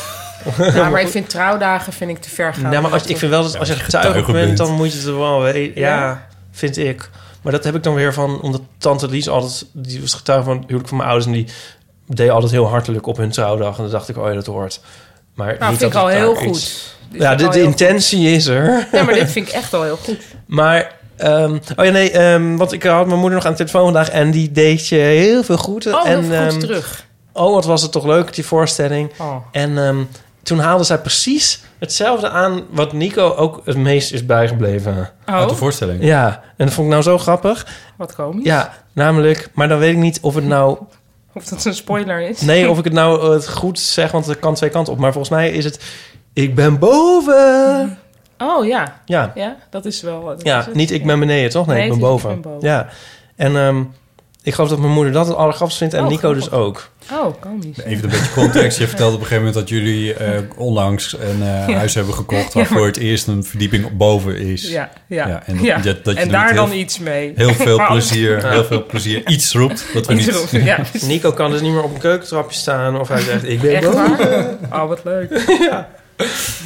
Speaker 4: Ja, maar ik vind trouwdagen vind ik te ver gaan.
Speaker 5: nou, maar als, ik vind wel dat als je getuige
Speaker 2: getuige
Speaker 5: bent,
Speaker 2: bent.
Speaker 5: dan moet je het wel weten. Ja,
Speaker 4: Ja.
Speaker 5: vind ik. Maar dat heb ik dan weer van, omdat tante Lies altijd, die was getuige van het huwelijk van mijn ouders en die deed altijd heel hartelijk op hun trouwdag en dan dacht ik, oh ja, dat hoort. Maar
Speaker 4: nou,
Speaker 5: niet
Speaker 4: vind ik
Speaker 5: dat
Speaker 4: al
Speaker 5: het
Speaker 4: heel
Speaker 5: daar iets-
Speaker 4: goed. Dit
Speaker 5: Ja,
Speaker 4: vind
Speaker 5: de,
Speaker 4: ik Dus al
Speaker 5: de
Speaker 4: heel
Speaker 5: intentie is er.
Speaker 4: goed. Nee, maar dit vind ik echt al heel goed.
Speaker 5: Maar, ehm, oh ja, nee, ehm, want ik had mijn moeder nog aan de telefoon vandaag en die deed je heel veel groeten.
Speaker 4: Oh,
Speaker 5: en,
Speaker 4: heel
Speaker 5: ehm,
Speaker 4: goed terug.
Speaker 5: Oh, wat was het toch leuk, die voorstelling.
Speaker 4: Oh.
Speaker 5: En ehm, toen haalde zij precies hetzelfde aan wat Nico ook het meest is bijgebleven.
Speaker 2: Uit de
Speaker 4: Oh,
Speaker 2: voorstelling.
Speaker 5: Ja, en dat vond ik nou zo grappig.
Speaker 4: wat komisch.
Speaker 5: Ja, namelijk, maar dan weet ik niet of het nou
Speaker 4: Of dat een spoiler is.
Speaker 5: Nee, of ik het nou eh, het goed zeg, want het kan twee kanten op. Maar volgens mij is het... Ik ben boven.
Speaker 4: Oh ja,
Speaker 5: Ja,
Speaker 4: ja dat is wel... dat is
Speaker 5: ja
Speaker 4: het.
Speaker 5: niet ik ben beneden, toch? Nee,
Speaker 4: Nee,
Speaker 5: ik ben
Speaker 4: het is
Speaker 5: boven.
Speaker 4: ik ben boven.
Speaker 5: Ja. En ehm, ik geloof dat mijn moeder dat het allergrappigst vindt. En
Speaker 4: Oh,
Speaker 5: Nico
Speaker 4: grappig.
Speaker 5: dus ook.
Speaker 4: Oh, komisch.
Speaker 2: Even een beetje context. Je vertelde op een gegeven moment dat jullie eh, onlangs een eh, huis hebben gekocht... waarvoor het eerst een verdieping boven is.
Speaker 4: Ja, ja.
Speaker 2: Ja, en dat- dat- dat je
Speaker 4: en
Speaker 2: doet
Speaker 4: daar
Speaker 2: heel-
Speaker 4: dan iets mee.
Speaker 2: Heel veel
Speaker 4: Maar als-
Speaker 2: plezier, heel veel plezier. Iets roept dat we
Speaker 4: Iets
Speaker 2: niet...
Speaker 4: erop, ja.
Speaker 5: Nico kan dus niet meer op een keukentrapje staan. Of hij zegt, ik ben
Speaker 4: Echt
Speaker 5: boven.
Speaker 4: waar? Oh, wat leuk.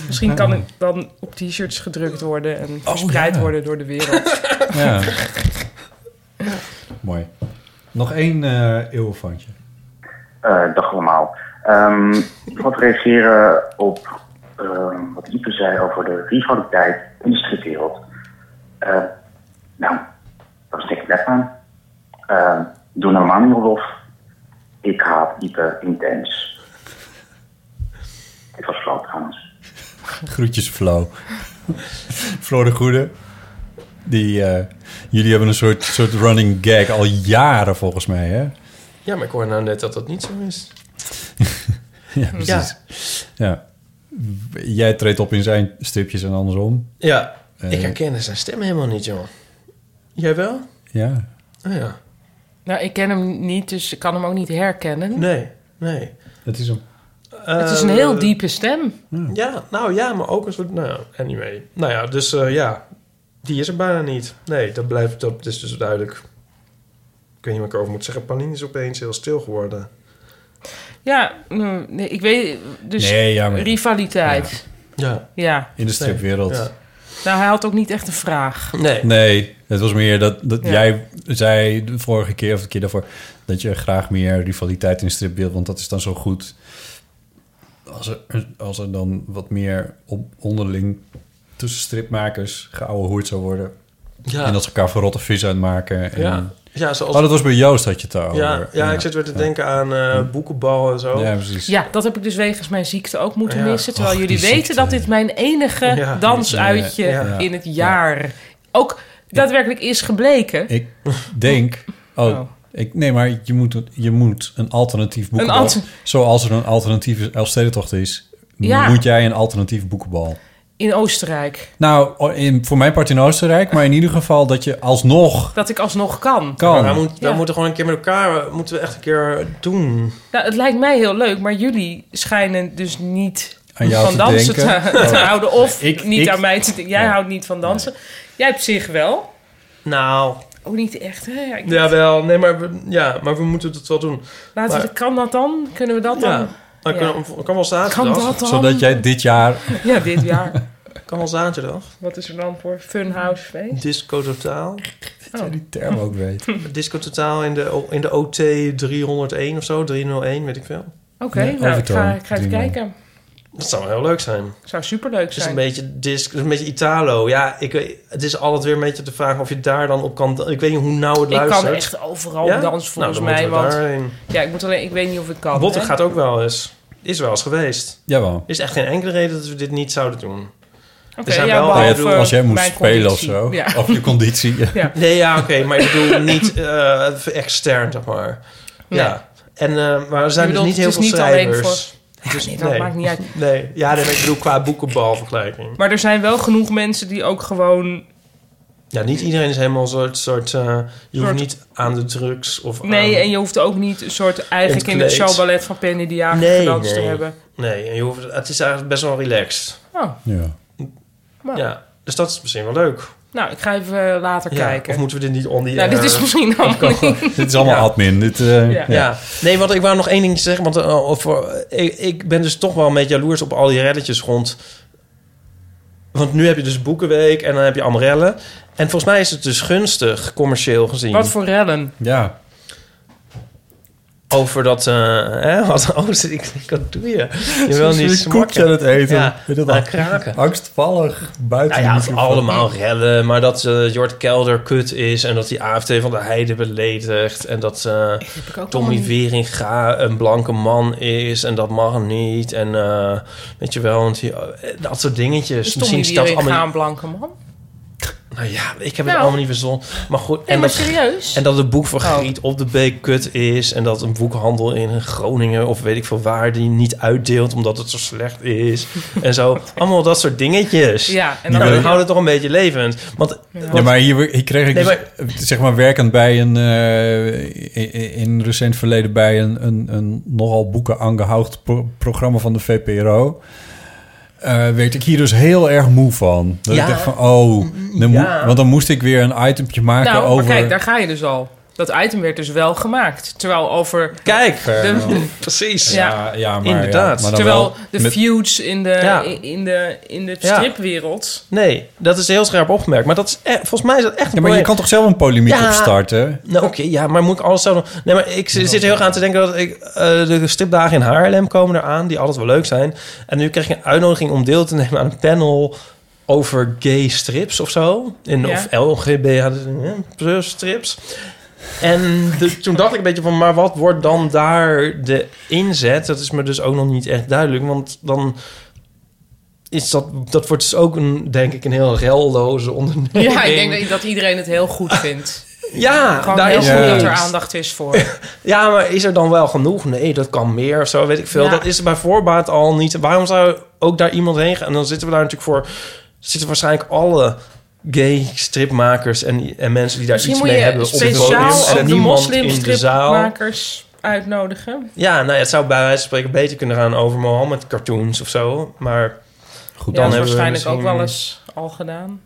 Speaker 4: Misschien kan het dan op t-shirts gedrukt worden en verspreid
Speaker 2: Oh, ja.
Speaker 4: worden door de wereld.
Speaker 2: Ja. Mooi. Nog één eh eeuwenfantje.
Speaker 6: Eh, dag allemaal. Ehm, ik wil reageren op ehm, wat Ipe zei over de rivaliteit in de stripwereld. Eh, nou, dat is ik net aan. Eh, doe normaal niet, Rudolf. Ik haat Ipe intens. Dit was flauw trouwens.
Speaker 2: Groetjes Flo. Flo de Goede. Die, eh, jullie hebben een soort, soort running gag al jaren volgens mij, hè?
Speaker 5: Ja, maar ik hoor nou net dat dat niet zo is.
Speaker 2: Ja, precies. Ja. Jij treedt op in zijn stripjes en andersom.
Speaker 5: Ja,
Speaker 2: Eh.
Speaker 5: ik herken dus zijn stem helemaal niet, joh. Jij wel?
Speaker 2: Ja.
Speaker 5: Oh ja.
Speaker 4: Nou, ik ken hem niet, dus ik kan hem ook niet herkennen.
Speaker 5: Nee, nee.
Speaker 2: Dat is hem.
Speaker 5: Eh,
Speaker 4: het is een
Speaker 5: eh,
Speaker 4: heel diepe stem.
Speaker 5: Ja, nou ja, maar ook een soort... Nou ja, anyway. Nou ja, dus eh, ja, die is er bijna niet. Nee, dat blijft... Dat is dus duidelijk. Ik weet niet wat ik erover moet zeggen. Panini is opeens heel stil geworden.
Speaker 4: Ja, mm, nee, ik weet... Dus
Speaker 2: Nee, ja, maar-
Speaker 4: rivaliteit.
Speaker 5: Ja.
Speaker 4: Ja.
Speaker 2: in de stripwereld.
Speaker 5: Ja.
Speaker 4: Nou, hij had ook niet echt een vraag.
Speaker 5: Nee.
Speaker 2: Nee, het was meer dat, dat
Speaker 4: Ja.
Speaker 2: jij zei de vorige keer of de keer daarvoor... dat je graag meer rivaliteit in de strip wilt, want dat is dan zo goed. Als er, als er dan wat meer op, onderling tussen stripmakers geouwehoerd zou worden...
Speaker 5: Ja.
Speaker 2: en dat ze elkaar voor rotte vis uitmaken. En...
Speaker 5: ja. ja, zoals...
Speaker 2: Oh, dat was bij Joost had je het over.
Speaker 5: ja, ja, ik zit weer te denken aan eh, boekenbal en zo.
Speaker 2: Ja, precies.
Speaker 4: Ja, dat heb ik dus wegens mijn ziekte ook moeten
Speaker 5: Ja.
Speaker 4: missen. Terwijl
Speaker 2: Och,
Speaker 4: jullie
Speaker 2: die
Speaker 4: weten
Speaker 2: ziekte.
Speaker 4: dat dit mijn enige
Speaker 5: Ja.
Speaker 4: dansuitje
Speaker 5: Ja. Ja.
Speaker 4: in het jaar ook daadwerkelijk is gebleken.
Speaker 2: Ik denk... Oh,
Speaker 4: Oh.
Speaker 2: Ik, nee, maar je moet, je moet een alternatief boekenbal...
Speaker 4: alter-
Speaker 2: zoals er een alternatieve Elfstedentocht is...
Speaker 4: Ja.
Speaker 2: moet jij een alternatief boekenbal.
Speaker 4: In Oostenrijk.
Speaker 2: Nou, in, voor mijn part in Oostenrijk... maar in ieder geval dat je alsnog
Speaker 4: Dat ik alsnog kan.
Speaker 2: kan.
Speaker 5: Maar we moeten,
Speaker 4: Ja.
Speaker 5: we moeten gewoon een keer met elkaar... eh, Moeten we echt een keer doen.
Speaker 4: Nou, het lijkt mij heel leuk, maar jullie schijnen dus niet
Speaker 2: Aan jou
Speaker 4: van
Speaker 2: te
Speaker 4: dansen te,
Speaker 2: denken.
Speaker 4: te houden. Of
Speaker 2: Ik-
Speaker 4: niet
Speaker 2: ik-
Speaker 4: aan mij te denken. Jij
Speaker 2: Ja.
Speaker 4: houdt niet van dansen. Jij op zich wel.
Speaker 5: Nou,
Speaker 4: Ook niet echt, hè? Ja, ik-
Speaker 5: jawel. Nee, maar we, ja, maar we moeten het wel doen.
Speaker 4: laten we,
Speaker 5: maar-
Speaker 4: kan dat dan? Kunnen we dat
Speaker 5: Ja.
Speaker 4: dan?
Speaker 5: Dan
Speaker 4: Ja.
Speaker 5: Kan, kan wel
Speaker 4: Kan
Speaker 5: zaterdag.
Speaker 4: dat dan?
Speaker 2: Zodat jij dit jaar...
Speaker 4: Ja, dit jaar.
Speaker 5: Kan wel zaterdag.
Speaker 4: Wat is er dan voor Funhouse feest?
Speaker 5: Disco Totaal.
Speaker 4: Oh.
Speaker 2: die term ook weet.
Speaker 5: Disco Totaal in de, O- in de OT 301 of zo. 301, weet ik veel.
Speaker 4: Oké,
Speaker 2: Ja,
Speaker 4: nou, ik ga,
Speaker 2: Overtoom,
Speaker 4: ik ga even
Speaker 2: drie man.
Speaker 4: kijken.
Speaker 5: Dat zou wel heel leuk zijn.
Speaker 4: Zou superleuk
Speaker 5: Het is een
Speaker 4: zijn.
Speaker 5: beetje disc, het is een beetje Italo. Ja, ik, weet- het is altijd weer een beetje de vraag of je daar dan op kan... Ik weet niet hoe nauw het
Speaker 4: Ik
Speaker 5: luistert.
Speaker 4: kan echt overal
Speaker 5: Ja?
Speaker 4: dansen volgens
Speaker 5: nou, dan
Speaker 4: mij.
Speaker 5: moeten we
Speaker 4: Want
Speaker 5: daarheen.
Speaker 4: ja, ik, moet alleen, ik weet niet of ik kan.
Speaker 5: Botte
Speaker 4: hè?
Speaker 5: gaat ook wel eens. Is wel eens geweest.
Speaker 2: Jawel.
Speaker 5: Er is echt geen enkele reden dat we dit niet zouden doen.
Speaker 4: Oké,
Speaker 5: zijn
Speaker 4: ja,
Speaker 5: wel-
Speaker 4: behalve
Speaker 2: Nou, ja, als jij moest
Speaker 4: eh, mijn
Speaker 2: spelen
Speaker 4: conditie.
Speaker 2: of zo. Oh.
Speaker 4: Ja.
Speaker 2: Of je conditie. ja.
Speaker 5: Nee, ja, oké. maar ik bedoel niet eh, extern, zeg maar. Ja. En, eh, maar er zijn
Speaker 4: Je
Speaker 5: dus
Speaker 4: bedoelt,
Speaker 5: niet heel
Speaker 4: het
Speaker 5: veel
Speaker 4: is niet alleen
Speaker 5: schrijvers.
Speaker 4: Ja,
Speaker 5: Dus
Speaker 4: nee, dat
Speaker 5: nee.
Speaker 4: maakt niet uit.
Speaker 5: Nee, ja, nee, maar ik bedoel qua boekenbalvergelijking.
Speaker 4: Maar er zijn wel genoeg mensen die ook gewoon...
Speaker 5: Ja, niet iedereen is helemaal soort... soort eh, je hoeft
Speaker 4: Soort-
Speaker 5: niet aan de drugs of
Speaker 4: Nee,
Speaker 5: aan...
Speaker 4: en je hoeft ook niet een soort eigenlijk in
Speaker 5: Ontkleed.
Speaker 4: het showballet van Penny de Jager
Speaker 5: Nee,
Speaker 4: gedanst te
Speaker 5: nee.
Speaker 4: hebben.
Speaker 5: Nee, en je hoeft, het is eigenlijk best wel relaxed.
Speaker 4: Oh,
Speaker 2: Ja.
Speaker 4: nou,
Speaker 5: Ja, dus dat is misschien wel leuk.
Speaker 4: nou, ik ga even eh, later
Speaker 5: Ja,
Speaker 4: kijken.
Speaker 5: Of eh, moeten we dit niet on the
Speaker 4: nou,
Speaker 5: air-
Speaker 4: dit is misschien allemaal niet...
Speaker 2: Dit is allemaal
Speaker 5: Ja.
Speaker 2: admin. Dit, eh,
Speaker 4: Ja.
Speaker 5: Ja. nee, want ik wou nog één ding zeggen. Want eh, of, eh, ik, ik ben dus toch wel een beetje jaloers op al die reddetjes rond. Want nu heb je dus Boekenweek en dan heb je Amrellen. En volgens mij is het dus gunstig, commercieel gezien.
Speaker 4: Wat voor rellen.
Speaker 2: ja.
Speaker 5: Over dat... eh hè, wat, oh, zit ik, wat doe je? Je wil
Speaker 2: Ze
Speaker 5: niet
Speaker 2: is koekje aan
Speaker 5: smakken.
Speaker 2: het eten.
Speaker 5: Ja,
Speaker 2: Weet je dat
Speaker 5: aan
Speaker 2: al?
Speaker 5: kraken.
Speaker 2: Angstvallig buiten
Speaker 5: Nou
Speaker 2: de
Speaker 5: ja,
Speaker 2: microfoon.
Speaker 5: allemaal rellen. Maar dat eh, Jort Kelder kut is. En dat die AFT van de Heide beledigt. En dat... eh,
Speaker 4: Heb ik ook allemaal
Speaker 5: Tommy
Speaker 4: niet.
Speaker 5: Weringa een blanke man is en dat mag niet. En eh, weet je wel, want die, eh, dat soort dingetjes.
Speaker 4: Is Dus Tommy
Speaker 5: is dat
Speaker 4: Wieringa
Speaker 5: allemaal.
Speaker 4: een blanke man?
Speaker 5: Nou ja, ik heb
Speaker 4: Nou.
Speaker 5: het allemaal niet verzonnen. Maar goed,
Speaker 4: Nee,
Speaker 5: en,
Speaker 4: maar
Speaker 5: dat,
Speaker 4: serieus?
Speaker 5: en dat het boek van
Speaker 4: Oh.
Speaker 5: Griet op de Beek kut is. En dat een boekhandel in Groningen of weet ik veel waar die niet uitdeelt omdat het zo slecht is. en zo. Allemaal dat soort dingetjes.
Speaker 4: Ja, en
Speaker 5: Nou,
Speaker 4: dan...
Speaker 5: dan houdt het toch een beetje levend. Want
Speaker 2: Ja, maar hier, hier kreeg ik
Speaker 5: Nee,
Speaker 2: dus, zeg maar werkend bij een... eh, in, in recent verleden bij een, een, een nogal boeken aangehouden pro- programma van de VPRO... eh, werd ik hier dus heel erg moe van. Dat
Speaker 5: Ja.
Speaker 2: ik dacht van, oh... dan moe-
Speaker 5: Ja.
Speaker 2: want dan moest ik weer een itempje maken
Speaker 4: Nou,
Speaker 2: over...
Speaker 4: maar kijk, daar ga je dus al. Dat item werd dus wel gemaakt. Terwijl over...
Speaker 5: kijk, eh, nou
Speaker 4: De,
Speaker 5: precies.
Speaker 4: Ja.
Speaker 2: ja, ja, maar,
Speaker 5: Inderdaad.
Speaker 2: Ja, maar dan
Speaker 4: terwijl
Speaker 2: wel
Speaker 4: de
Speaker 2: met-
Speaker 4: feuds in de,
Speaker 5: Ja.
Speaker 4: in de, in de
Speaker 5: Ja.
Speaker 4: stripwereld...
Speaker 5: Nee, dat is heel scherp opgemerkt. Maar dat is, eh, volgens mij is dat echt een
Speaker 2: ja, maar je
Speaker 5: probleem.
Speaker 2: kan toch zelf een polemiek
Speaker 5: Ja.
Speaker 2: opstarten?
Speaker 5: Nou, oké, ja, maar moet ik alles zelf doen? Nee, maar ik zit zit heel erg aan te denken dat ik... eh, de stripdagen in Haarlem komen eraan, die altijd wel leuk zijn. En nu kreeg ik een uitnodiging om deel te nemen aan een panel over gay strips of zo. In,
Speaker 4: Ja.
Speaker 5: Of LGB eh, plus strips. En de- toen dacht ik een beetje van, maar wat wordt dan daar de inzet? Dat is me dus ook nog niet echt duidelijk, want dan... Is dat, dat wordt dus ook, een, denk ik, een heel relloze onderneming.
Speaker 4: Ja, ik denk dat- dat iedereen het heel goed vindt.
Speaker 5: Nou, Ja,
Speaker 4: Gewoon
Speaker 5: daar
Speaker 4: heel
Speaker 5: is
Speaker 4: goed
Speaker 2: niks.
Speaker 4: dat er aandacht is voor.
Speaker 5: Ja, maar is er dan wel genoeg? Nee, dat kan meer of zo, weet ik veel.
Speaker 4: Ja.
Speaker 5: Dat is bij voorbaat al niet. Waarom zou ook daar iemand heen gaan? En dan zitten we daar natuurlijk voor... zitten waarschijnlijk alle gay stripmakers en, en mensen die daar
Speaker 4: Misschien
Speaker 5: iets
Speaker 4: Dus moet
Speaker 5: mee
Speaker 4: je
Speaker 5: hebben...
Speaker 4: speciaal
Speaker 5: podium en
Speaker 4: ook de
Speaker 5: niemand in de zaal.
Speaker 4: moslimstripmakers uitnodigen.
Speaker 5: Ja, nou ja, het zou bij wijze van spreken beter kunnen gaan over Mohammed cartoons of zo. Maar
Speaker 2: Goed,
Speaker 4: Ja,
Speaker 2: dan
Speaker 4: dat is
Speaker 5: hebben we
Speaker 4: waarschijnlijk
Speaker 5: misschien-
Speaker 4: ook wel eens al gedaan.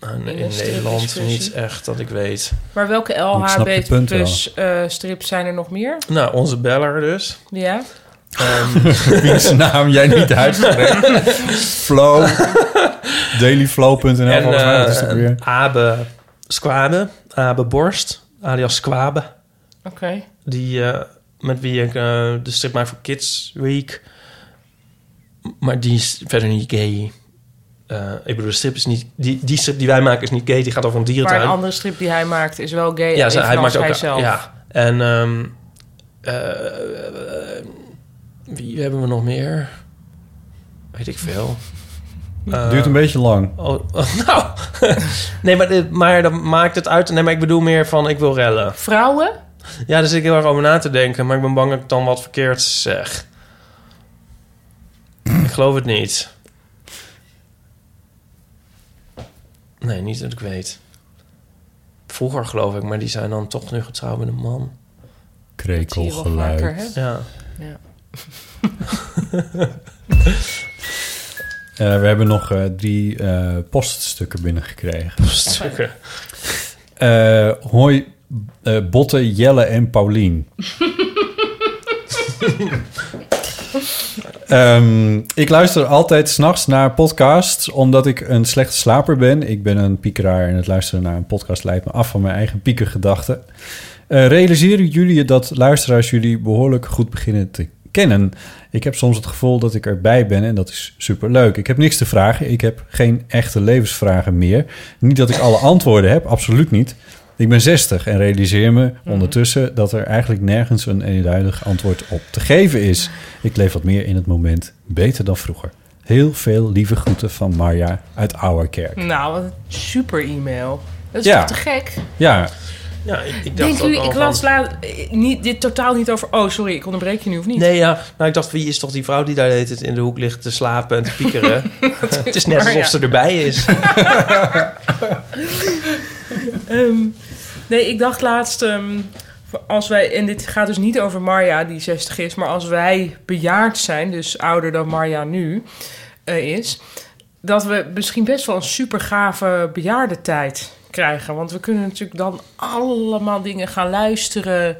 Speaker 5: nou, in,
Speaker 4: In een
Speaker 5: Nederland
Speaker 4: stripdiscussie.
Speaker 5: niet echt dat ik weet.
Speaker 4: Maar welke
Speaker 2: Ik snap je
Speaker 4: LHB
Speaker 2: punt wel.
Speaker 4: plus eh, strips zijn er nog meer?
Speaker 5: Nou, onze beller dus.
Speaker 4: Ja.
Speaker 5: Ehm,
Speaker 2: wiens naam jij niet uitspreekt. Flow. Dailyflow.nl.
Speaker 5: en
Speaker 2: volgens mij, dat is het ook
Speaker 5: eh,
Speaker 2: weer.
Speaker 5: Abe Squabe, Abe Borst, alias Squabe.
Speaker 4: Oké.
Speaker 5: Die, eh, met wie ik eh, de strip maak voor Kids Week. Maar die is verder niet gay. Eh, ik bedoel, de strip is niet... Die, die strip die wij maken is niet gay. Die gaat over een
Speaker 4: Maar
Speaker 5: dierentuin.
Speaker 4: een andere strip die hij maakt is wel gay.
Speaker 5: ja,
Speaker 4: Ja,
Speaker 5: ze-
Speaker 4: hij
Speaker 5: hij maakt ook...
Speaker 4: hij zelf.
Speaker 5: Ja. En ehm, eh, eh, wie hebben we nog meer? Weet ik veel. Eh,
Speaker 2: Duurt een beetje lang.
Speaker 5: Oh, oh, nou. nee, maar, dit- maar dat maakt het uit. Nee, maar ik bedoel meer van ik wil rellen.
Speaker 4: Vrouwen?
Speaker 5: Ja, daar zit ik heel erg over na te denken. Maar ik ben bang dat ik dan wat verkeerd zeg. ik geloof het niet. Nee, niet dat ik weet. Vroeger geloof ik, maar die zijn dan toch nu getrouwd met een man.
Speaker 4: Zie je wel vaker, hè?
Speaker 5: Ja.
Speaker 2: Eh, we hebben nog eh, drie eh, poststukken binnengekregen.
Speaker 5: Stukken.
Speaker 2: Eh hoi, eh, Botte, Jelle en Paulien. Ehm, ik luister altijd s'nachts naar podcasts, omdat ik een slechte slaper ben. Ik ben een piekeraar en het luisteren naar een podcast leidt me af van mijn eigen piekergedachten. Eh realiseren jullie dat luisteraars jullie behoorlijk goed beginnen te kennen? Ik heb soms het gevoel dat ik erbij ben en dat is superleuk. Ik heb niks te vragen. Ik heb geen echte levensvragen meer. Niet dat ik alle antwoorden heb, absoluut niet. Ik ben 60 en realiseer me
Speaker 4: Mhm.
Speaker 2: ondertussen dat er eigenlijk nergens een eenduidig antwoord op te geven is. Ik leef wat meer in het moment, beter dan vroeger. Heel veel lieve groeten van Marja uit Ouwerkerk.
Speaker 4: Nou, wat een super e-mail. Dat is
Speaker 2: Ja.
Speaker 4: toch te gek?
Speaker 2: Ja,
Speaker 5: Ja, ik, ik dacht
Speaker 4: Denkt u,
Speaker 5: ook al
Speaker 4: ik
Speaker 5: van-
Speaker 4: las laat, eh, niet, dit totaal niet over... Oh, sorry, ik onderbreek je nu of niet?
Speaker 5: Nee, ja. Nou, ik dacht, wie is toch die vrouw die daar de hele tijd in de hoek ligt te slapen en te piekeren? het is net
Speaker 4: waar,
Speaker 5: alsof
Speaker 4: ja.
Speaker 5: ze erbij is.
Speaker 4: Ehm, nee, ik dacht laatst... ehm, als wij, en dit gaat dus niet over Marja die 60 is... maar als wij bejaard zijn, dus ouder dan Marja nu eh, is... dat we misschien best wel een super gave bejaardentijd krijgen. Want we kunnen natuurlijk dan allemaal dingen gaan luisteren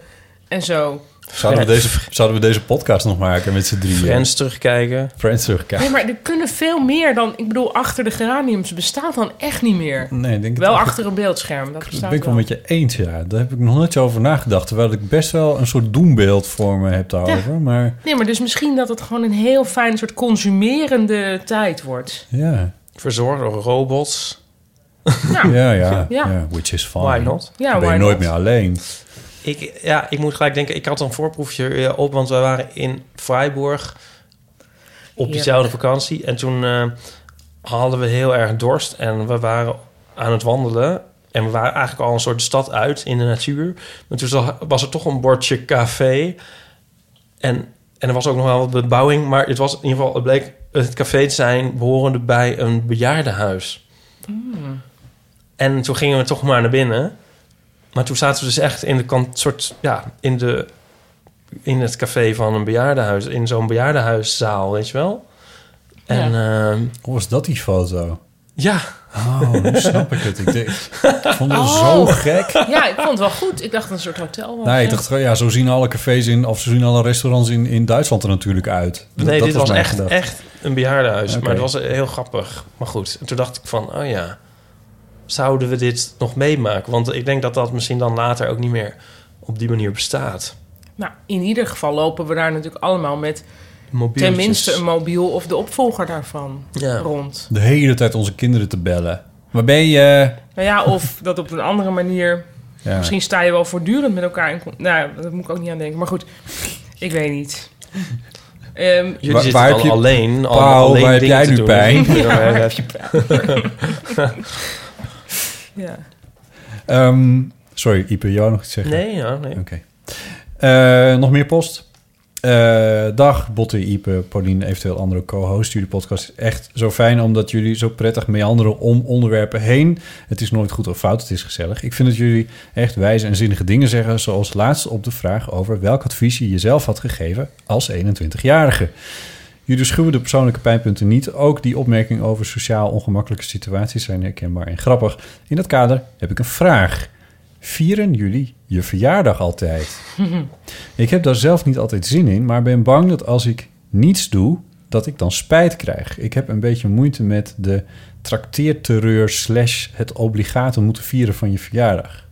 Speaker 4: en zo.
Speaker 2: zouden we, deze, zouden we deze podcast nog maken met z'n drieën?
Speaker 5: Friends terugkijken.
Speaker 2: Friends terugkijken.
Speaker 4: Nee, maar er kunnen veel meer dan... Ik bedoel, achter de geraniums bestaat dan echt niet meer.
Speaker 2: Nee, ik denk het
Speaker 4: Wel
Speaker 2: eigenlijk-
Speaker 4: achter een beeldscherm, dat
Speaker 2: Dat
Speaker 4: bestaat
Speaker 2: ben ik wel
Speaker 4: wel.
Speaker 2: met je eens, ja. Daar heb ik nog nooit zo over nagedacht. Terwijl ik best wel een soort doembeeld voor me heb daarover. Maar
Speaker 4: Nee, maar dus misschien dat het gewoon een heel fijn soort consumerende tijd wordt.
Speaker 2: ja,
Speaker 5: Verzorgd door robots.
Speaker 4: Nou,
Speaker 2: ja, ja.
Speaker 4: Ja.
Speaker 2: ja, which is fine.
Speaker 5: Why not?
Speaker 4: Ja,
Speaker 2: Dan ben
Speaker 4: why
Speaker 2: je nooit
Speaker 4: not?
Speaker 2: meer alleen.
Speaker 5: Ik, ja, ik moet gelijk denken, ik had een voorproefje eh, op, want wij waren in Freiburg op
Speaker 4: Ja.
Speaker 5: diezelfde vakantie. En toen eh, hadden we heel erg dorst en we waren aan het wandelen. En we waren eigenlijk al een soort stad uit in de natuur. Maar toen zag- was er toch een bordje café. En, en er was ook nog wel wat bebouwing. Maar het was in ieder geval, het bleek het café te zijn behorende bij een bejaardenhuis. En toen gingen we toch maar naar binnen. Maar toen zaten we dus echt in de kant, soort, ja, in de in het café van een bejaardenhuis, in zo'n bejaardenhuiszaal, weet je wel? En ja,
Speaker 2: Hoe was dat die foto?
Speaker 5: ja.
Speaker 2: Oh, nu snap ik het. Ik, denk- ik vond het
Speaker 5: Oh.
Speaker 2: zo gek.
Speaker 4: Ja, ik vond het wel goed. Ik dacht een soort hotel. was
Speaker 2: Nee, ik
Speaker 4: het.
Speaker 2: dacht, oh ja, zo zien alle cafés in... of zo zien alle restaurants in, in Duitsland er natuurlijk uit. Dat-
Speaker 5: nee,
Speaker 2: dat
Speaker 5: dit was,
Speaker 2: mijn
Speaker 5: echt,
Speaker 2: gedachte.
Speaker 5: echt een bejaardenhuis,
Speaker 2: Oké.
Speaker 5: maar het was heel grappig. Maar goed, en toen dacht ik van, oh ja, zouden we dit nog meemaken? Want ik denk dat dat misschien dan later ook niet meer op die manier bestaat.
Speaker 4: Nou, in ieder geval lopen we daar natuurlijk allemaal met
Speaker 5: Mobieltjes.
Speaker 4: tenminste een mobiel of de opvolger daarvan
Speaker 5: Ja.
Speaker 4: rond.
Speaker 2: De hele tijd onze kinderen te bellen. Waar ben je?
Speaker 4: Nou ja, of dat op een andere manier.
Speaker 2: Ja.
Speaker 4: Misschien sta je wel voortdurend met elkaar in contact. Nou, daar moet ik ook niet aan denken. Maar goed, ik weet niet. Ehm,
Speaker 5: Jullie
Speaker 2: Waar-
Speaker 5: zitten
Speaker 2: waar
Speaker 5: dan
Speaker 2: heb je-
Speaker 5: alleen, al,
Speaker 2: Paul,
Speaker 5: alleen
Speaker 2: waar heb
Speaker 5: dingen
Speaker 2: jij
Speaker 5: te
Speaker 2: nu
Speaker 5: doen.
Speaker 2: pijn?
Speaker 5: Ja, waar heb je-
Speaker 4: ja.
Speaker 2: Ehm,
Speaker 5: oh,
Speaker 2: sorry, Ipe, jou nog iets zeggen?
Speaker 5: Nee, ja, nee.
Speaker 2: Oké. Eh, nog meer post. Eh, dag, Botte, Ipe, Pauline, eventueel andere co-hosts. Jullie podcast is echt zo fijn omdat jullie zo prettig meanderen om onderwerpen heen. Het is nooit goed of fout, het is gezellig. Ik vind dat jullie echt wijze en zinnige dingen zeggen, zoals laatst op de vraag over welk advies je jezelf had gegeven als 21-jarige. Jullie schuwen de persoonlijke pijnpunten niet. Ook die opmerking over sociaal ongemakkelijke situaties zijn herkenbaar en grappig. In dat kader heb ik een vraag. Vieren jullie je verjaardag altijd? ik heb daar zelf niet altijd zin in, maar ben bang dat als ik niets doe, dat ik dan spijt krijg. Ik heb een beetje moeite met de trakteerterreur slash het obligate moeten vieren van je verjaardag.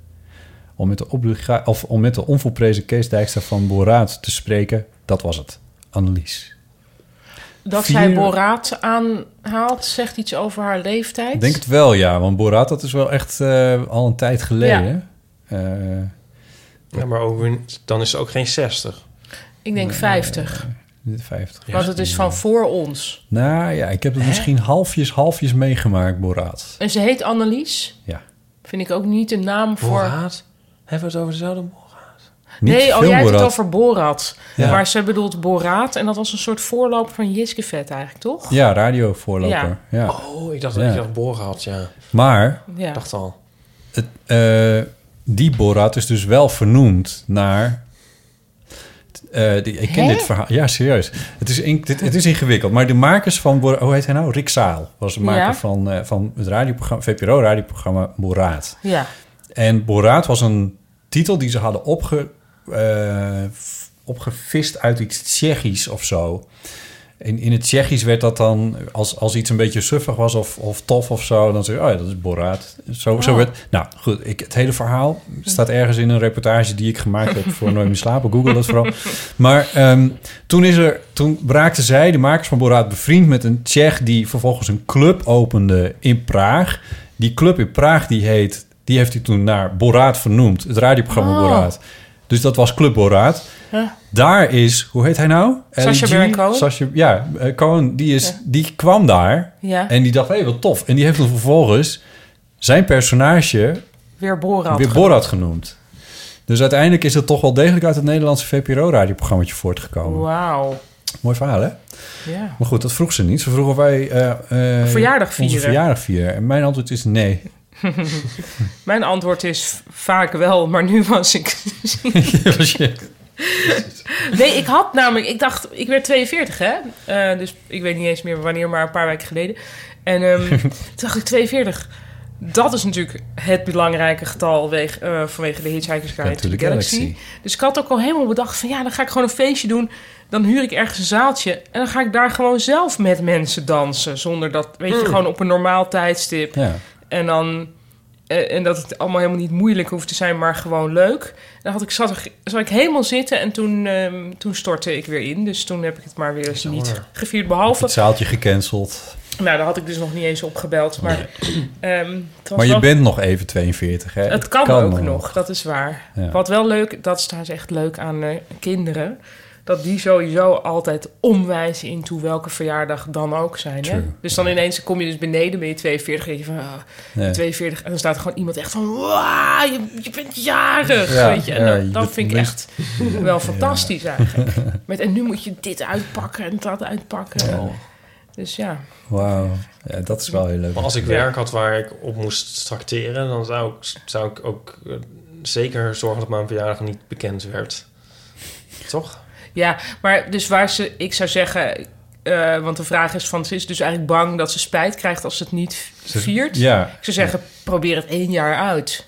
Speaker 2: Om met de, obliga- of om met de onvolprezen Kees Dijkstra van Boraat te spreken, dat was het. Annelies.
Speaker 4: Dat
Speaker 2: Vier-
Speaker 4: zij Boraat aanhaalt, zegt iets over haar leeftijd.
Speaker 2: Ik denk het wel, ja. Want Borat, dat is wel echt eh, al een tijd geleden. Eh,
Speaker 5: Ja, maar ook, weer niet- dan is het ook geen 60.
Speaker 4: Ik denk 50.
Speaker 2: dit 50.
Speaker 4: want het is van voor ons.
Speaker 2: Nou ja, ik heb het misschien halfjes, halfjes meegemaakt, Borat.
Speaker 4: En ze heet Annelies.
Speaker 2: Ja.
Speaker 4: Vind ik ook niet een naam voor...
Speaker 5: Boraat? Hebben we het over dezelfde Boraat?
Speaker 2: Niet
Speaker 4: nee, oh,
Speaker 2: veel
Speaker 4: jij hebt het
Speaker 2: Borat.
Speaker 4: over Borat.
Speaker 2: Ja.
Speaker 4: Maar ze bedoelt Boraat. En dat was een soort voorloper van Jiskevet eigenlijk, toch?
Speaker 2: Ja, radiovoorloper. Ja.
Speaker 5: Oh, ik dacht
Speaker 2: Ja.
Speaker 5: dat ik dacht Boraat, ja. Ik
Speaker 2: Maar
Speaker 4: Ja.
Speaker 5: dacht al.
Speaker 2: het, eh, die Borat is dus wel vernoemd naar... eh, die, ik ken dit verhaal. Ja, serieus. Het is, in- dit, het is ingewikkeld. Maar de makers van... Borat, hoe heet hij nou? Rick Zaal was de maker
Speaker 4: Ja.
Speaker 2: van, eh, van het radioprogramma, VPRO-radioprogramma Boraat.
Speaker 4: ja.
Speaker 2: En Boraat was een titel die ze hadden opge, eh, f- opgevist uit iets Tsjechisch of zo. In, in het Tsjechisch werd dat dan, als, als iets een beetje suffig was of, of tof of zo, dan zeg je, oh ja, dat is Boraat. Zo, zo werd, nou goed, ik, het hele verhaal staat ergens in een reportage die ik gemaakt heb voor Nooit meer slapen. Google dat vooral. Maar ehm, toen, is er, toen raakten zij, de makers van Boraat, bevriend met een Tsjech die vervolgens een club opende in Praag. Die club in Praag, die heet, die heeft hij toen naar Boraat vernoemd. Het radioprogramma Boraat. Dus dat was Club Boraat. Daar is, hoe heet hij nou?
Speaker 4: Sacha
Speaker 2: LG?
Speaker 4: Baron Cohen?
Speaker 2: Sacha- ja, eh, Cohen, die, is, die kwam daar.
Speaker 4: Ja.
Speaker 2: En die dacht, hé, wat tof. En die heeft hem vervolgens zijn personage
Speaker 4: Weer Borat.
Speaker 2: weer Borat genoemd. Dus uiteindelijk is dat toch wel degelijk uit het Nederlandse VPRO-radioprogrammaatje voortgekomen.
Speaker 4: Wauw.
Speaker 2: Mooi verhaal, hè?
Speaker 4: Ja.
Speaker 2: Maar goed, dat vroeg ze niet. Ze vroeg of wij... eh, eh,
Speaker 4: Verjaardag
Speaker 2: Onze
Speaker 4: vieren.
Speaker 2: verjaardag vieren. En mijn antwoord is nee.
Speaker 4: Mijn antwoord is v- vaak wel, maar nu was ik... Nee, ik had namelijk... Ik dacht, ik werd 42, hè? Eh, dus ik weet niet eens meer wanneer, maar een paar weken geleden. En ehm, toen dacht ik 42. Dat is natuurlijk het belangrijke getal weg, eh, vanwege de Hitchhiker's Guide
Speaker 2: Ja,
Speaker 4: to the
Speaker 2: natuurlijk,
Speaker 4: Galaxy.
Speaker 2: Galaxy.
Speaker 4: Dus ik had ook al helemaal bedacht van... ja, dan ga ik gewoon een feestje doen. Dan huur ik ergens een zaaltje. En dan ga ik daar gewoon zelf met mensen dansen. Zonder dat, weet
Speaker 2: Hmm.
Speaker 4: je, gewoon op een normaal tijdstip.
Speaker 2: ja.
Speaker 4: En dan. eh, En dat het allemaal helemaal niet moeilijk hoeft te zijn, maar gewoon leuk. Dan had ik, zat, er, zat ik helemaal zitten en toen, ehm, toen stortte ik weer in. Dus toen heb ik het maar weer eens niet gevierd. Behalve,
Speaker 2: Het zaaltje gecanceld.
Speaker 4: nou, daar had ik dus nog niet eens opgebeld. Maar, ehm, het was
Speaker 2: Maar je
Speaker 4: wel-
Speaker 2: bent nog even 42, hè?
Speaker 4: het kan, ook nog. dat is waar.
Speaker 2: Eh, Ja.
Speaker 4: Wat wel leuk, dat is trouwens echt leuk aan eh, kinderen. Dat die sowieso altijd omwijzen in toe welke verjaardag dan ook zijn. Hè?
Speaker 2: True.
Speaker 4: Dus dan ineens kom je dus beneden, ben je 42 en denk je van... ah,
Speaker 2: Ja.
Speaker 4: 42 en dan staat er gewoon iemand echt van... Wow, je, je bent jarig,
Speaker 2: Ja,
Speaker 4: weet je. En
Speaker 2: ja,
Speaker 4: dan,
Speaker 2: je
Speaker 4: dat
Speaker 2: bent
Speaker 4: vind ik
Speaker 2: meest-
Speaker 4: echt wel fantastisch eigenlijk. Met, en nu moet je dit uitpakken en dat uitpakken. Dus ja,
Speaker 2: Wauw. Ja, dat is wel heel leuk.
Speaker 5: Maar als ik werk had waar ik op moest tracteren, dan zou ik, zou ik ook eh, zeker zorgen dat mijn verjaardag niet bekend werd. Toch?
Speaker 4: Ja, maar dus waar ze, ik zou zeggen, eh, want de vraag is van, ze is dus eigenlijk bang dat ze spijt krijgt als ze het niet v- viert.
Speaker 2: Ja,
Speaker 4: Ik zou zeggen, probeer het één jaar uit.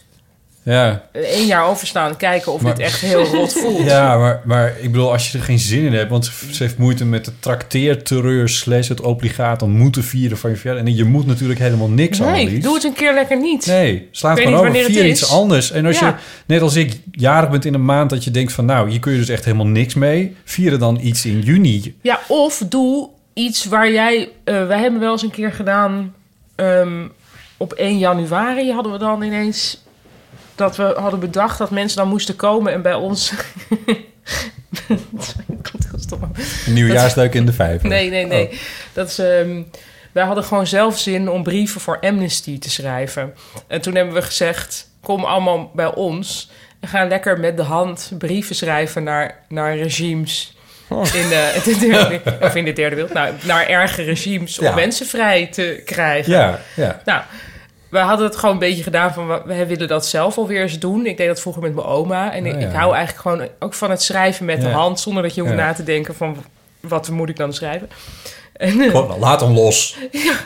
Speaker 2: ja.
Speaker 4: Eén jaar overstaan, kijken of
Speaker 2: Maar-
Speaker 4: het echt heel rot voelt.
Speaker 2: Ja, maar, maar ik bedoel, als je er geen zin in hebt... want ze ze heeft moeite met de trakteerterreur... slash het obligaat om moeten vieren van je verjaardag. En je moet natuurlijk helemaal niks aan
Speaker 4: nee, doe het een keer lekker niet.
Speaker 2: Nee, sla het
Speaker 4: Ik
Speaker 2: gewoon
Speaker 4: weet niet
Speaker 2: over.
Speaker 4: wanneer het
Speaker 2: Vier
Speaker 4: is.
Speaker 2: iets anders. En als
Speaker 4: Ja.
Speaker 2: je, net als ik, jarig bent in een maand... dat je denkt van, nou, hier kun je dus echt helemaal niks mee. Vieren dan iets in juni.
Speaker 4: Ja, of doe iets waar jij... eh, wij hebben wel eens een keer gedaan... ehm, op 1 januari hadden we dan ineens... dat we hadden bedacht dat mensen dan moesten komen... en bij ons... Ik moet heel stom.
Speaker 2: Een nieuwjaarsduik in de vijver.
Speaker 4: Nee, nee,
Speaker 2: Oh.
Speaker 4: nee. Dat is, ehm, wij hadden gewoon zelf zin om brieven voor Amnesty te schrijven. En toen hebben we gezegd: kom allemaal bij ons. En ga lekker met de hand brieven schrijven naar, naar regimes.
Speaker 2: Oh.
Speaker 4: in, de, de derde, of in de derde wereld. Nou, naar erge regimes om
Speaker 2: Ja.
Speaker 4: mensen vrij te krijgen.
Speaker 2: Ja, ja.
Speaker 4: Nou, we hadden het gewoon een beetje gedaan van... we- we willen dat zelf alweer eens doen. Ik deed dat vroeger met mijn oma. En ik,
Speaker 2: Oh, ja.
Speaker 4: ik hou eigenlijk gewoon ook van het schrijven met de
Speaker 2: Ja.
Speaker 4: hand... zonder dat je hoeft
Speaker 2: Ja.
Speaker 4: na te denken van... wat moet ik dan schrijven?
Speaker 2: Gewoon, nou, laat hem los.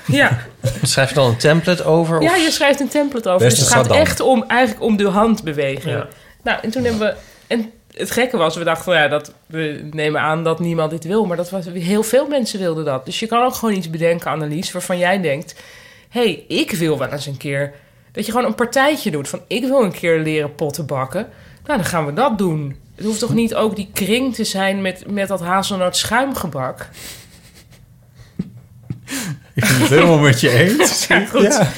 Speaker 4: Ja,
Speaker 5: Schrijf je dan een template over? Of...
Speaker 4: ja je schrijft een template over.
Speaker 2: Beste
Speaker 4: Dus het gaat
Speaker 2: Saddam.
Speaker 4: echt om, eigenlijk om de hand bewegen. Nou, en toen hebben we... En het gekke was, we dachten, van, ja, dat, we nemen aan dat niemand dit wil. Maar dat was, heel veel mensen wilden dat. Dus je kan ook gewoon iets bedenken, Annelies, waarvan jij denkt... Hé, hey, ik wil wel eens een keer... Dat je gewoon een partijtje doet van... Ik wil een keer leren potten bakken. Nou, dan gaan we dat doen. Het hoeft toch niet ook die kring te zijn met, met dat hazelnoot schuimgebak?
Speaker 2: Ik ben het helemaal met je eens.
Speaker 4: Ja, goed.
Speaker 2: Ja.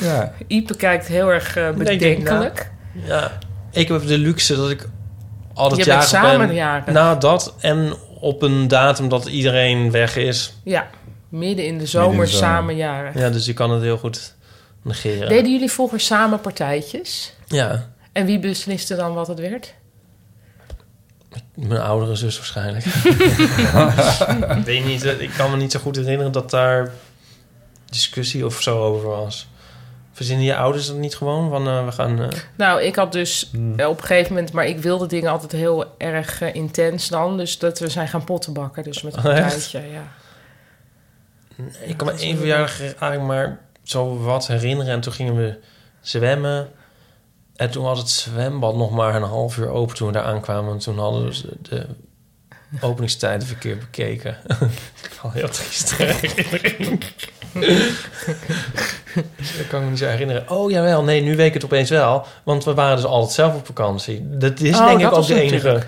Speaker 2: ja.
Speaker 4: Ipe kijkt heel erg eh,
Speaker 5: denk na.
Speaker 4: bedenkelijk.
Speaker 5: Ja, ik heb de luxe dat ik altijd
Speaker 4: Je bent
Speaker 5: jarig
Speaker 4: samen
Speaker 5: ben.
Speaker 4: jarig.
Speaker 5: Na dat en op een datum dat iedereen weg is.
Speaker 4: Ja, midden in de zomer,
Speaker 2: Midden in de zomer.
Speaker 4: samen jaren.
Speaker 5: Ja, dus je kan het heel goed negeren.
Speaker 4: Deden jullie vroeger samen partijtjes?
Speaker 5: Ja,
Speaker 4: En wie besliste dan wat het werd?
Speaker 5: mijn oudere zus waarschijnlijk. Ik Weet niet, eh, ik kan me niet zo goed herinneren dat daar discussie of zo over was. Verzinnen je ouders dat niet gewoon? Van eh, we gaan. eh,
Speaker 4: Nou, ik had dus eh, op een gegeven moment... Maar ik wilde dingen altijd heel erg eh, intens dan. Dus dat we zijn gaan potten bakken. Dus met een
Speaker 5: Oh, echt?
Speaker 4: partijtje, ja.
Speaker 5: Ik kan me één verjaardag eigenlijk maar zo wat herinneren. En toen gingen we zwemmen. En toen had het zwembad nog maar een half uur open toen we daar aankwamen. En toen hadden ze de openingstijden verkeerd bekeken. Al heel triest. herinnering. Dat kan ik me niet zo herinneren. Oh jawel, nee, nu weet ik het opeens wel. Want we waren dus altijd zelf op vakantie. Dat is
Speaker 4: Oh,
Speaker 5: denk
Speaker 4: dat
Speaker 5: ik ook
Speaker 4: was
Speaker 5: de
Speaker 4: natuurlijk.
Speaker 5: enige.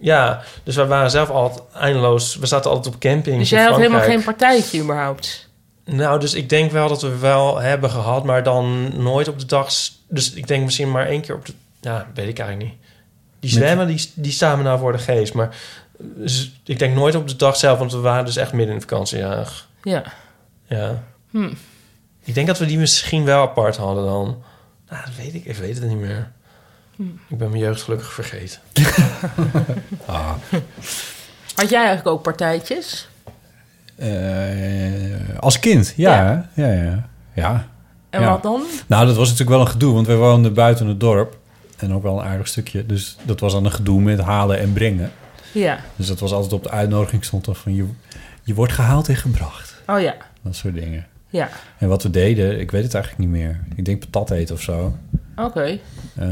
Speaker 5: Ja, dus we waren zelf altijd eindeloos. We zaten altijd op camping.
Speaker 4: Dus
Speaker 5: in
Speaker 4: jij had helemaal
Speaker 5: Frankrijk.
Speaker 4: geen partijtje überhaupt?
Speaker 5: Nou, dus ik denk wel dat we wel hebben gehad, maar dan nooit op de dag. s- Dus ik denk misschien maar één keer op de. Ja, weet ik eigenlijk niet. Die zwemmen, die, die staan me nou voor de geest. Maar eh, z- ik denk nooit op de dag zelf, want we waren dus echt midden in de vakantie. Ja.
Speaker 4: Ja.
Speaker 5: ja. Ik denk dat we die misschien wel apart hadden dan. Nou, dat weet ik. Ik weet het niet meer. Ik ben mijn jeugd gelukkig vergeten.
Speaker 4: Had jij eigenlijk ook partijtjes?
Speaker 2: Eh, als kind, ja. Ja, ja. ja.
Speaker 4: En
Speaker 2: Ja.
Speaker 4: wat dan?
Speaker 2: Nou, dat was natuurlijk wel een gedoe, want wij woonden buiten het dorp. En ook wel een aardig stukje. Dus dat was dan een gedoe met halen en brengen.
Speaker 4: Ja.
Speaker 2: Dus dat was altijd op de uitnodiging stond dan van... je, je wordt gehaald en gebracht.
Speaker 4: Oh ja.
Speaker 2: Dat soort dingen.
Speaker 4: Ja.
Speaker 2: En wat we deden, ik weet het eigenlijk niet meer. Ik denk patat eten of zo.
Speaker 4: Oké.
Speaker 2: Eh,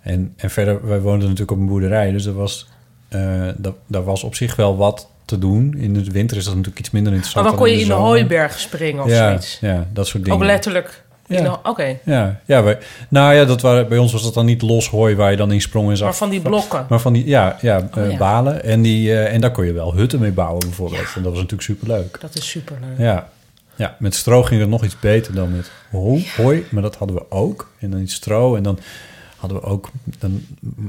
Speaker 2: en, en verder, wij woonden natuurlijk op een boerderij, dus er was, eh, da- daar was op zich wel wat te doen. In de winter is dat natuurlijk iets minder
Speaker 4: Maar
Speaker 2: interessant.
Speaker 4: dan kon je in de
Speaker 2: zomer.
Speaker 4: hooiberg springen of
Speaker 2: ja,
Speaker 4: zoiets?
Speaker 2: ja, dat soort dingen.
Speaker 4: Ook letterlijk.
Speaker 2: Ja.
Speaker 4: in de- Oké.
Speaker 2: Ja, ja wij, nou ja, dat waren, bij ons was dat dan niet los hooi waar je dan in sprong en zag.
Speaker 4: Maar van die blokken.
Speaker 2: Maar van die, ja, ja, eh,
Speaker 4: ja.
Speaker 2: balen. En, die, eh, en daar kon je wel hutten mee bouwen bijvoorbeeld. En dat was natuurlijk superleuk.
Speaker 4: Dat is superleuk.
Speaker 2: Ja. ja, met stro ging het nog iets beter dan met ho hooi. Maar dat hadden we ook. En dan iets stro. En dan hadden we ook... Dan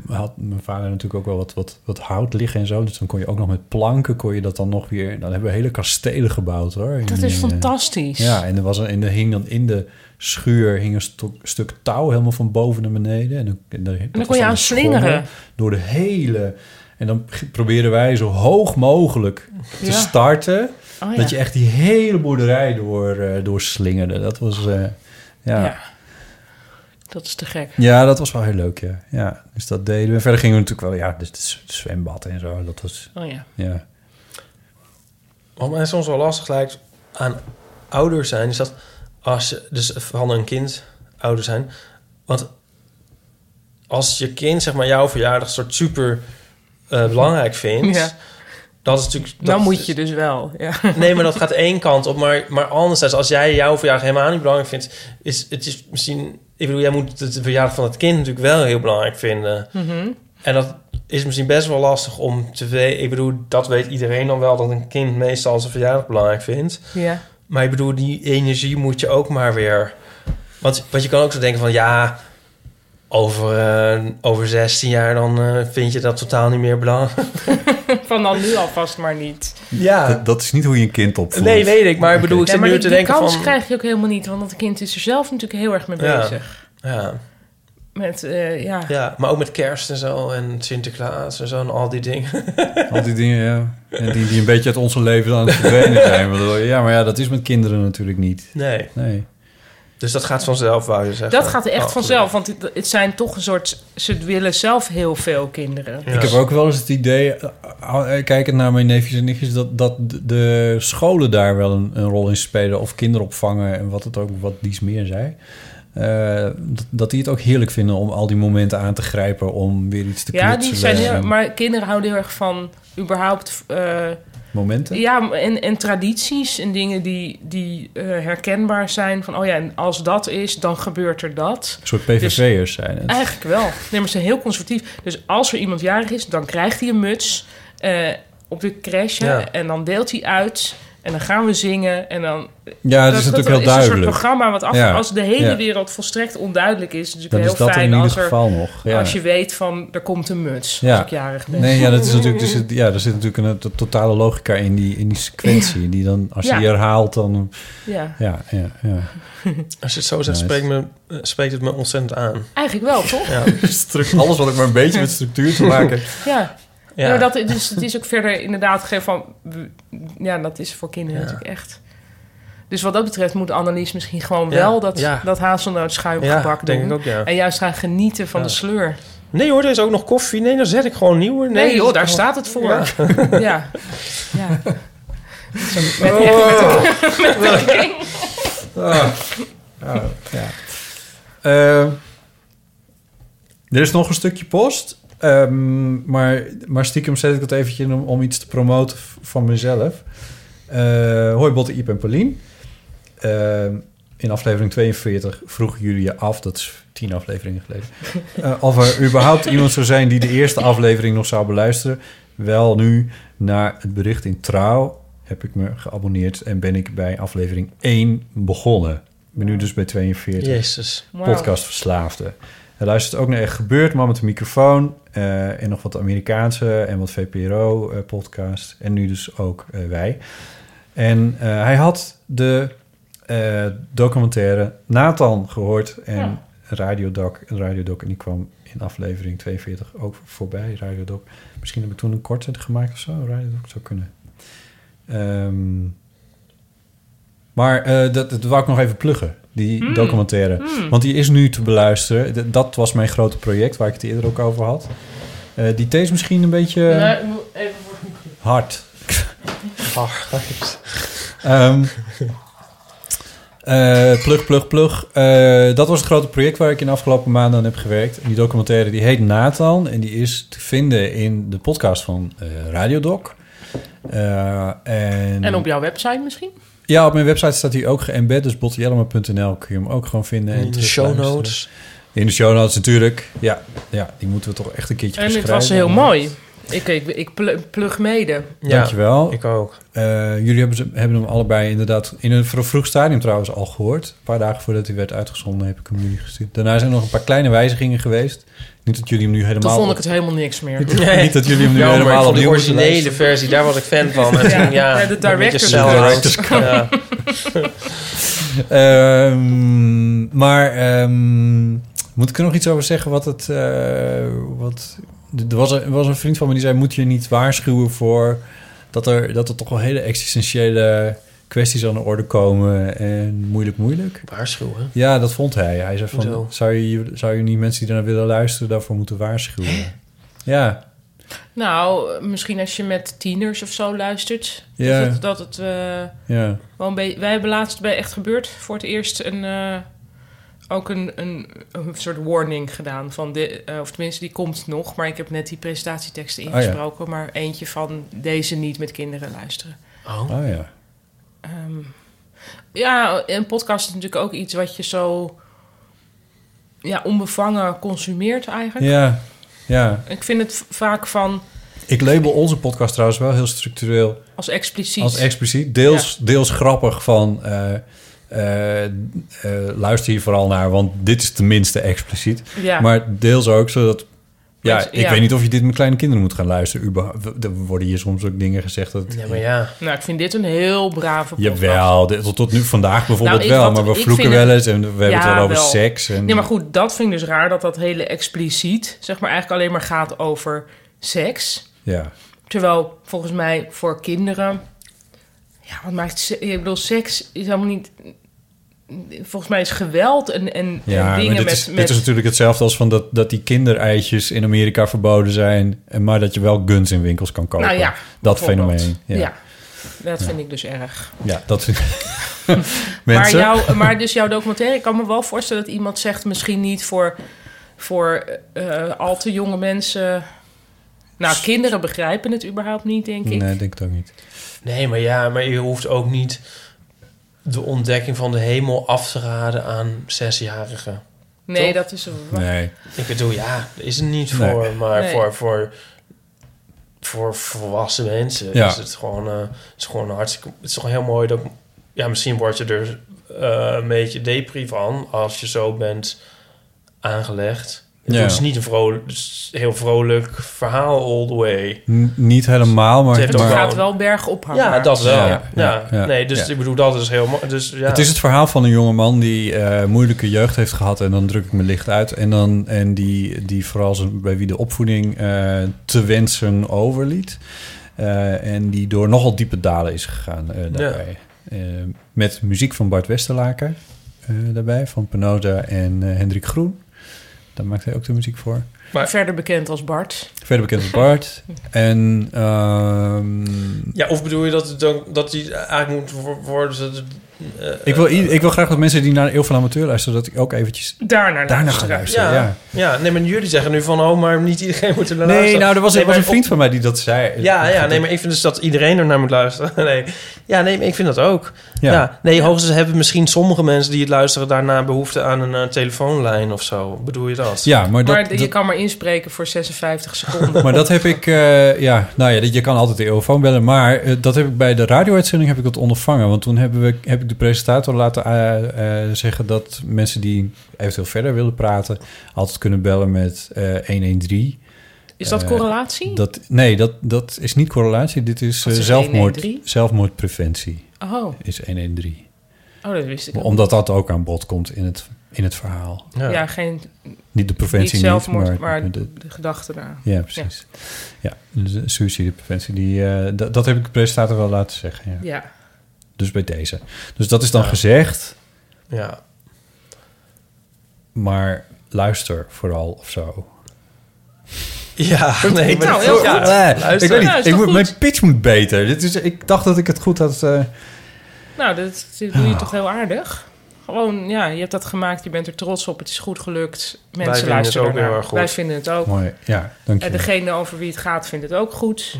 Speaker 2: had mijn vader natuurlijk ook wel wat, wat, wat hout liggen en zo. Dus dan kon je ook nog met planken kon je dat dan nog weer... Dan hebben we hele kastelen gebouwd hoor.
Speaker 4: Dat
Speaker 2: In,
Speaker 4: is
Speaker 2: eh,
Speaker 4: fantastisch.
Speaker 2: Ja, en er, was een, en er hing dan in de schuur hing een stok- stuk touw helemaal van boven naar beneden. En, dan, en, daar- dat
Speaker 4: kon
Speaker 2: was
Speaker 4: je
Speaker 2: dan
Speaker 4: aan
Speaker 2: een schommel
Speaker 4: slingeren.
Speaker 2: Door de hele... En dan g- probeerden wij zo hoog mogelijk te
Speaker 4: Ja.
Speaker 2: starten.
Speaker 4: Oh, ja.
Speaker 2: Dat je echt die hele boerderij door, eh, doorslingerde. Dat was... eh, ja.
Speaker 4: Ja.
Speaker 2: Ja.
Speaker 4: Dat is te gek.
Speaker 2: dat was wel heel leuk, ja. ja. Dus dat deden we. En Verder gingen we natuurlijk wel... Ja, dus het z- zwembad en zo. Dat was...
Speaker 4: Oh ja.
Speaker 2: Ja.
Speaker 5: Wat mij soms wel lastig lijkt aan ouder zijn, is dat als je dus van een kind ouder zijn. Want als je kind, zeg maar, jouw verjaardag soort super eh, belangrijk vindt,
Speaker 4: Ja.
Speaker 5: dat is natuurlijk.
Speaker 4: Dan
Speaker 5: dat-
Speaker 4: moet je dus wel. Ja.
Speaker 5: Nee, maar dat gaat één kant op. Maar, maar anderzijds, als jij jouw verjaardag helemaal niet belangrijk vindt, is het is misschien. Ik bedoel, jij moet het verjaardag van het kind natuurlijk wel heel belangrijk vinden. En dat is misschien best wel lastig om te weten. Ik bedoel, dat weet iedereen dan wel dat een kind meestal zijn verjaardag belangrijk vindt.
Speaker 4: ja.
Speaker 5: Maar ik bedoel, die energie moet je ook maar weer. Want, want je kan ook zo denken van ja. Over, eh, over 16 jaar dan eh, vind je dat totaal niet meer belangrijk.
Speaker 4: Van dan nu alvast maar niet.
Speaker 5: Ja,
Speaker 2: Dat, dat is niet hoe je een kind opvoedt.
Speaker 5: nee, weet ik. Maar ik bedoel, ik
Speaker 4: Ja,
Speaker 5: zit
Speaker 4: maar
Speaker 5: nu
Speaker 4: die,
Speaker 5: te
Speaker 4: die
Speaker 5: denken
Speaker 4: kans
Speaker 5: van...
Speaker 4: krijg je ook helemaal niet. Want dat kind is er zelf natuurlijk heel erg mee
Speaker 5: Ja.
Speaker 4: bezig.
Speaker 5: Ja.
Speaker 4: Met, eh, ja.
Speaker 5: Ja, maar ook met kerst en zo en Sinterklaas en zo en al die dingen.
Speaker 2: Al die dingen, ja. En die, die een beetje uit onze leven aan het verdwenen zijn. Waardoor- Ja, maar ja, dat is met kinderen natuurlijk niet.
Speaker 5: Nee,
Speaker 2: Nee.
Speaker 5: dus dat gaat vanzelf, wou je zeggen.
Speaker 4: Dat gaat echt
Speaker 5: Oh,
Speaker 4: vanzelf, want het- het zijn toch een soort... Ze willen zelf heel veel kinderen.
Speaker 5: Ja.
Speaker 2: Ik heb ook wel eens het idee, eh, eh, kijkend naar mijn neefjes en nichtjes, dat, dat de- de scholen daar wel een, een rol in spelen. Of kinderopvangen en wat het ook, wat dies meer zei. Eh, dat, dat die het ook heerlijk vinden om al die momenten aan te grijpen om weer iets te
Speaker 4: Ja, die
Speaker 2: knutselen
Speaker 4: zijn heel,
Speaker 2: en
Speaker 4: maar kinderen houden heel erg van überhaupt... eh,
Speaker 2: momenten.
Speaker 4: ja, en, en tradities en dingen die, die eh, herkenbaar zijn. Van, oh ja, en als dat is, dan gebeurt er dat.
Speaker 2: Een soort PVV'ers zijn het.
Speaker 4: Eigenlijk wel. Nee, maar ze zijn heel conservatief. Dus als er iemand jarig is, dan krijgt hij een muts eh, op de crash.
Speaker 5: Ja.
Speaker 4: En dan deelt hij uit. En dan gaan we zingen. En dan,
Speaker 2: Ja, het is natuurlijk heel
Speaker 4: een soort
Speaker 2: duidelijk.
Speaker 4: programma wat af,
Speaker 2: Ja.
Speaker 4: als de hele
Speaker 2: Ja.
Speaker 4: wereld volstrekt onduidelijk is. Het is
Speaker 2: Dan
Speaker 4: natuurlijk
Speaker 2: is
Speaker 4: heel
Speaker 2: dat
Speaker 4: fijn
Speaker 2: in ieder
Speaker 4: als, er,
Speaker 2: geval nog. Ja.
Speaker 4: als je weet van er komt een muts
Speaker 2: Ja.
Speaker 4: als ik jarig ben.
Speaker 2: Nee, ja, dat is natuurlijk, dus het- ja, er zit natuurlijk een, to- totale logica in die, in die sequentie. Die dan, als je
Speaker 4: Ja.
Speaker 2: die herhaalt, dan...
Speaker 4: Ja.
Speaker 2: Ja, ja, ja.
Speaker 5: Als je het zo zegt,
Speaker 2: Nice.
Speaker 5: spreekt, me, eh, spreekt het me ontzettend aan.
Speaker 4: Eigenlijk wel, toch?
Speaker 5: Ja,
Speaker 2: Dus Alles wat ik maar een beetje met structuur te maken
Speaker 4: Ja.
Speaker 5: ja.
Speaker 4: Nou, dat, dus het is ook verder inderdaad gegeven van... Ja, dat is voor kinderen natuurlijk echt... Dus wat dat betreft moet Annelies misschien gewoon
Speaker 5: Ja,
Speaker 4: wel dat,
Speaker 5: ja.
Speaker 4: dat hazelnootschuim
Speaker 5: Ja,
Speaker 4: gebak doen.
Speaker 5: denk ik ook, ja.
Speaker 4: En juist gaan genieten van
Speaker 5: Ja.
Speaker 4: de sleur.
Speaker 5: Nee hoor, er is ook nog koffie. Nee, dan zet ik gewoon nieuw. Nee,
Speaker 4: Nee, joh, daar
Speaker 5: Oh.
Speaker 4: staat het voor.
Speaker 5: Ja.
Speaker 4: Ja. ja. Oh. Met echt- met werking.
Speaker 2: Ja. Eh, er is nog een stukje post. Ehm, maar, maar stiekem zet ik het eventjes in om, om iets te promoten v- van mezelf. Eh, hoi Botte, Iep en Paulien. Ehm, in aflevering 42 vroegen jullie je af, dat is tien afleveringen geleden... eh, of er überhaupt iemand zou zijn die de eerste aflevering nog zou beluisteren. Wel nu, na het bericht in Trouw heb ik me geabonneerd... en ben ik bij aflevering 1 begonnen. Ik ben nu dus bij 42
Speaker 5: Jezus.
Speaker 4: Wauw.
Speaker 2: podcast Verslaafde. Hij luistert ook naar Echt Gebeurd, maar met een microfoon. eh, en nog wat Amerikaanse en wat VPRO-podcast. eh, en nu dus ook eh, wij. En eh, hij had de eh, documentaire Nathan gehoord. En
Speaker 4: Ja.
Speaker 2: Radiodoc. En Radiodoc. En die kwam in aflevering 42 ook voorbij. Radiodoc. Misschien heb ik toen een korte gemaakt of zo. Radiodoc zou kunnen. Ehm, maar eh, dat, dat wou ik nog even pluggen, die documentaire. Want die is nu te beluisteren. D- dat was mijn grote project, waar ik het eerder ook over had. Eh, die thee is misschien een beetje
Speaker 4: Nou, ik moet even voor-
Speaker 2: hard.
Speaker 5: Ach, jezus.
Speaker 2: Ehm, eh, plug, plug, plug. Eh, dat was het grote project waar ik in de afgelopen maanden aan heb gewerkt. En die documentaire die heet Nathan. En die is te vinden in de podcast van eh Radiodoc. Eh, en,
Speaker 4: En op jouw website misschien?
Speaker 2: Ja, op mijn website staat hij ook geëmbed. Dus botjellema.nl kun je hem ook gewoon vinden. en
Speaker 5: In de
Speaker 2: terug
Speaker 5: show
Speaker 2: luisteren.
Speaker 5: notes.
Speaker 2: In de show notes natuurlijk. Ja, ja die moeten we toch echt een keertje
Speaker 4: En het
Speaker 2: beschrijven.
Speaker 4: was heel mooi. Ik, ik, ik pl- plug mede.
Speaker 5: Ja,
Speaker 2: Dankjewel.
Speaker 5: Ik ook.
Speaker 2: Eh, jullie hebben, ze, hebben hem allebei inderdaad in een vro- vroeg stadium trouwens al gehoord. Een paar dagen voordat hij werd uitgezonden heb ik hem jullie gestuurd. Daarna zijn er nog een paar kleine wijzigingen geweest. Niet dat jullie hem nu
Speaker 4: Toen
Speaker 2: helemaal...
Speaker 4: vond ik het helemaal niks meer.
Speaker 2: Niet dat jullie hem nu
Speaker 5: Ja, maar ik
Speaker 2: helemaal
Speaker 5: vond de
Speaker 2: opnieuw moeten
Speaker 5: originele
Speaker 2: luisteren.
Speaker 5: versie, daar was ik fan van. En
Speaker 4: Ja,
Speaker 5: toen, ja,
Speaker 4: ja, de
Speaker 5: een beetje
Speaker 4: director's
Speaker 5: sell-out.
Speaker 2: cut.
Speaker 5: Ja.
Speaker 2: Ehm, maar ehm, moet ik er nog iets over zeggen? Wat het, eh, wat, er, was een, er was een vriend van me die zei: Moet je niet waarschuwen voor dat er, dat er toch wel hele existentiële kwesties aan de orde komen en moeilijk, moeilijk?
Speaker 5: Waarschuwen.
Speaker 2: Ja, dat vond hij. Hij zei: van,
Speaker 5: Hoezo?
Speaker 2: zou, je, zou je niet mensen die daarna willen luisteren daarvoor moeten waarschuwen? Ja,
Speaker 4: Nou, misschien als je met tieners of zo luistert.
Speaker 2: Ja.
Speaker 4: Dat het, dat het eh,
Speaker 2: ja.
Speaker 4: wel een beetje... Wij hebben laatst bij Echt Gebeurd voor het eerst een... eh, ook een, een, een soort warning gedaan. Van de, eh, of tenminste, die komt nog. Maar ik heb net die presentatieteksten
Speaker 2: Oh ja.
Speaker 4: ingesproken. Maar eentje van deze niet met kinderen luisteren.
Speaker 2: Oh ja.
Speaker 4: Ehm, ja, een podcast is natuurlijk ook iets wat je zo... Ja, onbevangen consumeert eigenlijk.
Speaker 2: Ja, ja.
Speaker 4: Ik vind het v- vaak van...
Speaker 2: Ik label onze podcast trouwens wel heel structureel
Speaker 4: Als expliciet.
Speaker 2: Als expliciet. Deels, deels grappig van... eh, eh, eh, luister hier vooral naar, want dit is tenminste expliciet.
Speaker 4: Ja.
Speaker 2: Maar deels ook zodat Ja,
Speaker 4: Dus,
Speaker 2: ik weet niet of je dit met kleine kinderen moet gaan luisteren. Uber, er worden hier soms ook dingen gezegd dat...
Speaker 5: Ja, maar ja.
Speaker 4: Nou, ik vind dit een heel brave podcast.
Speaker 2: Jawel, dit- tot, tot nu vandaag bijvoorbeeld
Speaker 4: Nou, ik-
Speaker 2: wel.
Speaker 4: wat-
Speaker 2: maar we
Speaker 4: ik
Speaker 2: vloeken
Speaker 4: vind
Speaker 2: wel
Speaker 4: het-
Speaker 2: eens en we hebben het
Speaker 4: Ja,
Speaker 2: wel over
Speaker 4: wel.
Speaker 2: seks. En,
Speaker 4: Nee, maar goed, dat vind ik dus raar dat dat hele expliciet, zeg maar, eigenlijk alleen maar gaat over seks.
Speaker 2: Ja,
Speaker 4: Terwijl volgens mij voor kinderen. Ja, wat maakt. se- Ik bedoel, seks is helemaal niet. Volgens mij is geweld en, en, en
Speaker 2: ja maar
Speaker 4: dingen
Speaker 2: dit,
Speaker 4: met.
Speaker 2: is,
Speaker 4: met
Speaker 2: dit is natuurlijk hetzelfde als van dat, dat die kindereitjes in Amerika verboden zijn... en maar dat je wel guns in winkels kan kopen.
Speaker 4: nou ja,
Speaker 2: dat
Speaker 4: bijvoorbeeld.
Speaker 2: fenomeen. Ja,
Speaker 4: Ja.
Speaker 2: ja.
Speaker 4: dat vind ik dus erg.
Speaker 2: dat Mensen,
Speaker 4: Maar, jou, maar dus jouw documentaire, ik kan me wel voorstellen dat iemand zegt, misschien niet voor, voor eh, al te jonge mensen. Nou, kinderen begrijpen het überhaupt niet, denk ik.
Speaker 2: Nee, ik denk het ook niet.
Speaker 5: Nee, maar ja, maar je hoeft ook niet de ontdekking van de hemel af te raden aan zesjarigen.
Speaker 4: Nee,
Speaker 5: Toch?
Speaker 4: dat is
Speaker 2: Nee,
Speaker 5: Ik bedoel, ja, er is er niet
Speaker 2: Nee.
Speaker 5: voor, maar
Speaker 4: Nee.
Speaker 5: voor, voor, voor volwassen mensen
Speaker 2: Ja.
Speaker 5: is het gewoon, eh, is gewoon hartstikke. Het is gewoon heel mooi dat. Ja, misschien word je er eh, een beetje depri van als je zo bent aangelegd.
Speaker 2: Ja.
Speaker 5: Het is niet een vrolijk, het is een heel vrolijk verhaal all the way.
Speaker 2: N- niet helemaal, maar...
Speaker 5: Het heeft
Speaker 4: Het
Speaker 5: ook
Speaker 2: maar-
Speaker 4: gaat wel berg ophangen.
Speaker 5: Ja, dat wel.
Speaker 2: Ja,
Speaker 5: Ja,
Speaker 2: ja, ja,
Speaker 5: nee, dus
Speaker 2: ja.
Speaker 5: ik bedoel, dat is heel mooi. Dus, ja.
Speaker 2: Het is het verhaal van een jongeman die eh, moeilijke jeugd heeft gehad. En dan druk ik me licht uit. En, dan, en die, die vooral zijn, bij wie de opvoeding eh, te wensen overliet. Eh, en die door nogal diepe dalen is gegaan eh, daarbij. Eh, met muziek van Bart Westerlaken eh, daarbij. Van Penoda en eh, Hendrik Groen. Daar maakt hij ook de muziek voor.
Speaker 4: Verder bekend als Bart.
Speaker 2: Verder bekend als Bart. En ehm,
Speaker 5: ja, of bedoel je dat, het dan, dat die eigenlijk moet wo- worden... Dat, het, eh,
Speaker 2: ik, wil, i- ik wil graag dat mensen die naar Eeuw van de Amateur luisteren... dat ik ook eventjes
Speaker 4: Daarna
Speaker 2: daarna ga luisteren.
Speaker 5: eh, Ja,
Speaker 2: ja.
Speaker 5: ja. nee, maar jullie zeggen nu van... oh, maar niet iedereen moet er naar
Speaker 2: Nee,
Speaker 5: luisteren.
Speaker 2: nou, er was,
Speaker 5: Nee,
Speaker 2: er was een
Speaker 5: maar
Speaker 2: vriend
Speaker 5: op-
Speaker 2: van mij die dat zei.
Speaker 5: ja, ja, nee, maar ik vind dus dat iedereen er naar moet luisteren. Nee. Ja, nee, maar ik vind dat ook.
Speaker 2: Ja.
Speaker 5: Ja. nee, hoogstens hebben misschien sommige mensen die het luisteren... daarna behoefte aan een eh, telefoonlijn of zo. Bedoel je dat?
Speaker 2: Ja, maar dat,
Speaker 4: maar je
Speaker 2: dat-
Speaker 4: kan maar inspreken voor 56 seconden.
Speaker 2: maar dat heb ik... eh, ja, nou ja, dat- je kan altijd de eeuwfoon bellen. Maar eh, dat heb ik bij de radio-uitzending heb ik dat ondervangen. Want toen hebben we, heb ik de presentator laten eh, eh, zeggen... dat mensen die eventueel verder wilden praten... altijd kunnen bellen met eh, 113.
Speaker 4: Is dat
Speaker 2: Eh,
Speaker 4: correlatie?
Speaker 2: Dat, nee, dat, dat is niet correlatie. Dit is,
Speaker 4: Wat
Speaker 2: eh,
Speaker 4: is
Speaker 2: zelfmoord,
Speaker 4: 113?
Speaker 2: zelfmoordpreventie.
Speaker 4: Oh, oh,
Speaker 2: Is 113.
Speaker 4: dat wist ik. Om,
Speaker 2: Omdat dat ook aan bod komt in het, in het verhaal.
Speaker 4: ja. geen
Speaker 2: Niet de
Speaker 4: niet
Speaker 2: preventie, niet,
Speaker 4: zelfmoord, maar,
Speaker 2: de-
Speaker 4: de, gedachte daar.
Speaker 2: Ja, precies. Ja, dus, eh, suïcidepreventie. Die, eh, da- dat heb ik de presentator wel laten zeggen. Ja.
Speaker 4: Ja.
Speaker 2: Dus bij deze. Dus dat is dan
Speaker 5: Ja.
Speaker 2: gezegd,
Speaker 5: Ja.
Speaker 2: maar luister vooral of zo.
Speaker 5: Ja, nee, maar...
Speaker 4: Nou, heel
Speaker 5: ja,
Speaker 4: goed.
Speaker 2: Eh, ik weet niet,
Speaker 4: Ja, is
Speaker 2: ik
Speaker 4: toch
Speaker 2: moet,
Speaker 4: goed?
Speaker 2: mijn pitch moet beter. Dit is, ik dacht dat ik het goed had. eh,
Speaker 4: Nou, dat, dit doe je toch heel aardig? Gewoon, ja, je hebt dat gemaakt, je bent er trots op, het is goed gelukt.
Speaker 5: vinden
Speaker 4: Mensen
Speaker 5: het
Speaker 4: luisteren
Speaker 5: ook
Speaker 4: ernaar.
Speaker 5: heel erg goed.
Speaker 4: Wij vinden het ook.
Speaker 2: mooi, ja, dank je.
Speaker 4: En degene over wie het gaat, vindt het ook goed.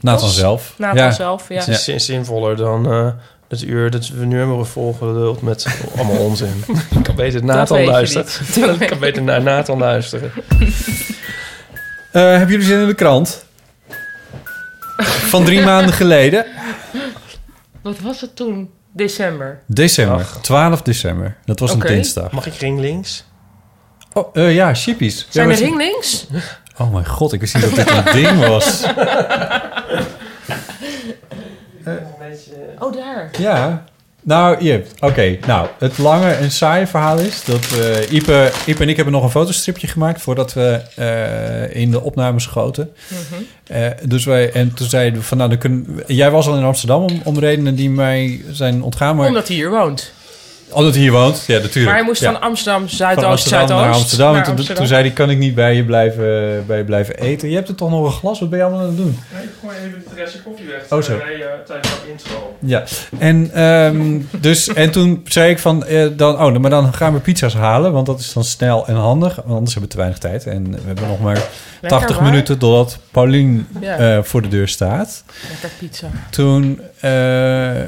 Speaker 2: Nathan
Speaker 4: Tos?
Speaker 2: zelf.
Speaker 4: Nathan
Speaker 2: ja.
Speaker 4: zelf, ja.
Speaker 5: Het is zin- zinvoller dan eh, het uur dat we nummeren volgeluld met allemaal onzin. ik kan beter
Speaker 4: weet
Speaker 5: Nathan
Speaker 4: je
Speaker 5: luisteren.
Speaker 4: niet. Dat
Speaker 5: ik kan beter naar Nathan luisteren.
Speaker 2: Eh, hebben jullie zin in de krant? Van drie maanden geleden.
Speaker 4: Wat was het toen? December.
Speaker 2: December.
Speaker 5: Ach.
Speaker 2: 12 december. Dat was
Speaker 4: Oké.
Speaker 2: een dinsdag.
Speaker 5: Mag ik ringlinks?
Speaker 2: Oh, eh, ja, chippies.
Speaker 4: Zijn
Speaker 2: ja,
Speaker 4: er
Speaker 2: wat-
Speaker 4: ringlinks?
Speaker 2: Oh mijn god, ik wist niet dat dit een ding was.
Speaker 4: Oh, daar.
Speaker 2: Ja. Nou, Jip, oké. Nou, het lange en saaie verhaal is dat eh Ipe, Ipe en ik hebben nog een fotostripje gemaakt voordat we eh, in de opname schoten.
Speaker 4: Mhm.
Speaker 2: Eh, dus wij, en toen zeiden we van, nou, dan kunnen, we- jij was al in Amsterdam om, om redenen die mij zijn ontgaan. Maar, omdat,
Speaker 4: Omdat hij hier woont.
Speaker 2: hij hier woont, ja, natuurlijk.
Speaker 4: Maar hij moest
Speaker 2: Ja.
Speaker 4: van Amsterdam, Zuidoost,
Speaker 2: Van Amsterdam
Speaker 4: Zuidoost.
Speaker 2: naar Amsterdam.
Speaker 4: naar
Speaker 2: en toen,
Speaker 4: Amsterdam.
Speaker 2: toen zei hij, kan ik niet bij je, blijven, bij je blijven eten? Je hebt er toch nog een glas? Wat ben je allemaal aan het doen?
Speaker 5: Nee, ik gooi even de restje koffie weg. eh,
Speaker 2: Oh, zo.
Speaker 5: tijdens dat intro.
Speaker 2: Ja, en, ehm, dus, en toen zei ik van, eh, dan, oh, maar dan gaan we pizza's halen, want dat is dan snel en handig. Want anders hebben we te weinig tijd. En we hebben nog maar 80
Speaker 4: waar.
Speaker 2: minuten totdat Paulien
Speaker 4: Ja.
Speaker 2: eh, voor de deur staat.
Speaker 4: Lekker pizza.
Speaker 2: Toen, eh,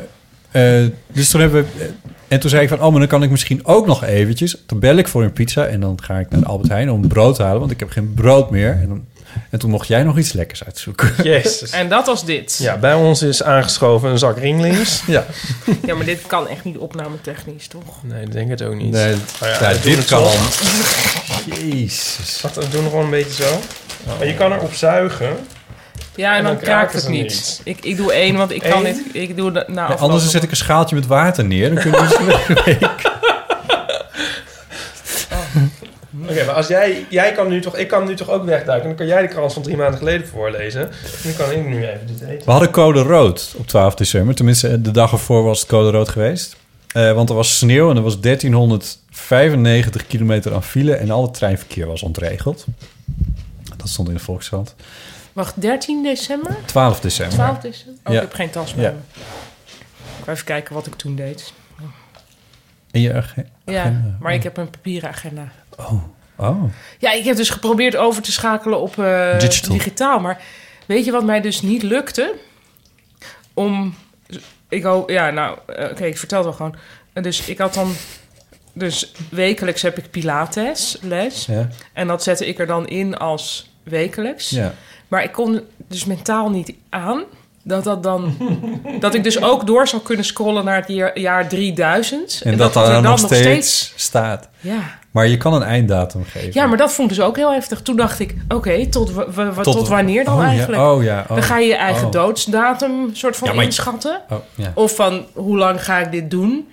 Speaker 2: eh, dus toen hebben we, eh, en toen zei ik van, oh, maar dan kan ik misschien ook nog eventjes. Dan bel ik voor een pizza en dan ga ik naar de Albert Heijn om brood te halen, want ik heb geen brood meer. En, dan, en toen mocht jij nog iets lekkers uitzoeken.
Speaker 5: Jezus.
Speaker 4: En dat was dit. Ja,
Speaker 5: Ja, bij ons is aangeschoven een zak ringlings.
Speaker 2: Ja,
Speaker 4: maar dit kan echt niet opname technisch, toch?
Speaker 5: Nee, ik denk het ook niet.
Speaker 2: nee,
Speaker 5: Oh ja,
Speaker 2: ja,
Speaker 5: we doen
Speaker 2: dit
Speaker 5: het
Speaker 2: kan.
Speaker 5: toch.
Speaker 2: Jezus.
Speaker 5: Wat, we doen gewoon een beetje zo. Maar je kan erop zuiken.
Speaker 4: Ja, en dan, kraakt het niet.
Speaker 5: niet.
Speaker 4: Ik, ik doe één, want ik kan
Speaker 5: Eén?
Speaker 4: niet. Ik doe dat nou.
Speaker 2: Ja, anders zet ik een schaaltje met water neer. Dan kunnen we het
Speaker 5: Oké, maar als jij, jij kan nu toch, ik kan nu toch ook wegduiken. Dan kan jij de krant van drie maanden geleden voorlezen. Nu kan ik nu even dit eten.
Speaker 2: We hadden code rood op 12 december. Tenminste, eh, de dag ervoor was het code rood geweest. Eh, want er was sneeuw en er was 1395 kilometer aan file... en al het treinverkeer was ontregeld. Dat stond in de Volkskrant.
Speaker 4: Wacht, 13 december?
Speaker 2: 12 december.
Speaker 4: 12 december?
Speaker 2: Ja.
Speaker 4: Oh, ik heb geen tas
Speaker 2: Ja.
Speaker 4: meer. Ik ga even kijken wat ik toen deed.
Speaker 2: In je ag-
Speaker 4: Ja, maar ik heb een papieren agenda.
Speaker 2: Oh,
Speaker 4: Ja, ik heb dus geprobeerd over te schakelen op eh,
Speaker 2: Digital.
Speaker 4: digitaal. Maar weet je wat mij dus niet lukte? Om. Ik hoop. Ja, nou, eh, oké, ik vertel het wel gewoon. Eh, Dus ik had dan. Dus wekelijks heb ik Pilates les.
Speaker 2: ja.
Speaker 4: En dat zette ik er dan in als wekelijks.
Speaker 2: ja.
Speaker 4: Maar ik kon dus mentaal niet aan dat dat dan. dat ik dus ook door zou kunnen scrollen naar het jaar, jaar 3000.
Speaker 2: En, dat, daar
Speaker 4: er
Speaker 2: dan nog steeds, staat.
Speaker 4: Ja.
Speaker 2: Maar je kan een einddatum geven.
Speaker 4: Ja, maar dat vond ik dus ook heel heftig. Toen dacht ik, oké, tot, wa- wa- wa- tot,
Speaker 2: Tot-
Speaker 4: wanneer dan
Speaker 2: Oh ja,
Speaker 4: eigenlijk?
Speaker 2: oh ja, oh.
Speaker 4: dan ga je je eigen
Speaker 2: Oh.
Speaker 4: doodsdatum soort van
Speaker 2: Ja, maar-
Speaker 4: inschatten.
Speaker 2: Oh, ja.
Speaker 4: Of van, hoe lang ga ik dit doen?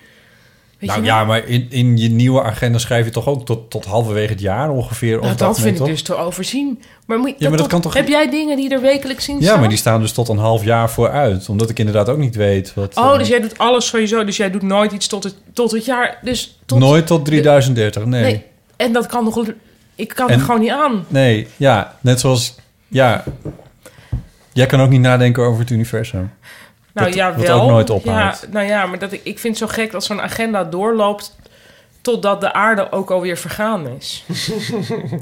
Speaker 4: Weet
Speaker 2: Nou
Speaker 4: je
Speaker 2: ja,
Speaker 4: wel?
Speaker 2: maar in, in je nieuwe agenda schrijf je toch ook tot, tot halverwege het jaar ongeveer?
Speaker 4: Nou,
Speaker 2: op
Speaker 4: dat,
Speaker 2: dat
Speaker 4: vind
Speaker 2: moment,
Speaker 4: ik
Speaker 2: toch?
Speaker 4: dus te overzien. Maar, moet, je-
Speaker 2: maar dat kan toch-
Speaker 4: Heb jij dingen die er wekelijks in
Speaker 2: Ja,
Speaker 4: staan?
Speaker 2: maar die staan dus tot een half jaar vooruit. Omdat ik inderdaad ook niet weet wat...
Speaker 4: Oh,
Speaker 2: eh,
Speaker 4: dus jij doet alles sowieso. Dus jij doet nooit iets tot het, tot het jaar. Dus tot,
Speaker 2: Nooit tot 3030, nee.
Speaker 4: Nee.
Speaker 2: nee.
Speaker 4: En dat kan nog... Ik kan
Speaker 2: En-
Speaker 4: er gewoon niet aan.
Speaker 2: ja. Net zoals... Ja. Jij kan ook niet nadenken over het universum.
Speaker 4: Nou
Speaker 2: Dat-
Speaker 4: ja,
Speaker 2: wat
Speaker 4: wel.
Speaker 2: ook nooit
Speaker 4: ja,
Speaker 2: ophoudt.
Speaker 4: Nou ja, maar dat, ik, ik vind het zo gek dat zo'n agenda doorloopt... totdat de aarde ook alweer vergaan is.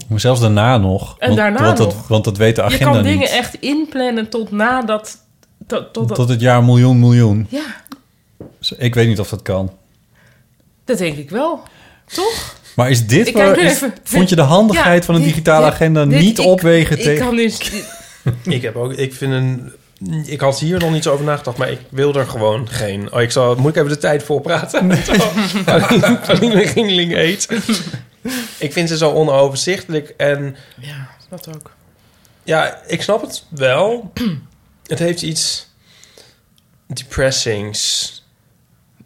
Speaker 2: Maar zelfs daarna nog.
Speaker 4: En
Speaker 2: want,
Speaker 4: daarna
Speaker 2: want
Speaker 4: nog.
Speaker 2: Dat, want dat weet de
Speaker 4: Je
Speaker 2: agenda
Speaker 4: kan dingen
Speaker 2: niet.
Speaker 4: echt inplannen tot nadat... Tot, tot,
Speaker 2: Tot het jaar miljoen, miljoen.
Speaker 4: Ja,
Speaker 2: Dus ik weet niet of dat kan.
Speaker 4: dat denk ik wel. Toch?
Speaker 2: Maar is dit
Speaker 4: Ik
Speaker 2: waar...
Speaker 4: kijk nu
Speaker 2: is-
Speaker 4: even-
Speaker 2: vond je de handigheid
Speaker 4: Ja,
Speaker 2: van een
Speaker 4: dit-
Speaker 2: digitale
Speaker 4: dit-
Speaker 2: agenda
Speaker 4: dit-
Speaker 2: niet
Speaker 4: ik-
Speaker 2: opwegen
Speaker 4: ik
Speaker 2: tegen...
Speaker 4: Kan dus,
Speaker 5: Ik heb ook, ik vind een... Ik had hier nog niet zo over nagedacht, maar ik wil er gewoon geen. Oh, ik zal, moet ik even de tijd voor praten? Pauline Gingeling eet. Ik vind ze zo onoverzichtelijk en
Speaker 4: ja, dat ook.
Speaker 5: Ja, ik snap het wel. het heeft iets depressings.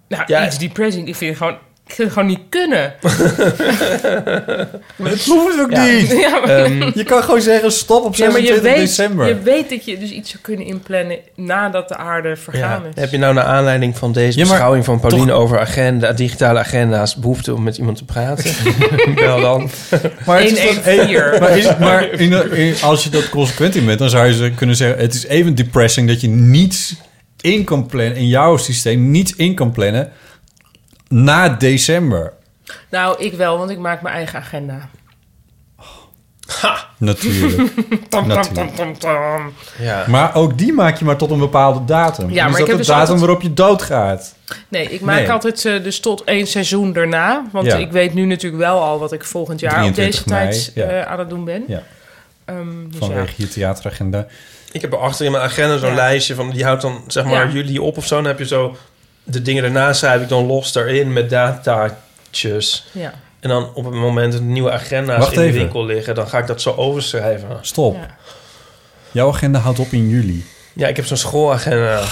Speaker 4: Nou,
Speaker 5: Ja.
Speaker 4: iets depressing. Ik vind het gewoon... Ik vind het gewoon niet kunnen.
Speaker 2: Dat hoeft ook niet.
Speaker 4: Ja, maar-
Speaker 2: Je kan gewoon zeggen stop op
Speaker 4: Ja, maar
Speaker 2: 26
Speaker 4: je weet,
Speaker 2: december.
Speaker 4: je weet dat je dus iets zou kunnen inplannen nadat de aarde vergaan is.
Speaker 5: Heb je nou naar aanleiding van deze
Speaker 2: Ja, maar
Speaker 5: beschouwing van Pauline over agenda, digitale agenda's behoefte om met iemand te praten? wel dan.
Speaker 2: Maar, het is toch-
Speaker 4: dus 114.
Speaker 2: maar, is, maar in, in- als je dat consequent in bent, dan zou je ze kunnen zeggen... het is even depressing dat je niets in kan plannen... in jouw systeem niets in kan plannen na december.
Speaker 4: Nou, ik wel, want ik maak mijn eigen agenda.
Speaker 2: Natuurlijk.
Speaker 4: Tam, tam,
Speaker 2: Natuurlijk.
Speaker 4: tam, tam, tam.
Speaker 5: Ja.
Speaker 2: Maar ook die maak je maar tot een bepaalde datum. En
Speaker 4: Ja, maar
Speaker 2: is
Speaker 4: ik
Speaker 2: dat de
Speaker 4: heb dus
Speaker 2: datum
Speaker 4: altijd-
Speaker 2: waarop je doodgaat?
Speaker 4: Nee, ik maak
Speaker 2: Nee.
Speaker 4: altijd eh, dus tot één seizoen daarna. Want
Speaker 2: Ja.
Speaker 4: ik weet nu natuurlijk wel al wat ik volgend jaar op deze
Speaker 2: 23 mei,
Speaker 4: tijd
Speaker 2: ja.
Speaker 4: eh, aan het doen ben.
Speaker 2: Ja.
Speaker 4: Ehm, dus ja.
Speaker 2: Vanwege je theateragenda.
Speaker 5: Ik heb achter in mijn agenda zo'n
Speaker 4: Ja.
Speaker 5: lijstje van die houdt dan zeg maar
Speaker 4: Ja.
Speaker 5: jullie op of zo. Dan heb je zo de dingen daarna schrijf ik dan los daarin met dataatjes.
Speaker 4: Ja.
Speaker 5: En dan op het moment dat nieuwe agenda's
Speaker 2: Wacht
Speaker 5: in de
Speaker 2: even.
Speaker 5: winkel liggen, dan ga ik dat zo overschrijven.
Speaker 2: Stop.
Speaker 4: Ja.
Speaker 2: Jouw agenda houdt op in juli.
Speaker 5: Ja, ik heb zo'n schoolagenda.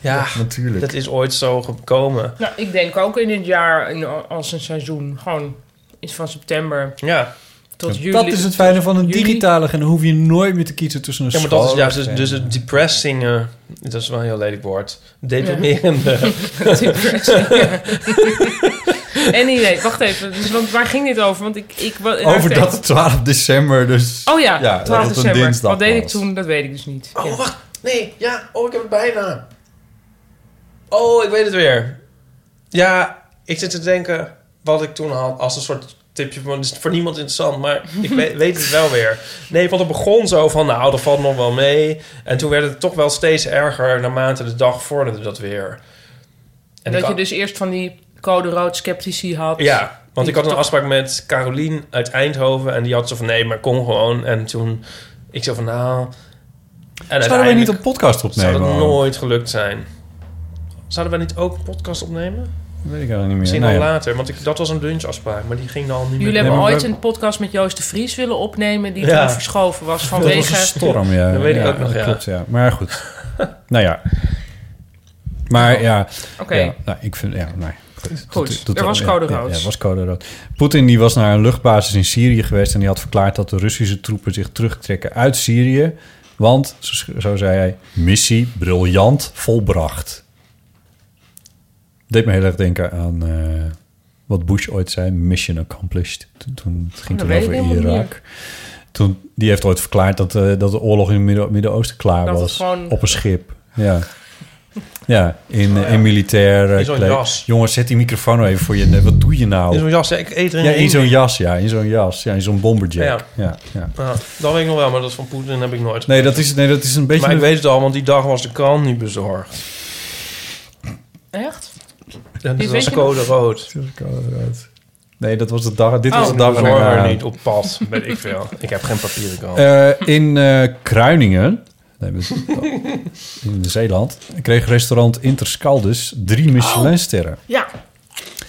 Speaker 5: Ja,
Speaker 2: Natuurlijk.
Speaker 5: dat is ooit zo gekomen.
Speaker 4: Nou, ik denk ook in dit jaar in, als een seizoen. Gewoon iets van september
Speaker 5: Ja,
Speaker 4: tot juli.
Speaker 2: Dat is het fijne van een
Speaker 4: juli.
Speaker 2: digitale agenda. Dan hoef je nooit meer te kiezen tussen een
Speaker 5: ja maar dat is
Speaker 2: school-
Speaker 5: juist dus, dus het depressing... eh, dat is wel een heel lelijk woord. Deprimerende.
Speaker 4: Anyway, wacht even. Dus, want waar ging dit over? Want ik, ik, wa-
Speaker 2: Over dat het 12 december dus...
Speaker 4: Oh ja,
Speaker 2: Ja, dat
Speaker 4: 12
Speaker 2: het een
Speaker 4: december.
Speaker 2: dinsdag
Speaker 4: Wat deed ik
Speaker 2: was.
Speaker 4: toen? Dat weet ik dus niet. Ja.
Speaker 5: Oh, wacht. Nee, ja. Oh, ik heb het bijna. Oh, ik weet het weer. Ja, ik zit te denken wat ik toen had als een soort tipje. Van, het is voor niemand interessant, maar ik weet, weet het wel weer. Nee, want het begon zo van, nou, dat valt nog wel mee. En toen werd het toch wel steeds erger naarmate de dag vorderde dat weer.
Speaker 4: En dat
Speaker 5: ik
Speaker 4: je
Speaker 5: had-
Speaker 4: dus eerst van die code rood sceptici had.
Speaker 5: Ja, want ik had een
Speaker 4: Toch-
Speaker 5: afspraak met Carolien uit Eindhoven. En die had zo van, nee, maar kom gewoon. En toen, ik zo van, nou... En
Speaker 2: Zouden wij niet
Speaker 5: uiteindelijk
Speaker 2: een podcast opnemen?
Speaker 5: zou dat
Speaker 2: Arno?
Speaker 5: nooit gelukt zijn. Zouden wij niet ook een podcast opnemen?
Speaker 2: Weet ik eigenlijk niet meer.
Speaker 5: Misschien
Speaker 2: Nou
Speaker 5: al
Speaker 2: ja.
Speaker 5: later, want ik, dat was een lunchafspraak, maar die ging dan al niet meer.
Speaker 4: Jullie
Speaker 2: Nee,
Speaker 4: hebben
Speaker 2: maar
Speaker 4: ooit
Speaker 2: we-
Speaker 4: een podcast met Joost de Vries willen opnemen... die
Speaker 5: Ja.
Speaker 4: toen verschoven was
Speaker 2: Dat was een
Speaker 4: vanwege...
Speaker 2: storm, ja.
Speaker 5: Dat weet ik
Speaker 2: Ja,
Speaker 5: ook nog, ja.
Speaker 2: Klopt, ja. Maar goed. nou ja. Maar ja,
Speaker 4: Oké,
Speaker 2: ja nou, ik vind... Ja, nee.
Speaker 4: Goed, er was code
Speaker 2: ja,
Speaker 4: rood.
Speaker 2: Ja, er was code rood. Poetin die was naar een luchtbasis in Syrië geweest... en die had verklaard dat de Russische troepen zich terugtrekken uit Syrië... want, zo, sch- zo zei hij, missie briljant volbracht. Deed me heel erg denken aan eh, wat Bush ooit zei... mission accomplished. Toen, toen het ging
Speaker 4: Oh, Dat
Speaker 2: het
Speaker 4: weet ik
Speaker 2: over
Speaker 4: helemaal niet
Speaker 2: Irak. Toen, die heeft ooit verklaard dat, eh, dat de oorlog in het Midden- Midden-Oosten klaar
Speaker 4: Dat het
Speaker 2: was.
Speaker 4: gewoon-
Speaker 2: Op een schip, ja. Ja, in, in militair eh,
Speaker 5: In zo'n
Speaker 2: kleed.
Speaker 5: jas.
Speaker 2: Jongens, zet die microfoon nou even voor je. ne- Wat doe je nou?
Speaker 5: In zo'n jas, ja, Dus ik eet er
Speaker 2: ja, in
Speaker 5: één.
Speaker 2: zo'n jas, ja. In zo'n jas, ja. In zo'n bomberjack. Ja.
Speaker 5: Ja.
Speaker 2: Ja,
Speaker 5: Ja, dat weet ik nog wel, maar dat van Poetin heb ik nooit.
Speaker 2: Nee, dat is, nee, dat is een beetje...
Speaker 5: maar ik
Speaker 2: een-
Speaker 5: weet het al, want die dag was de krant niet bezorgd.
Speaker 4: echt?
Speaker 5: En
Speaker 4: Dit
Speaker 5: dat
Speaker 4: weet
Speaker 5: was
Speaker 4: je
Speaker 5: code rood.
Speaker 2: Nee, dat was de dag... Dit was
Speaker 4: Oh.
Speaker 2: de
Speaker 5: De
Speaker 2: dag
Speaker 5: bezorger
Speaker 2: erna.
Speaker 5: niet op pad, weet ik veel. Ik heb geen papieren krant.
Speaker 2: Eh, in eh, Kruiningen, nee, dat is- in Zeeland, kreeg restaurant Interscaldus
Speaker 5: Oh.
Speaker 2: drie Michelinsterren.
Speaker 4: Ja.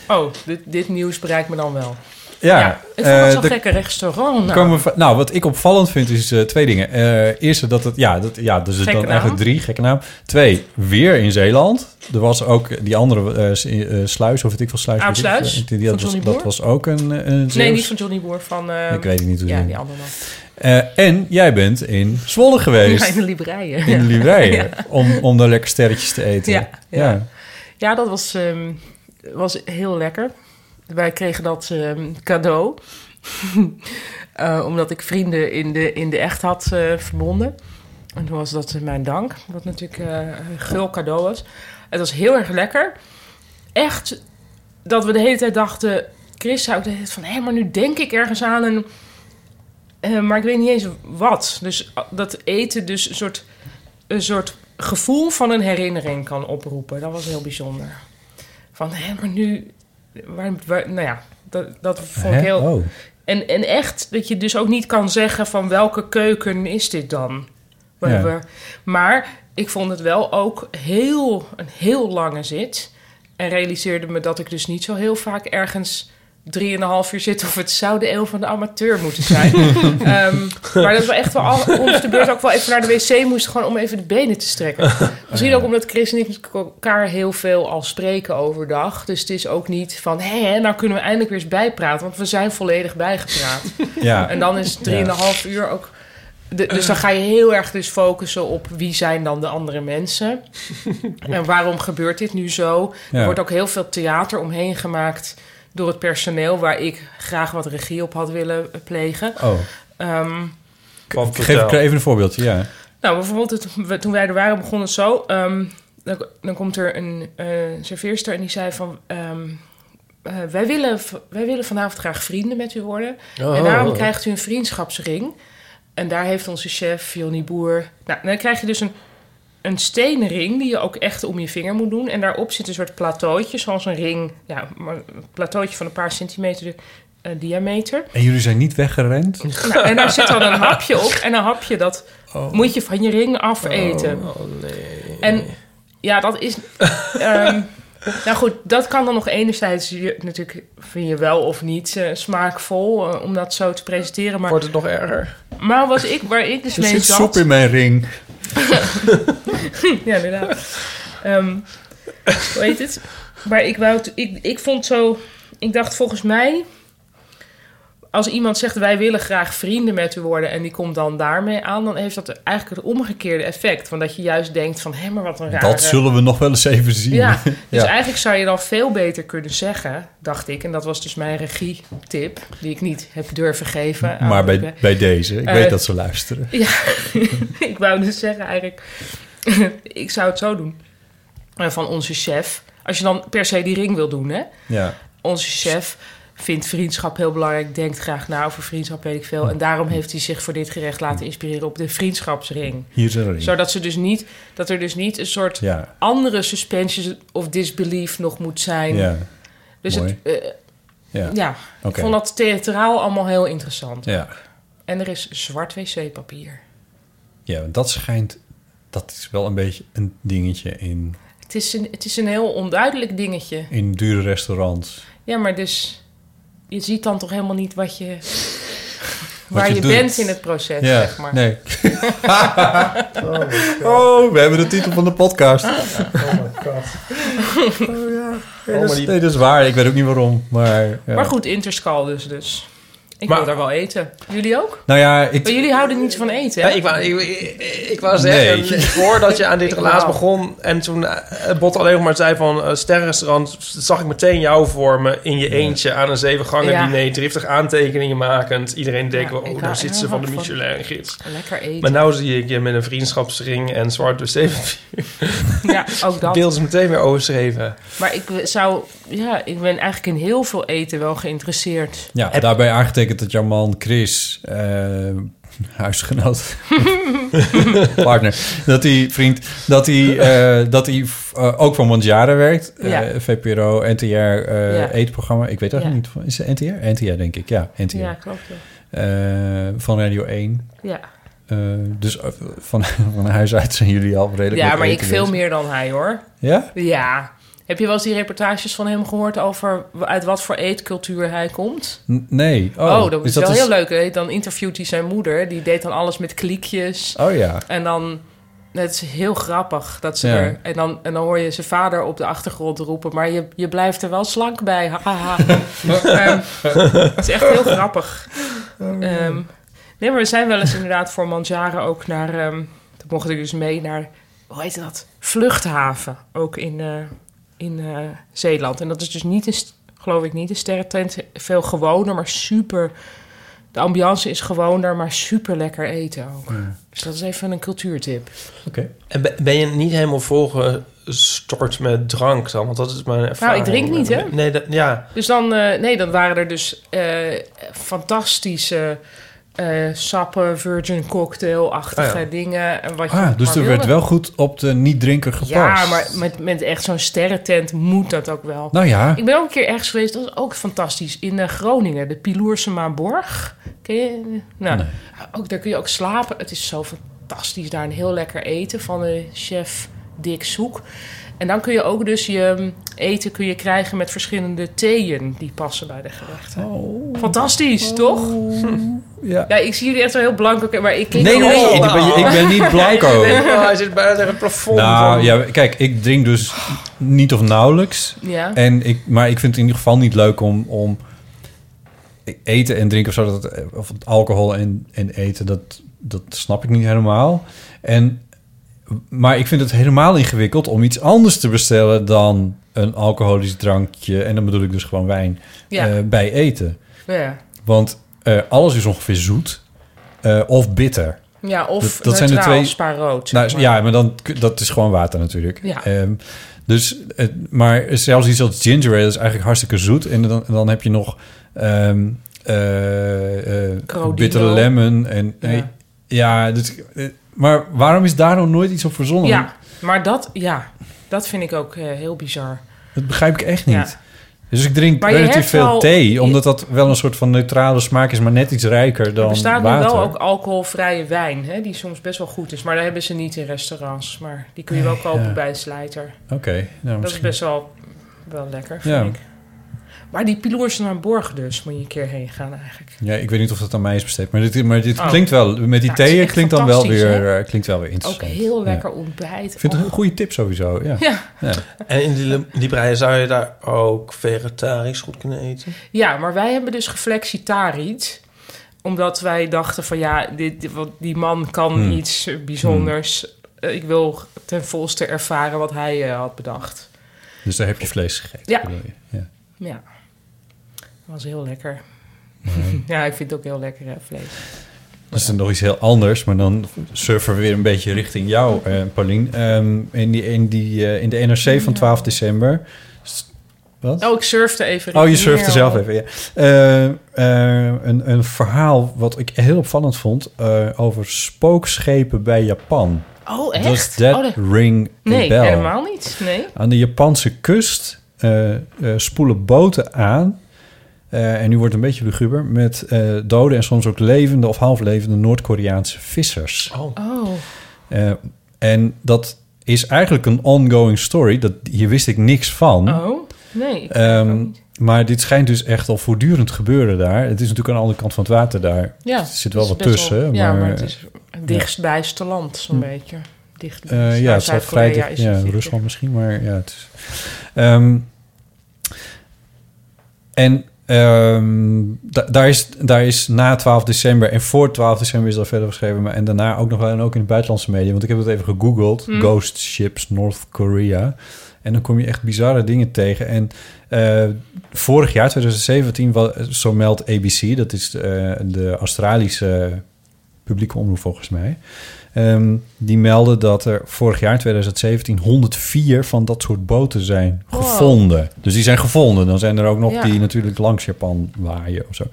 Speaker 4: Oh, dit, dit nieuws bereikt me dan wel.
Speaker 2: Ja,
Speaker 4: Ja, ik vond het
Speaker 2: eh,
Speaker 4: zo'n
Speaker 2: de-
Speaker 4: gekke restaurant. Nou,
Speaker 2: Komen we- nou, wat ik opvallend vind is eh, twee dingen. Eh eerste dat het, ja, dat, ja dus het
Speaker 4: Gekke
Speaker 2: dan
Speaker 4: naam.
Speaker 2: eigenlijk drie, gekke naam. Twee, weer in Zeeland. Er was ook die andere eh, s- eh, sluis, of weet ik wel sluis. weet ik veel.
Speaker 4: Oud-Sluis,
Speaker 2: Die- die-
Speaker 4: van
Speaker 2: dat, was,
Speaker 4: Johnny
Speaker 2: dat
Speaker 4: Boer?
Speaker 2: was ook een, eh, een
Speaker 4: nee,
Speaker 2: Zeeuws.
Speaker 4: niet van Johnny Boer, van... eh,
Speaker 2: Ik weet het niet hoe
Speaker 4: ja,
Speaker 2: ze-
Speaker 4: die andere man.
Speaker 2: Eh, En jij bent in Zwolle geweest.
Speaker 4: Ja, in de Libreien.
Speaker 2: In Liwerijen. om, om daar lekker sterretjes te eten.
Speaker 4: Ja, ja.
Speaker 2: ja.
Speaker 4: Ja, dat was, ehm, was heel lekker. Wij kregen dat ehm, cadeau. Eh, omdat ik vrienden in de, in de echt had eh, verbonden. En toen was dat mijn dank. Wat natuurlijk eh, een gul cadeau was. Het was heel erg lekker. Echt dat we de hele tijd dachten... Chris zou ik de hele tijd van... Hé, maar nu denk ik ergens aan een... eh, maar ik weet niet eens wat. Dus ah, dat eten dus een soort een soort gevoel van een herinnering kan oproepen. Dat was heel bijzonder. Van, hé, maar nu... Waar, waar- nou ja, dat, dat vond ik
Speaker 2: Hè?
Speaker 4: heel...
Speaker 2: Oh.
Speaker 4: En, en echt dat je dus ook niet kan zeggen van welke keuken is dit dan? We-
Speaker 2: Ja.
Speaker 4: we- Maar ik vond het wel ook heel, een heel lange zit. En realiseerde me dat ik dus niet zo heel vaak ergens drieënhalf uur zit... of het zou de eeuw van de amateur moeten zijn. Ehm, maar dat we echt wel al, ons de beurt ook wel even naar de wc moesten... gewoon om even de benen te strekken. Misschien
Speaker 2: Ah,
Speaker 4: ook omdat Chris en ik met elkaar heel veel al spreken overdag. Dus het is ook niet van, hé, hè, nou kunnen we eindelijk weer eens bijpraten... want we zijn volledig bijgepraat.
Speaker 2: Ja.
Speaker 4: En dan is 3,5 uur ook. de- dus dan ga je heel erg dus focussen op wie zijn dan de andere mensen. en waarom gebeurt dit nu zo?
Speaker 2: Ja.
Speaker 4: Er wordt ook heel veel theater omheen gemaakt door het personeel, waar ik graag wat regie op had willen plegen.
Speaker 2: Oh.
Speaker 4: Ehm,
Speaker 5: Van
Speaker 2: Geef
Speaker 5: vertel.
Speaker 2: ik even een voorbeeldje, ja.
Speaker 4: nou, bijvoorbeeld het- we- toen wij er waren begon het zo. ehm, dan, dan komt er een eh serveerster en die zei van... ehm, eh, wij, willen, v- wij willen vanavond graag vrienden met u worden. En daarom krijgt u een vriendschapsring. En daar heeft onze chef, Johnny Boer... Nou, dan krijg je dus een, een stenen ring die je ook echt om je vinger moet doen. En daarop zit een soort plateautje, zoals een ring... Ja, maar een plateautje van een paar centimeter eh, diameter.
Speaker 2: En jullie zijn niet weggerend? Oh.
Speaker 4: Nou, en daar zit dan een hapje op. En een hapje, dat moet je van je ring afeten. En ja, dat is... ehm, nou goed, dat kan dan nog enerzijds... Je, natuurlijk vind je wel of niet eh, smaakvol eh, om dat zo te presenteren. Maar,
Speaker 5: Wordt het nog erger?
Speaker 4: maar was ik, waar ik dus
Speaker 2: Er
Speaker 4: mee
Speaker 2: zit
Speaker 4: zat...
Speaker 2: soep in mijn ring.
Speaker 4: Ja, inderdaad. Ehm, hoe heet het? Maar ik, wou het- ik, ik vond zo... Ik dacht volgens mij... Als iemand zegt wij willen graag vrienden met u worden... en die komt dan daarmee aan... dan heeft dat eigenlijk het omgekeerde effect. Want dat je juist denkt van... hé, maar wat een rare...
Speaker 2: Dat zullen we nog wel eens even zien.
Speaker 4: Ja, dus
Speaker 2: Ja.
Speaker 4: eigenlijk zou je dan veel beter kunnen zeggen... dacht ik. En dat was dus mijn regietip... die ik niet heb durven geven. aan
Speaker 2: Maar
Speaker 4: Ruben.
Speaker 2: bij, bij deze, ik
Speaker 4: Ah, Eh,
Speaker 2: weet dat ze luisteren.
Speaker 4: ik wou dus zeggen eigenlijk, ik zou het zo doen. Eh, Van onze chef. Als je dan per se die ring wil doen, hè?
Speaker 2: Ja.
Speaker 4: Onze chef vindt vriendschap heel belangrijk, denkt graag na over vriendschap, weet ik veel. En daarom heeft hij zich voor dit gerecht laten inspireren op de vriendschapsring.
Speaker 2: Hier is een ring.
Speaker 4: Zodat ze dus niet, dat er dus niet een soort
Speaker 2: Ja,
Speaker 4: andere suspension of disbelief nog moet zijn.
Speaker 2: ja,
Speaker 4: dus
Speaker 2: mooi.
Speaker 4: het, eh,
Speaker 2: ja.
Speaker 4: ja,
Speaker 2: Oké.
Speaker 4: ik vond dat theatraal allemaal heel interessant.
Speaker 2: ja.
Speaker 4: En er is zwart wc-papier.
Speaker 2: Ja, want dat schijnt, dat is wel een beetje een dingetje in
Speaker 4: Het is, een, het is een heel onduidelijk dingetje.
Speaker 2: in dure restaurants.
Speaker 4: Ja, maar dus je ziet dan toch helemaal niet wat je, waar
Speaker 2: je
Speaker 4: je,
Speaker 2: doet.
Speaker 4: bent in het proces,
Speaker 2: Ja,
Speaker 4: zeg maar.
Speaker 2: nee. oh, we hebben de titel van de podcast. Oh ja. Nee, dat is, nee, dat is waar. Ik weet ook niet waarom. Maar, ja.
Speaker 4: Maar goed, interscal dus. dus. Ik
Speaker 3: Maar-
Speaker 4: wil daar wel eten. Jullie ook?
Speaker 2: Nou ja, ik,
Speaker 4: Maar jullie houden niet van eten, hè?
Speaker 3: Ja, ik, wou, ik, ik, ik wou zeggen,
Speaker 2: Nee.
Speaker 3: voordat je aan dit
Speaker 4: Ik
Speaker 3: relaas
Speaker 4: wou.
Speaker 3: begon... en toen eh, Bot alleen nog maar zei van eh, sterrenrestaurant... zag ik meteen jou voor me in je eentje aan een zevengangen
Speaker 4: Ja.
Speaker 3: diner... driftig aantekeningen makend. Iedereen denkt,
Speaker 4: Ja,
Speaker 3: wel,
Speaker 4: ik
Speaker 3: oh,
Speaker 4: hou-
Speaker 3: daar zit
Speaker 4: ik
Speaker 3: ze van
Speaker 4: hou
Speaker 3: de
Speaker 4: van-
Speaker 3: Michelin-gids.
Speaker 4: Lekker eten.
Speaker 3: Maar nou zie ik je met een vriendschapsring en zwart door zeven
Speaker 2: nou-
Speaker 4: Ja, ook dat.
Speaker 3: beeld is meteen weer overschreven.
Speaker 4: Maar ik zou... Ja, ik ben eigenlijk in heel veel eten wel geïnteresseerd.
Speaker 2: ja, daarbij aangetekend dat jouw man Chris, eh, huisgenoot, partner, dat hij vriend, dat hij, eh, dat hij eh, ook van Mondiara werkt, eh,
Speaker 4: Ja.
Speaker 2: VPRO, NTR, eh,
Speaker 4: Ja.
Speaker 2: eetprogramma. Ik weet eigenlijk
Speaker 4: Ja.
Speaker 2: niet, is het NTR? NTR denk ik, ja, NTR.
Speaker 4: Ja, klopt. Ja.
Speaker 2: Eh, van Radio 1.
Speaker 4: Ja,
Speaker 2: Eh, dus eh, van, van huis uit zijn jullie al redelijk
Speaker 4: ja
Speaker 2: met
Speaker 4: maar ik
Speaker 2: eten
Speaker 4: veel
Speaker 2: bezig.
Speaker 4: meer dan hij, hoor.
Speaker 2: Ja?
Speaker 4: Ja. Heb je wel eens die reportages van hem gehoord over w- uit wat voor eetcultuur hij komt?
Speaker 2: N- nee. Oh,
Speaker 4: Oh, dat
Speaker 2: dus
Speaker 4: is wel heel leuk. hè? Dan interviewt hij zijn moeder. Die deed dan alles met kliekjes.
Speaker 2: Oh ja.
Speaker 4: En dan... Het is heel grappig dat ze
Speaker 2: Ja.
Speaker 4: er... En dan, en dan hoor je zijn vader op de achtergrond roepen... maar je, je blijft er wel slank bij. Hahaha. Ehm, het is echt heel grappig. Ehm, nee, maar we zijn wel eens inderdaad voor Manjaren ook naar... ehm dat mocht ik dus mee naar... Hoe heet dat? Vluchthaven. Ook in, eh, in eh, Zeeland. En dat is dus niet een... st- geloof ik niet een sterrentent. Veel gewoner, maar super... De ambiance is gewoner, maar super lekker eten ook. Dus dat is even een cultuurtip.
Speaker 2: Oké.
Speaker 3: En ben- ben je niet helemaal volgestort met drank dan? Want dat is mijn ervaring.
Speaker 4: Nou, drink niet, hè?
Speaker 3: Nee, dat, ja.
Speaker 4: Dus dan, eh, nee, dan waren er dus eh, fantastische eh, sappen, virgin cocktail-achtige
Speaker 3: Ah, ja.
Speaker 4: dingen. En wat je
Speaker 2: Oh Ah, dus
Speaker 4: maar
Speaker 2: er werd
Speaker 4: wilde.
Speaker 2: wel goed op de niet-drinker gepast.
Speaker 4: Ja, maar met, met echt zo'n sterrentent moet dat ook wel.
Speaker 2: Nou ja.
Speaker 4: Ik ben ook een keer ergens geweest, dat is ook fantastisch. In eh, Groningen, de Piloorsema Borg. Ken je? Nou,
Speaker 2: Nee.
Speaker 4: ook, daar kun je ook slapen. Het is zo fantastisch daar. Een heel lekker eten van de chef Dick Soek. En dan kun je ook dus je mm, eten kun je krijgen met verschillende theeën die passen bij de gerechten. Fantastisch, toch?
Speaker 2: ja.
Speaker 4: Ja, ik zie jullie echt wel heel blank. oké, maar ik kijk
Speaker 2: Nee,
Speaker 4: wel-
Speaker 2: nee, nee. Ik ben, ik ben niet blanco.
Speaker 3: Oh, hij zit bijna tegen het plafond.
Speaker 2: Nou
Speaker 3: van-
Speaker 2: ja, kijk, ik drink dus niet of nauwelijks.
Speaker 4: Ja.
Speaker 2: En ik, maar ik vind het in ieder geval niet leuk om, om eten en drinken of zo. Dat, het- eh, of alcohol en, en eten, dat, dat snap ik niet helemaal. En, maar ik vind het helemaal ingewikkeld om iets anders te bestellen dan een alcoholisch drankje. En dan bedoel ik dus gewoon wijn
Speaker 4: Ja.
Speaker 2: eh, bij eten.
Speaker 4: ja.
Speaker 2: Want eh, alles is ongeveer zoet eh, of bitter.
Speaker 4: Ja, of
Speaker 2: Dat- dat zijn de
Speaker 4: neutraal
Speaker 2: twee-
Speaker 4: spaarrood. zeg
Speaker 2: Nou,
Speaker 4: maar.
Speaker 2: ja, maar dan, dat is gewoon water natuurlijk.
Speaker 4: Ja.
Speaker 2: Ehm, dus, eh, maar zelfs iets als ginger ale is eigenlijk hartstikke zoet. En dan, en dan heb je nog ehm, eh, eh,
Speaker 4: Crodino.
Speaker 2: bittere lemon. En,
Speaker 4: Ja.
Speaker 2: ja, ja dus, eh, maar waarom is daar nou nooit iets op verzonnen?
Speaker 4: Ja, maar dat, ja, dat vind ik ook eh, heel bizar.
Speaker 2: Dat begrijp ik echt niet.
Speaker 4: Ja.
Speaker 2: Dus ik drink
Speaker 4: Maar je
Speaker 2: relatief
Speaker 4: hebt
Speaker 2: veel
Speaker 4: wel-
Speaker 2: thee, omdat dat wel een soort van neutrale smaak is, maar net iets rijker dan
Speaker 4: er bestaat nu
Speaker 2: water.
Speaker 4: wel ook alcoholvrije wijn, hè, die soms best wel goed is. Maar daar hebben ze niet in restaurants. Maar die kun je wel kopen
Speaker 2: ja.
Speaker 4: bij een slijter.
Speaker 2: Oké, nou
Speaker 4: Dat is
Speaker 2: misschien.
Speaker 4: best wel, wel lekker, vind
Speaker 2: Ja.
Speaker 4: ik. Maar die Piloers naar Borg dus, moet je een keer heen gaan eigenlijk.
Speaker 2: Ja, ik weet niet of dat aan mij is besteed, maar dit, maar dit
Speaker 4: Oh.
Speaker 2: klinkt wel. Met die
Speaker 4: Ja, het is
Speaker 2: theeën
Speaker 4: echt
Speaker 2: klinkt dan wel
Speaker 4: fantastisch,
Speaker 2: weer,
Speaker 4: hè?
Speaker 2: eh, klinkt wel weer
Speaker 4: Ook
Speaker 2: interessant.
Speaker 4: heel
Speaker 2: Ja.
Speaker 4: lekker ontbijt.
Speaker 2: Ik vind het
Speaker 4: Oh.
Speaker 2: een goede tip sowieso. Ja.
Speaker 4: Ja.
Speaker 3: En in die Libraï zou je daar ook vegetarisch goed kunnen eten?
Speaker 4: Ja, maar wij hebben dus geflexitariet. Omdat wij dachten van ja, dit, dit- want die man kan
Speaker 2: Hmm.
Speaker 4: iets eh, bijzonders. Eh, Ik wil ten volste ervaren wat hij eh, had bedacht.
Speaker 2: Dus daar heb je vlees gegeten.
Speaker 4: Ja.
Speaker 2: bedoel je? ja.
Speaker 4: Ja, dat was heel lekker.
Speaker 2: Hmm.
Speaker 4: ja, ik vind het ook heel lekker hè, vlees.
Speaker 2: Dat is dan nog iets heel anders, maar dan surfen we weer een beetje richting jou, eh Paulien. Ehm, in, die, in, die, eh, in de NRC van 12 december. S- Wat?
Speaker 4: Oh, ik surfde even.
Speaker 2: Oh, je
Speaker 4: richting
Speaker 2: surfte
Speaker 4: hier
Speaker 2: zelf
Speaker 4: al.
Speaker 2: even, ja. Eh, eh, een, een verhaal wat ik heel opvallend vond eh, over spookschepen bij Japan.
Speaker 4: Oh, echt?
Speaker 2: Does that
Speaker 4: Oh, dat-
Speaker 2: ring a
Speaker 4: Nee,
Speaker 2: bell?
Speaker 4: helemaal niet. Nee.
Speaker 2: Aan de Japanse kust eh, eh, spoelen boten aan. eh, en nu wordt het een beetje luguber. Met eh dode en soms ook levende Oh,
Speaker 5: Oh.
Speaker 2: Hmm. of halflevende Noord-Koreaanse vissers.
Speaker 4: Oh,
Speaker 2: Eh, en dat is eigenlijk een ongoing story. Dat, hier wist ik niks van.
Speaker 4: Oh, nee. ik
Speaker 2: Ehm,
Speaker 4: ook niet.
Speaker 2: maar dit schijnt dus echt al voortdurend gebeuren daar. Het is natuurlijk aan de andere kant van het water daar.
Speaker 4: ja,
Speaker 2: er zit wel
Speaker 4: het
Speaker 2: wat
Speaker 4: is best
Speaker 2: tussen.
Speaker 4: wel-
Speaker 2: maar, Hm.
Speaker 4: ja, maar het is het dichtstbijste land, zo'n beetje. Dicht,
Speaker 2: Eh, ja, het staat vrij dicht- ja, Rusland misschien, maar ja, het is... Ehm, en ehm, da- daar, is, daar is na 12 december en voor 12 december is dat verder geschreven. Maar, en daarna ook nog wel en ook in de buitenlandse media. Want ik heb het even gegoogeld. Ghost ships North Korea. En dan kom je echt bizarre dingen tegen. En eh, vorig jaar, 2017, wa- zo meldt ABC... dat is eh, de Australische publieke omroep volgens mij... Ehm, die melden dat er vorig jaar, in 2017, 104 van dat soort boten zijn
Speaker 4: Wow.
Speaker 2: gevonden. Dus die zijn gevonden. Dan zijn er ook nog
Speaker 4: Ja.
Speaker 2: die natuurlijk langs Japan waaien of zo.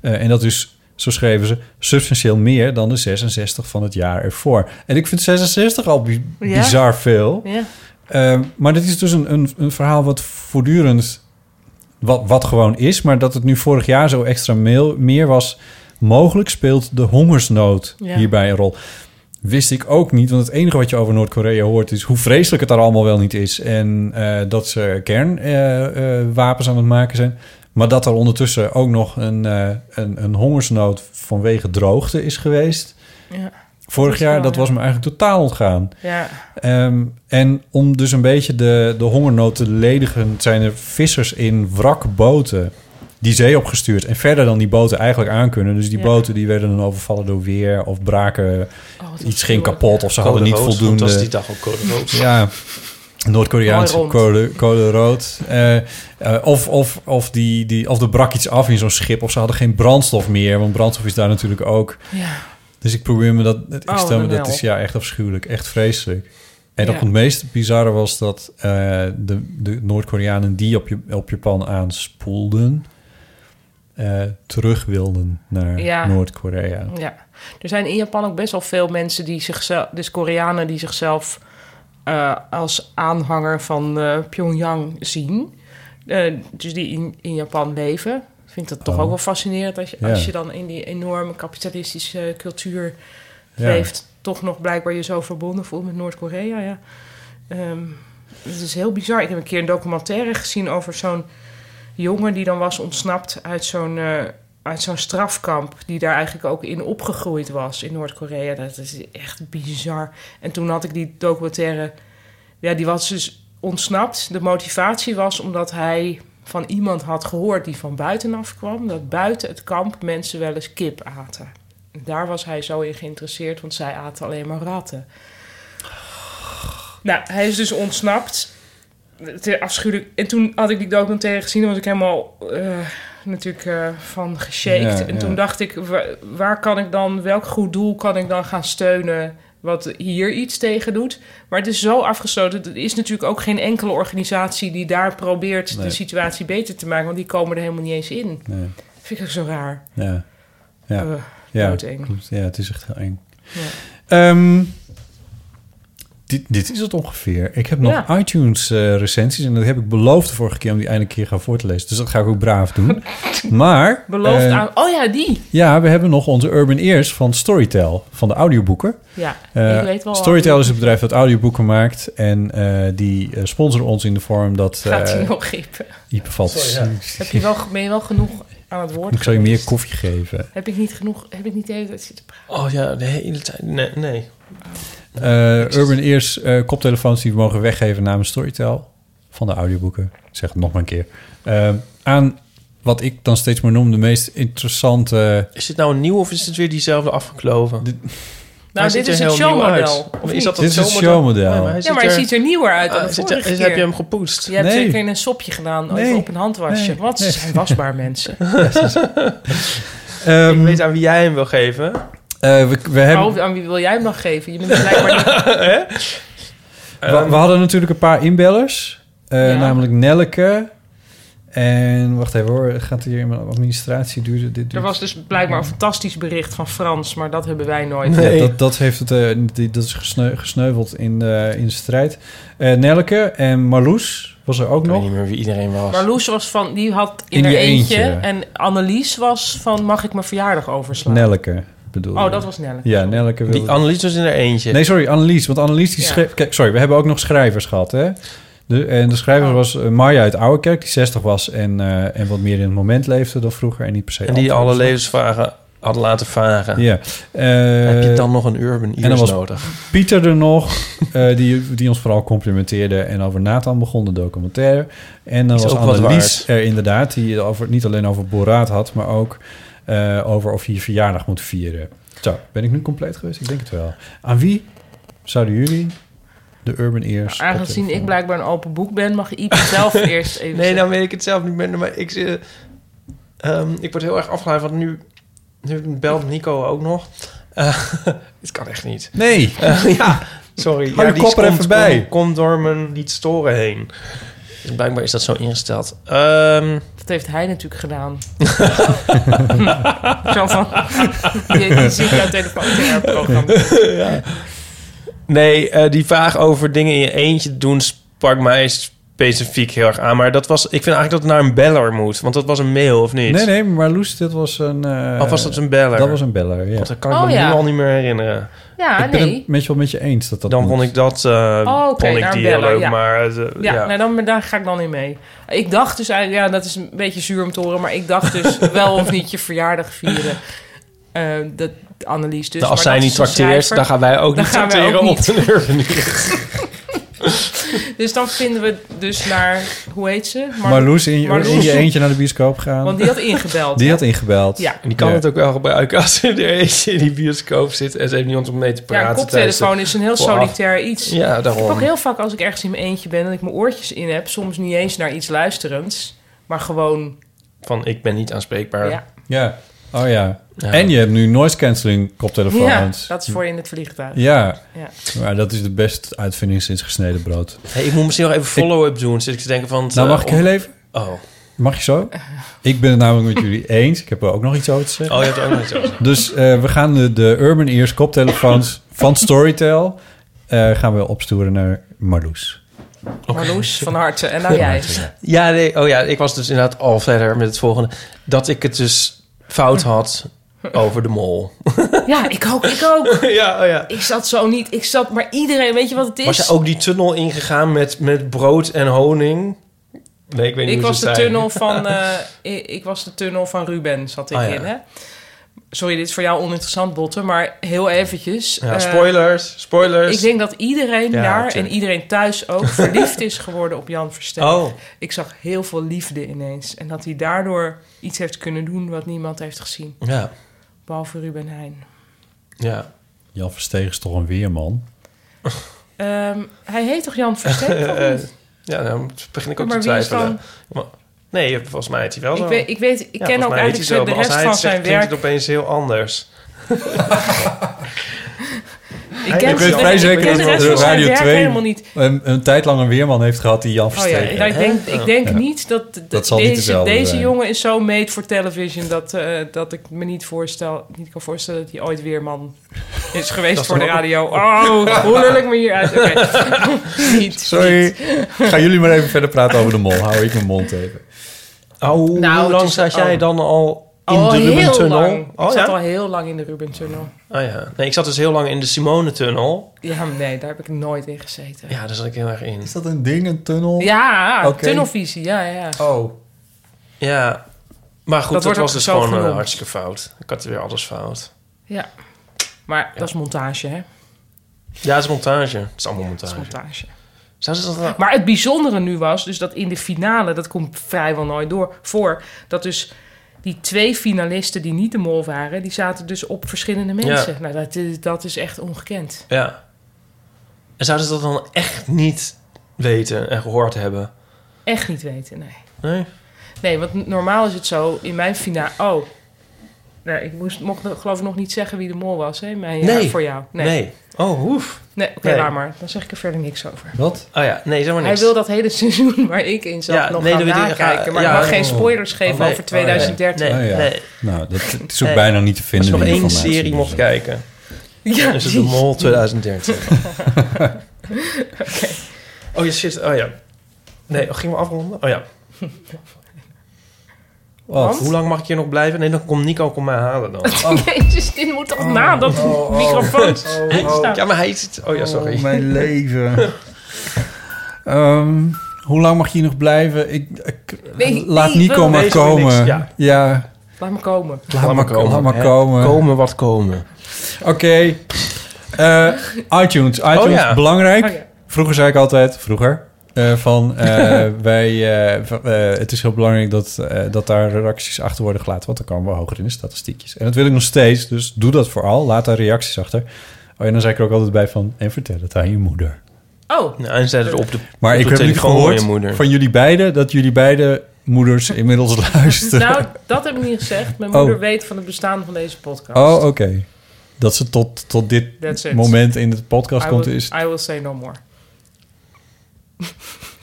Speaker 2: Eh, en dat is, zo schreven ze, substantieel meer dan de 66 van het jaar ervoor. En ik vind 66 al bi-
Speaker 4: Ja.
Speaker 2: bizar veel.
Speaker 4: Ja.
Speaker 2: Ehm, maar dit is dus een, een, een verhaal wat voortdurend... Wat, wat gewoon is, maar dat het nu vorig jaar zo extra meel- meer was... mogelijk speelt de hongersnood
Speaker 4: Ja.
Speaker 2: hierbij een rol. Wist ik ook niet, want het enige wat je over Noord-Korea hoort... is hoe vreselijk het daar allemaal wel niet is... en eh, dat ze kernwapens aan het maken zijn. Maar dat er ondertussen ook nog een, eh, een, een hongersnood vanwege droogte is geweest...
Speaker 4: Ja.
Speaker 2: vorig
Speaker 4: is
Speaker 2: jaar,
Speaker 4: wel,
Speaker 2: dat
Speaker 4: ja.
Speaker 2: was me eigenlijk totaal ontgaan.
Speaker 4: Ja,
Speaker 2: Ehm, en om dus een beetje de, de hongernood te ledigen, zijn er vissers in wrakboten die zee opgestuurd. En verder dan die boten eigenlijk aankunnen. Dus die
Speaker 4: Ja.
Speaker 2: boten die werden dan overvallen door weer of braken.
Speaker 4: Oh, wat
Speaker 2: iets ging
Speaker 4: afschuwelijk.
Speaker 2: kapot of ze hadden niet voldoende.
Speaker 5: Dat was die dag ook code rood.
Speaker 2: Ja, Noord-Koreaans
Speaker 4: Mooi rond.
Speaker 2: code, code rood. Eh, eh, of, of, of, die, die, of er brak iets af in zo'n schip. Of ze hadden geen brandstof meer. Want brandstof is daar natuurlijk ook.
Speaker 4: Ja.
Speaker 2: Dus ik probeer me dat... Ik
Speaker 4: Oh,
Speaker 2: stel me
Speaker 4: dan
Speaker 2: dat
Speaker 4: wel.
Speaker 2: is ja, echt afschuwelijk. Echt vreselijk. En
Speaker 4: Ja.
Speaker 2: ook het meest bizarre was dat eh, de, de Noord-Koreanen die op, je, op Japan aanspoelden... eh, terug wilden naar
Speaker 4: Ja.
Speaker 2: Noord-Korea.
Speaker 4: Ja, er zijn in Japan ook best wel veel mensen die zichzelf, dus Koreanen die zichzelf eh, als aanhanger van eh, Pyongyang zien. Eh, dus die in, in Japan leven. Ik vind dat toch ook wel fascinerend als je,
Speaker 2: Oh. Ja.
Speaker 4: als je dan in die enorme kapitalistische cultuur
Speaker 2: Ja.
Speaker 4: leeft, toch nog blijkbaar je zo verbonden voelt met Noord-Korea. Ja. Ehm, het is heel bizar. Ik heb een keer een documentaire gezien over zo'n jongen die dan was ontsnapt uit zo'n eh, uit zo'n strafkamp. Die daar eigenlijk ook in opgegroeid was in Noord-Korea. Dat is echt bizar. En toen had ik die documentaire. Ja, die was dus ontsnapt. De motivatie was omdat hij van iemand had gehoord die van buitenaf kwam. Dat buiten het kamp mensen wel eens kip aten. En daar was hij zo in geïnteresseerd, want zij aten alleen maar ratten. Nou, hij is dus ontsnapt. Het is afschuwelijk. En toen had ik die documentaire gezien, dan was ik helemaal eh, natuurlijk eh, van geshaked.
Speaker 2: Ja,
Speaker 4: en
Speaker 2: ja.
Speaker 4: toen dacht ik, wa- waar kan ik dan, welk goed doel kan ik dan gaan steunen wat hier iets tegen doet? Maar het is zo afgesloten. Er is natuurlijk ook geen enkele organisatie die daar probeert
Speaker 2: Nee.
Speaker 4: de situatie beter te maken, want die komen er helemaal niet eens in.
Speaker 2: Nee.
Speaker 4: Vind ik ook zo raar.
Speaker 2: Ja. Ja.
Speaker 4: Eh,
Speaker 2: Ja,
Speaker 4: Doodeng.
Speaker 2: klopt. Ja, het is echt heel eng.
Speaker 4: Ja.
Speaker 2: Ehm, dit, dit is het ongeveer. Ik heb nog
Speaker 4: Ja.
Speaker 2: iTunes eh, recensies en dat heb ik beloofd de vorige keer om die eindelijk een keer gaan voor te lezen. Dus dat ga ik ook braaf doen. Maar
Speaker 4: Beloofd
Speaker 2: eh,
Speaker 4: aan. Oh ja, die.
Speaker 2: ja, we hebben nog onze Urban Ears van Storytel van de audioboeken.
Speaker 4: Ja,
Speaker 2: Eh,
Speaker 4: ik weet wel.
Speaker 2: Storytel is het bedrijf dat audioboeken maakt en eh, die eh, sponsoren ons in de vorm dat
Speaker 4: Gaat hij
Speaker 2: eh
Speaker 4: nog gippen?
Speaker 2: Ipe valt.
Speaker 4: Heb je wel, ben je wel genoeg aan het woord?
Speaker 2: Ik zou je meer
Speaker 4: geweest?
Speaker 2: koffie geven.
Speaker 4: Heb ik niet genoeg? Heb ik niet de hele tijd zitten praten?
Speaker 5: Oh ja, de hele tijd. Nee, nee.
Speaker 2: Eh, Urban Ears eh, koptelefoons die we mogen weggeven namens Storytel van de audioboeken. Ik zeg het nog maar een keer. Eh, aan wat ik dan steeds maar noem de meest interessante.
Speaker 5: Is dit nou een nieuw of is het weer diezelfde afgekloven?
Speaker 2: Dit-
Speaker 4: Nou, dit is het showmodel. Of
Speaker 5: Of
Speaker 4: niet?
Speaker 5: is dat
Speaker 2: Dit is het showmodel.
Speaker 4: ja, maar hij ziet er nieuwer uit dan
Speaker 5: Ah,
Speaker 4: de
Speaker 5: zit
Speaker 4: vorige
Speaker 5: er-
Speaker 4: keer.
Speaker 5: Heb je hem gepoetst?
Speaker 4: Je hebt
Speaker 2: Nee.
Speaker 4: zeker in een sopje gedaan,
Speaker 2: Nee.
Speaker 4: even op een handwasje.
Speaker 2: Nee.
Speaker 4: Want ze
Speaker 2: Nee.
Speaker 4: zijn wasbaar mensen.
Speaker 5: Ik
Speaker 2: Ehm,
Speaker 5: weet aan wie jij hem wil geven.
Speaker 2: eh, we, we, hebben,
Speaker 4: Oh, aan wie wil jij hem nog geven? Je bent dus blijkbaar niet...
Speaker 2: we, we hadden natuurlijk een paar inbellers. eh,
Speaker 4: Eh, Ja.
Speaker 2: Namelijk Nelleke. En wacht even hoor. Gaat hier in mijn administratie duren? Dit
Speaker 4: Er
Speaker 2: duurt-
Speaker 4: was dus blijkbaar een fantastisch bericht van Frans, maar dat hebben wij nooit.
Speaker 2: Ja,
Speaker 5: Nee.
Speaker 2: dat, dat, heeft het, eh, die- dat is gesneu- gesneuveld in, de in de strijd. Eh Nelleke en Marloes was er ook
Speaker 5: Ik weet
Speaker 2: nog.
Speaker 5: niet meer wie iedereen was.
Speaker 4: Maar Loes was van, die had in,
Speaker 2: In
Speaker 4: haar
Speaker 2: je
Speaker 4: eentje.
Speaker 2: eentje.
Speaker 4: En Annelies was van, mag ik mijn verjaardag overslaan?
Speaker 2: Nelleke. bedoel
Speaker 4: Oh,
Speaker 2: je?
Speaker 4: dat was Nelleke.
Speaker 2: Ja, Nelleke wilde...
Speaker 5: Die Annelies was in haar eentje.
Speaker 2: Nee, sorry, Annelies. Want Annelies die
Speaker 4: Ja.
Speaker 2: schreef... Kijk, sorry, we hebben ook nog schrijvers gehad, hè? De, en de
Speaker 4: Oh.
Speaker 2: schrijver was eh, Marja uit Ouwekerk, die 60 was en, eh, en wat meer in het moment leefde dan vroeger. En niet per se
Speaker 5: en die alle
Speaker 2: antwoord.
Speaker 5: levensvragen had laten varen.
Speaker 2: Ja. Eh,
Speaker 5: Heb je dan nog een Urban
Speaker 2: en dan
Speaker 5: Ears
Speaker 2: was-
Speaker 5: nodig?
Speaker 2: Pieter er nog, eh, die, die ons vooral complimenteerde. En over Nathan begon de documentaire. En dan
Speaker 5: Is
Speaker 2: was
Speaker 5: ook wat
Speaker 2: Annelies er inderdaad, die het over, niet alleen over Boraat had, maar ook eh, over of je je verjaardag moet vieren. Zo, ben ik nu compleet geweest? Ik denk het wel. Aan wie zouden jullie de Urban Ears...
Speaker 4: Nou, Aangezien ik
Speaker 2: optelefoon-
Speaker 4: blijkbaar een open boek ben, mag Iep het zelf eerst even
Speaker 5: Nee,
Speaker 4: zeggen.
Speaker 5: nou weet ik het zelf niet meer. Maar ik, zit- ehm, ik word heel erg afgeleid, want nu, nu belt Nico ook nog. Eh, het kan echt niet.
Speaker 2: Nee,
Speaker 5: Eh, ja, sorry.
Speaker 2: Hou je
Speaker 5: die
Speaker 2: kop er
Speaker 5: komt-
Speaker 2: even bij.
Speaker 5: Komt komt door mijn niet storen heen. Dus blijkbaar is dat zo ingesteld. Ehm,
Speaker 4: Dat heeft hij natuurlijk gedaan. Zo van, je, je ziet jouw telefoon in programma.
Speaker 5: nee, eh, die vraag over dingen in je eentje doen sprak mij specifiek heel erg aan. Maar dat was, ik vind eigenlijk dat het naar een beller moet. Want dat was een mail, of niet?
Speaker 2: nee, nee, maar Loes, dit was een... eh,
Speaker 5: Of was dat een beller?
Speaker 2: Dat was een beller, ja.
Speaker 5: Want dat kan ik
Speaker 4: Oh,
Speaker 5: me
Speaker 4: ja.
Speaker 5: nu al niet meer herinneren.
Speaker 4: Ja,
Speaker 2: ik ben
Speaker 4: Ah, nee.
Speaker 2: het met je wel met je eens dat dat
Speaker 5: dan
Speaker 2: moet.
Speaker 5: vond ik dat eh
Speaker 4: Oh, oké,
Speaker 5: vond ik
Speaker 4: naar
Speaker 5: die
Speaker 4: een beller,
Speaker 5: heel leuk,
Speaker 4: ja.
Speaker 5: maar eh, de-
Speaker 4: Ja,
Speaker 5: ja.
Speaker 4: Nou, dan, daar ga ik dan in mee. Ik dacht dus eigenlijk, ja, dat is een beetje zuur om te horen, maar ik dacht dus wel of niet je verjaardag vieren. Eh, dat Annelies dus.
Speaker 5: Nou, als
Speaker 4: maar
Speaker 5: zij
Speaker 4: dat
Speaker 5: niet
Speaker 4: is een
Speaker 5: trakteert,
Speaker 4: cijfer.
Speaker 5: dan gaan wij ook
Speaker 4: Dan
Speaker 5: niet
Speaker 4: gaan wij
Speaker 5: tracteren
Speaker 4: ook
Speaker 5: op
Speaker 4: niet.
Speaker 5: de Urban
Speaker 4: Dus dan vinden we dus naar, hoe heet ze? Mar-
Speaker 2: Maar Loes, in, je-
Speaker 4: Marloes.
Speaker 2: in je eentje naar de bioscoop gaan.
Speaker 4: Want die had ingebeld.
Speaker 2: die had ingebeld.
Speaker 4: Ja.
Speaker 5: En die kan
Speaker 2: Ja.
Speaker 5: het ook wel gebruiken als ze er eentje in die bioscoop zit en ze heeft niemand om mee te praten.
Speaker 4: ja, een
Speaker 5: tijdens de-
Speaker 4: koptelefoon is een heel
Speaker 5: vooraf.
Speaker 4: solitair iets.
Speaker 5: Ja,
Speaker 4: Ik heb ook
Speaker 5: daarom.
Speaker 4: heel vaak als ik ergens in mijn eentje ben... dat ik mijn oortjes in heb. Soms niet eens naar iets luisterends. Maar gewoon,
Speaker 5: Van ik ben niet aanspreekbaar.
Speaker 4: ja.
Speaker 2: Ja. Oh ja.
Speaker 5: Ja.
Speaker 2: En je hebt nu noise cancelling koptelefoons.
Speaker 4: Ja, dat is voor je in het vliegtuig.
Speaker 2: Ja.
Speaker 4: Ja.
Speaker 2: Maar dat is de beste uitvinding sinds gesneden brood.
Speaker 5: Hey, ik moet misschien nog even follow-up doen. Zit ik te denken van...
Speaker 2: Nou,
Speaker 5: eh,
Speaker 2: mag ik heel even?
Speaker 5: Oh, oh
Speaker 2: Mag je zo?
Speaker 4: Eh.
Speaker 2: Ik ben het namelijk met jullie eens. Ik heb er ook nog iets over te zeggen.
Speaker 5: Oh, je hebt ook nog iets over.
Speaker 2: Dus eh, we gaan de, de Urban Ears koptelefoons van Storytel... eh, gaan we opsturen naar Marloes.
Speaker 4: Marloes, van harte. En nou jij.
Speaker 5: Ja, nee, oh ja, ik was dus inderdaad al verder met het volgende. Dat ik het dus fout had over de mol.
Speaker 4: Ja, ik ook, ik ook.
Speaker 5: ja, oh ja.
Speaker 4: Ik zat zo niet. Ik zat, maar iedereen, weet je wat het is?
Speaker 5: Was je ook die tunnel ingegaan met, met brood en honing? Nee, ik weet niet
Speaker 4: ik
Speaker 5: hoe
Speaker 4: was
Speaker 5: ze
Speaker 4: de
Speaker 5: zijn.
Speaker 4: tunnel van. eh, ik, ik was de tunnel van Ruben, zat ik
Speaker 5: Ah, ja.
Speaker 4: in. Hè? Sorry, dit is voor jou oninteressant, Botte, maar heel eventjes.
Speaker 5: Ja,
Speaker 4: eh,
Speaker 5: spoilers, spoilers.
Speaker 4: ik denk dat iedereen
Speaker 5: Ja,
Speaker 4: daar en
Speaker 5: tuurlijk.
Speaker 4: iedereen thuis ook verliefd is geworden op Jan Versteeg.
Speaker 5: Oh.
Speaker 4: Ik zag heel veel liefde ineens. En dat hij daardoor iets heeft kunnen doen wat niemand heeft gezien.
Speaker 5: Ja,
Speaker 4: Behalve Ruben Heijn.
Speaker 5: ja.
Speaker 2: Jan Versteeg is toch een weerman?
Speaker 4: Ehm, hij heet toch Jan Versteeg? of niet?
Speaker 5: Ja, dan begin ik ook
Speaker 4: Maar
Speaker 5: te
Speaker 4: wie is
Speaker 5: twijfelen.
Speaker 4: dan-
Speaker 5: Maar- nee, volgens mij heet hij wel zo.
Speaker 4: Ik weet, ik, weet, ik
Speaker 5: Eh, Ja,
Speaker 4: ken
Speaker 5: volgens
Speaker 4: ook
Speaker 5: mij heet
Speaker 4: eigenlijk
Speaker 5: hij zo,
Speaker 4: zo, de
Speaker 5: maar als
Speaker 4: rest
Speaker 5: hij het
Speaker 4: van
Speaker 5: zegt,
Speaker 4: zijn
Speaker 5: klinkt
Speaker 4: werk.
Speaker 5: het opeens heel anders.
Speaker 4: Ik ken,
Speaker 2: Ik weet
Speaker 4: de-
Speaker 2: vrij
Speaker 4: ik
Speaker 2: zeker
Speaker 4: ken de
Speaker 2: dat
Speaker 4: rest
Speaker 2: de
Speaker 4: van zijn
Speaker 2: Radio
Speaker 4: werk
Speaker 2: 2
Speaker 4: helemaal niet.
Speaker 2: Een, een tijd lang een weerman heeft gehad die Jan
Speaker 4: Oh ja,
Speaker 2: Versteeg.
Speaker 4: ja, ik denk, ik denk niet dat, dat,
Speaker 2: Dat zal niet
Speaker 4: deze,
Speaker 2: dezelfde
Speaker 4: deze
Speaker 2: zijn.
Speaker 4: jongen is zo made voor television dat, eh, dat ik me niet, voorstel, niet kan voorstellen dat hij ooit weer man is geweest voor de radio. Oh, hoe lul ik me hier uit? Oké. niet,
Speaker 2: Sorry.
Speaker 4: niet.
Speaker 2: Gaan jullie maar even verder praten over de mol. Hou ik mijn mond even.
Speaker 5: Oh,
Speaker 4: Nou,
Speaker 5: hoe
Speaker 4: het
Speaker 5: lang
Speaker 4: is-
Speaker 5: zat jij
Speaker 4: oh.
Speaker 5: dan al in
Speaker 4: Al
Speaker 5: de
Speaker 4: heel
Speaker 5: Ruben-tunnel?
Speaker 4: lang. ik
Speaker 5: Oh,
Speaker 4: zat
Speaker 5: ja?
Speaker 4: al heel lang in de Ruben-tunnel.
Speaker 5: oh ja. Nee, ik zat dus heel lang in de Simone-tunnel.
Speaker 4: Ja, maar nee, daar heb ik nooit in gezeten. Ja,
Speaker 5: Ja, daar zat ik heel erg in.
Speaker 2: Is dat een ding, een tunnel? Oké.
Speaker 4: tunnelvisie, ja, ja.
Speaker 2: Oh.
Speaker 5: Ja, maar goed,
Speaker 4: Dat
Speaker 5: dat,
Speaker 4: wordt
Speaker 5: was
Speaker 4: ook
Speaker 5: dus
Speaker 4: zo
Speaker 5: gewoon eh,
Speaker 4: genoemd.
Speaker 5: hartstikke fout. Ik had weer alles fout.
Speaker 4: ja. Maar dat is montage, hè?
Speaker 5: Ja, het is montage. Het is allemaal
Speaker 4: Dat is
Speaker 5: montage.
Speaker 4: montage.
Speaker 5: Zou ze dat dan-
Speaker 4: Maar het bijzondere nu was dus dat in de finale, dat komt vrijwel nooit door, voor, dat dus die twee finalisten die niet de mol waren, die zaten dus op verschillende mensen. Nou, dat is, dat is echt ongekend.
Speaker 5: Ja. En zouden ze dat dan echt niet weten en gehoord hebben?
Speaker 4: Echt niet weten, nee.
Speaker 5: Nee?
Speaker 4: Nee, want normaal is het zo, in mijn finale... Oh, nee, ik moest, mocht geloof ik nog niet zeggen wie de mol was, hè? Mijn, ja,
Speaker 5: Nee.
Speaker 4: voor jou.
Speaker 5: Nee.
Speaker 4: Nee, nee.
Speaker 5: Oh, hoef.
Speaker 4: oké,
Speaker 5: Nee.
Speaker 4: laat maar. Dan zeg ik er verder niks over.
Speaker 2: Wat?
Speaker 5: Oh ja, nee, zeg maar
Speaker 4: Hij
Speaker 5: niks.
Speaker 4: wil dat hele seizoen waar ik in zat
Speaker 5: Ja,
Speaker 4: nog
Speaker 5: nee,
Speaker 4: gaan
Speaker 5: dat wil ik-
Speaker 4: nakijken. maar
Speaker 5: ja,
Speaker 4: ik mag
Speaker 5: oh.
Speaker 4: geen spoilers geven
Speaker 5: Nee.
Speaker 4: over 2013.
Speaker 5: Nee,
Speaker 2: Oh ja.
Speaker 5: nee.
Speaker 2: Nou, dat het is ook
Speaker 5: Nee.
Speaker 2: bijna niet te
Speaker 5: Als je
Speaker 2: vinden.
Speaker 5: nog
Speaker 2: die
Speaker 5: één
Speaker 2: informatie. dus.
Speaker 5: serie mocht kijken,
Speaker 4: Ja,
Speaker 5: dan is het De
Speaker 4: die-
Speaker 5: Mol 2013. Oh ja, shit. Oh ja. Nee, oh, gingen we afronden? Oh ja.
Speaker 2: Wat?
Speaker 5: Hoe lang mag ik hier nog blijven? Nee, dan komt Nico kom mij halen dan.
Speaker 4: Jezus, dus dit moet toch na dat
Speaker 2: oh, oh.
Speaker 4: microfoon staan.
Speaker 5: Ja, maar hij zit... Oh ja, sorry.
Speaker 2: Oh, mijn leven. Ehm, hoe lang mag je hier nog blijven? Ik, ik-
Speaker 4: Nee,
Speaker 2: laat
Speaker 4: nee,
Speaker 2: Nico
Speaker 4: wel.
Speaker 2: maar
Speaker 5: Wees maar
Speaker 2: komen.
Speaker 5: niks, ja.
Speaker 2: Ja,
Speaker 4: Laat me komen.
Speaker 2: laat, maar komen. Laat maar
Speaker 5: hè.
Speaker 2: komen.
Speaker 5: Komen wat komen.
Speaker 2: Oké. Eh, iTunes. iTunes,
Speaker 5: ja.
Speaker 2: belangrijk.
Speaker 4: Oh ja.
Speaker 2: Vroeger zei ik altijd, vroeger, eh, van eh, wij, eh, v- eh, het is heel belangrijk dat, eh, dat daar reacties achter worden gelaten, want dan komen we hoger in de statistiekjes. En dat wil ik nog steeds, dus doe dat vooral. Laat daar reacties achter. Oh, en dan zei ik er ook altijd bij van, en vertel het aan je moeder.
Speaker 4: Oh,
Speaker 5: Nou, en zet het op de
Speaker 2: Maar
Speaker 5: op
Speaker 2: ik
Speaker 5: de
Speaker 2: heb nu
Speaker 5: telefoon van
Speaker 2: gehoord
Speaker 5: je moeder.
Speaker 2: van jullie beiden, dat jullie beide moeders inmiddels luisteren.
Speaker 4: nou, dat heb ik niet gezegd. Mijn
Speaker 2: Oh.
Speaker 4: moeder weet van het bestaan van deze podcast.
Speaker 2: oh, oké. Dat ze tot, tot dit
Speaker 4: That's it.
Speaker 2: moment in de podcast
Speaker 4: I
Speaker 2: komt,
Speaker 4: will,
Speaker 2: is
Speaker 4: I will say no more.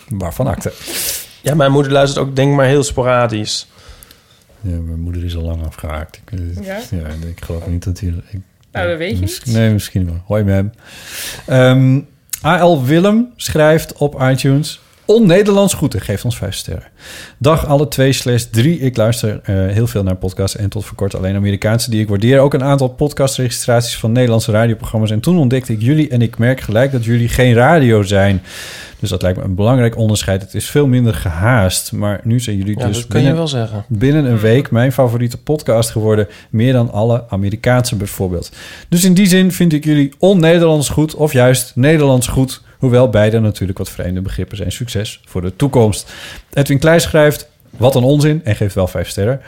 Speaker 2: waarvan acte.
Speaker 5: Ja, mijn moeder luistert ook denk ik maar heel sporadisch.
Speaker 2: Ja, mijn moeder is al lang afgehaakt. Ik, eh,
Speaker 4: Ja?
Speaker 2: ja? ik geloof niet dat hij... Ik,
Speaker 4: Nou, dat weet je
Speaker 2: misschien-
Speaker 4: niet.
Speaker 2: Nee, misschien wel. Hoi, mam. Ehm, AL Willem schrijft op iTunes... On-Nederlands groeten, geeft ons vijf sterren. Dag alle twee slash drie. Ik luister eh, heel veel naar podcasts en tot voor kort alleen Amerikaanse die ik waardeer. Ook een aantal podcastregistraties van Nederlandse radioprogramma's. En toen ontdekte ik jullie en ik merk gelijk dat jullie geen radio zijn. Dus dat lijkt me een belangrijk onderscheid. Het is veel minder gehaast, maar nu zijn jullie
Speaker 5: Ja,
Speaker 2: dus
Speaker 5: dat kun
Speaker 2: binnen-
Speaker 5: je wel zeggen.
Speaker 2: binnen een week mijn favoriete podcast geworden. Meer dan alle Amerikaanse bijvoorbeeld. Dus in die zin vind ik jullie on-Nederlands goed of juist Nederlands goed. Hoewel beide natuurlijk wat vreemde begrippen zijn. Succes voor de toekomst. Edwin Kleij schrijft... Wat een onzin en geeft wel vijf sterren.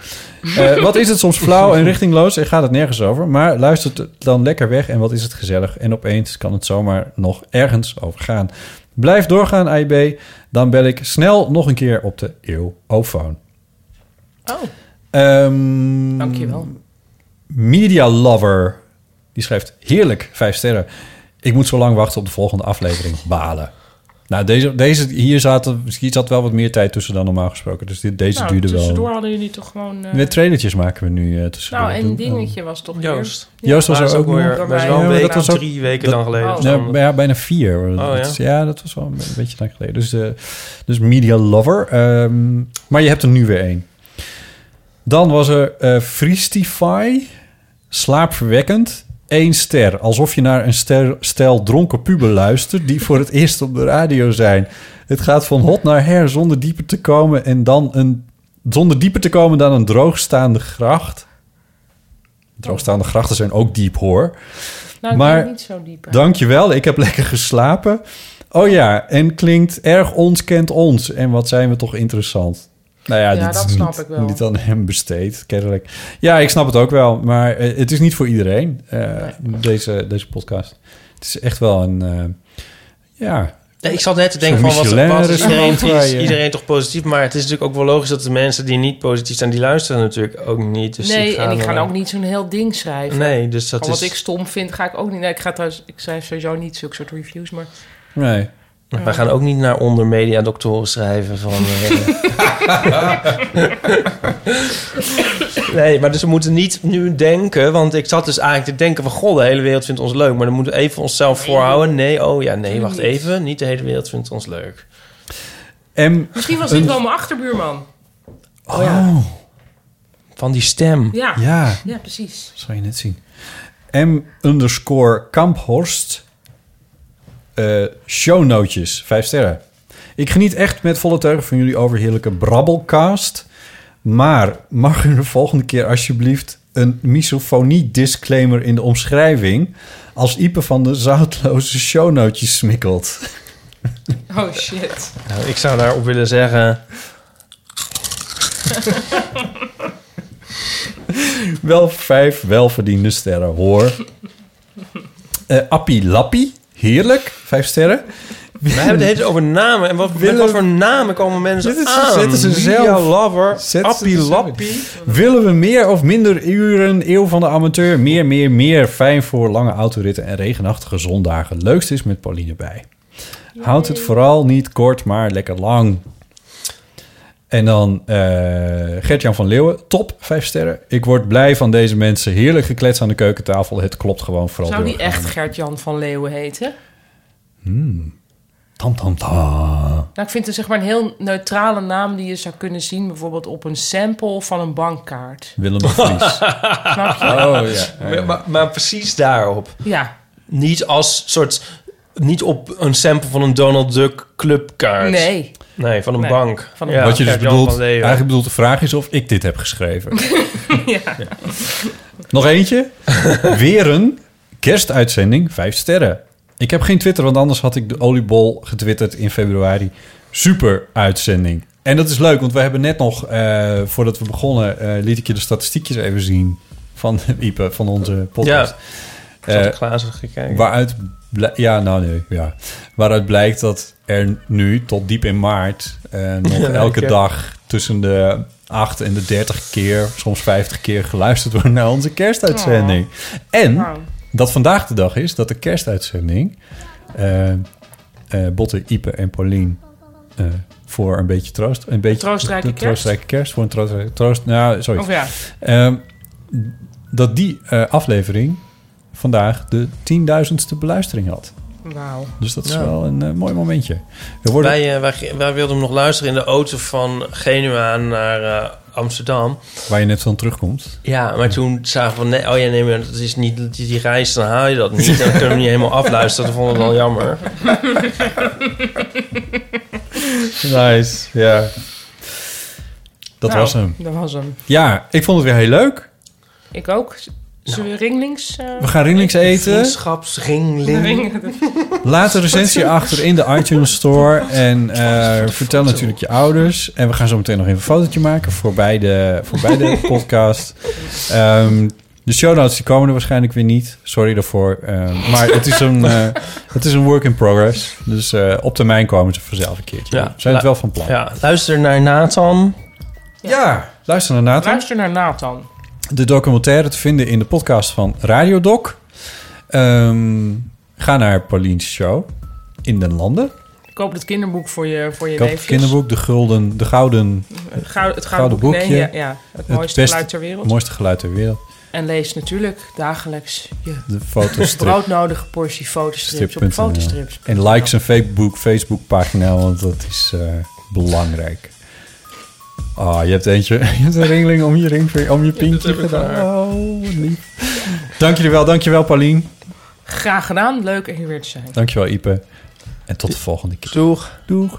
Speaker 2: Eh, wat is het soms flauw en richtingloos en gaat het nergens over. Maar luistert het dan lekker weg en wat is het gezellig. En opeens kan het zomaar nog ergens over gaan. Blijf doorgaan, AIB. Dan bel ik snel nog een keer op de eeuw-ofoon.
Speaker 4: Oh,
Speaker 2: Mm, Ehm
Speaker 4: dankjewel.
Speaker 2: Media Lover. Die schrijft heerlijk, vijf sterren. Ik moet zo lang wachten op de volgende aflevering. Balen. Nou, deze, deze hier, zaten, hier zat wel wat meer tijd tussen dan normaal gesproken. Dus dit, deze
Speaker 4: nou,
Speaker 2: duurde
Speaker 4: tussendoor
Speaker 2: wel.
Speaker 4: hadden jullie toch gewoon... eh,
Speaker 2: Met trailertjes maken we nu eh tussen.
Speaker 4: nou, en dingetje was toch
Speaker 5: Joost.
Speaker 4: weer-
Speaker 2: Joost was
Speaker 5: Maar dat
Speaker 2: er
Speaker 5: is
Speaker 2: ook
Speaker 5: ook
Speaker 2: nog.
Speaker 5: weer,
Speaker 4: nog.
Speaker 5: dat is wel een
Speaker 4: Ja,
Speaker 5: week,
Speaker 4: dat was
Speaker 5: of
Speaker 2: ook-
Speaker 5: drie weken
Speaker 2: dat- nou,
Speaker 5: dan geleden.
Speaker 4: Oh.
Speaker 5: of
Speaker 2: Nee,
Speaker 5: zo. Oh,
Speaker 2: bij- ja, bijna vier. dat
Speaker 5: ja.
Speaker 2: is- ja, dat was wel een beetje lang geleden. Dus, de, dus Media Lover. Ehm, maar je hebt er nu weer één. Dan was er eh Freestify. Slaapverwekkend. Eén ster. Alsof je naar een ster, stel dronken puber luistert... die voor het eerst op de radio zijn. Het gaat van hot naar her zonder dieper te komen... en dan een... zonder dieper te komen dan een droogstaande gracht. Droogstaande grachten zijn ook diep, hoor.
Speaker 4: Nou, ik
Speaker 2: Maar-
Speaker 4: ben niet zo diep. hè.
Speaker 2: Dankjewel, ik heb lekker geslapen. Oh ja, en klinkt erg ons kent ons. En wat zijn we toch interessant. Nou ja,
Speaker 4: Ja,
Speaker 2: dit
Speaker 4: dat
Speaker 2: is
Speaker 4: snap
Speaker 2: niet,
Speaker 4: ik wel.
Speaker 2: niet aan hem besteed, kennelijk. Ja, ik snap het ook wel, maar eh, het is niet voor iedereen, eh, deze, deze podcast. Het is echt wel een... eh, ja,
Speaker 5: Nee, ik zat net te denken
Speaker 2: Zo'n
Speaker 5: van wat,
Speaker 2: Michelin
Speaker 5: wat is iedereen,
Speaker 2: restaurant waar
Speaker 5: is
Speaker 2: je-
Speaker 5: iedereen toch positief? Maar het is natuurlijk ook wel logisch dat de mensen die niet positief zijn, die luisteren natuurlijk ook niet. Dus die
Speaker 4: nee, en ik ga
Speaker 5: dan-
Speaker 4: ook niet zo'n heel ding schrijven.
Speaker 5: Nee, dus dat
Speaker 4: Al wat
Speaker 5: is.
Speaker 4: ik stom vind, ga ik ook niet. Nee, ik, ga trouwens, ik schrijf sowieso niet zulke soort reviews, maar...
Speaker 2: nee.
Speaker 5: Wij gaan ook niet naar onder media doktoren schrijven van. eh, nee, maar dus we moeten niet nu denken, want ik zat dus eigenlijk te denken van god, de hele wereld vindt ons leuk, maar dan moeten we even onszelf voorhouden. Nee, oh ja, nee, wacht even, niet de hele wereld vindt ons leuk.
Speaker 2: M.
Speaker 4: Misschien was dit wel mijn achterbuurman.
Speaker 2: Oh ja.
Speaker 5: Van die stem.
Speaker 4: Ja, ja.
Speaker 2: ja,
Speaker 4: precies.
Speaker 2: dat zal je net zien. M underscore Kamphorst. eh shownootjes, vijf sterren. Ik geniet echt met volle teugen van jullie overheerlijke brabbelcast. Maar mag u de volgende keer alsjeblieft een misofonie-disclaimer in de omschrijving... als Ipe van de zoutloze shownootjes smikkelt?
Speaker 4: Oh shit.
Speaker 5: Nou, ik zou daarop willen zeggen.
Speaker 2: Wel vijf welverdiende sterren, hoor. Eh Appie Lappie, heerlijk, vijf sterren.
Speaker 5: We hebben het de hele tijd over namen. En wat, met
Speaker 2: Willem-
Speaker 5: wat voor namen komen mensen
Speaker 2: Zitten ze-
Speaker 5: aan?
Speaker 2: zetten ze
Speaker 5: Media
Speaker 2: zelf-
Speaker 5: Lover,
Speaker 2: zetten ze
Speaker 5: Appie
Speaker 2: zelf.
Speaker 5: Lappie.
Speaker 2: Willen we meer of minder uren? Eeuw van de amateur. Meer, meer, meer. Fijn voor lange autoritten en regenachtige zondagen. Leukst is met Pauline bij. Houd het vooral niet kort, maar lekker lang. En dan eh Gert-Jan van Leeuwen. Top, vijf sterren. Ik word blij van deze mensen. Heerlijk geklets aan de keukentafel. Het klopt gewoon vooral
Speaker 4: Zou die
Speaker 2: doorgaan.
Speaker 4: echt Gert-Jan van Leeuwen heten?
Speaker 2: Tam, tam, tam.
Speaker 4: Nou, ik vind het zeg maar een heel neutrale naam die je zou kunnen zien... bijvoorbeeld op een sample van een bankkaart.
Speaker 2: Willem de Vries.
Speaker 4: Snap je?
Speaker 2: Oh ja.
Speaker 5: Maar, maar, maar precies daarop.
Speaker 4: Ja.
Speaker 5: Niet als soort... Niet op een sample van een Donald Duck clubkaart.
Speaker 4: Nee.
Speaker 5: Nee, van een
Speaker 4: Nee,
Speaker 5: bank.
Speaker 4: van een
Speaker 5: Ja,
Speaker 4: bank.
Speaker 2: Wat je dus
Speaker 5: Gert-Jan
Speaker 2: bedoelt,
Speaker 5: van Leeuwen.
Speaker 2: eigenlijk bedoelt de vraag is of ik dit heb geschreven. Ja. Nog eentje. Weer een kerstuitzending, vijf sterren. Ik heb geen Twitter, want anders had ik de oliebol getwitterd in februari. Super uitzending. En dat is leuk, want we hebben net nog, eh, voordat we begonnen, eh, liet ik je de statistiekjes even zien van Ipe, van onze podcast.
Speaker 5: Ik zat
Speaker 2: Eh,
Speaker 5: op glazen gekeken.
Speaker 2: Waaruit, bl- ja, nou nee, ja. Waaruit blijkt dat er nu tot diep in maart eh, nog elke
Speaker 5: keer.
Speaker 2: dag tussen de 8 en de 30 keer, soms 50 keer geluisterd wordt naar onze kerstuitzending. En
Speaker 4: Oh. Wauw.
Speaker 2: dat vandaag de dag is dat de kerstuitzending eh, eh, Botte, Ipe en Paulien eh, voor een beetje troost, een beetje
Speaker 4: troostrijke
Speaker 2: de
Speaker 4: kerst?
Speaker 2: troostrijke kerst voor een troostrijke troost. Nou, sorry.
Speaker 4: Of ja.
Speaker 2: Ehm, dat die eh, aflevering vandaag de 10.000ste beluistering had.
Speaker 4: Wauw.
Speaker 2: Dus dat is wel een eh, mooi momentje. We worden...
Speaker 5: Wij, eh, wij, wij wilden hem nog luisteren in de auto van Genua naar eh, Amsterdam.
Speaker 2: Waar je net van terugkomt.
Speaker 5: Ja, maar toen zagen we... Nee, oh ja, nee, maar dat is niet die, die reis, dan haal je dat niet. Dan kunnen we hem niet helemaal afluisteren. Dat vonden we wel jammer.
Speaker 2: Nice, ja. Dat
Speaker 4: Nou,
Speaker 2: was hem.
Speaker 4: Dat was hem.
Speaker 2: Ja, ik vond het weer heel leuk.
Speaker 4: Ik ook. Z- Zullen we ringlings... eh,
Speaker 2: Nou. We gaan ringlings eten.
Speaker 5: Vriendschapsringling.
Speaker 2: Laat een recensie achter in de iTunes Store. En eh, vertel natuurlijk je ouders. En we gaan zo meteen nog even een fotootje maken voor beide, voor beide podcast. Ehm, de show notes die komen er waarschijnlijk weer niet. Sorry daarvoor. Ehm, maar het is, een, eh, het is een work in progress. Dus eh, op termijn komen ze vanzelf een keertje.
Speaker 5: Ja.
Speaker 2: We zijn het wel van plan. Ja,
Speaker 5: Ja, luister naar Nathan.
Speaker 2: luister naar Nathan.
Speaker 4: Luister naar Nathan.
Speaker 2: de documentaire te vinden in de podcast van Radiodoc. Ehm, ga naar Paulien's show in Den Landen.
Speaker 4: Koop het kinderboek voor je, voor je
Speaker 2: Ik had het
Speaker 4: neefjes.
Speaker 2: kinderboek, de gulden, de gouden,
Speaker 4: Het gouden,
Speaker 2: Gouden
Speaker 4: het gouden boek. Nee, ja,
Speaker 2: boekje.
Speaker 4: ja, het
Speaker 2: Het
Speaker 4: mooiste
Speaker 2: beste-
Speaker 4: geluid ter wereld.
Speaker 2: het mooiste geluid ter wereld.
Speaker 4: En lees natuurlijk dagelijks je
Speaker 2: De fotostrip.
Speaker 4: broodnodige portie fotostrips op
Speaker 2: Strip.nl.
Speaker 4: fotostrips.
Speaker 2: en likes en Facebook, Facebookpagina, want dat is eh, belangrijk. Ah, je hebt eentje. Je hebt een ringling om je ringvinger, om je pinkje gedaan. Oh, wat lief. Dank jullie wel. Dank je wel, Paulien.
Speaker 4: Graag gedaan. Leuk en hier weer te zijn.
Speaker 2: Dank je wel, Ipe. En tot de volgende keer.
Speaker 5: Doeg.
Speaker 2: Doeg.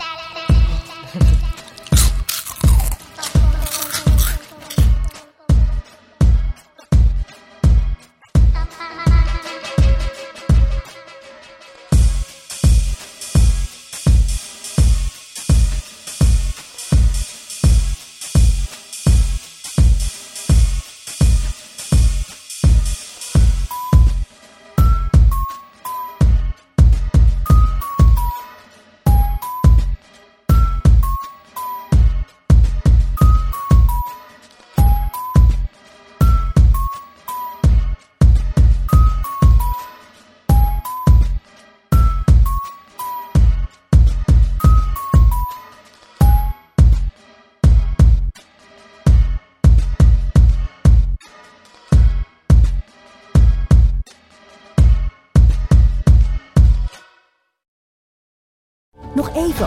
Speaker 1: Nog even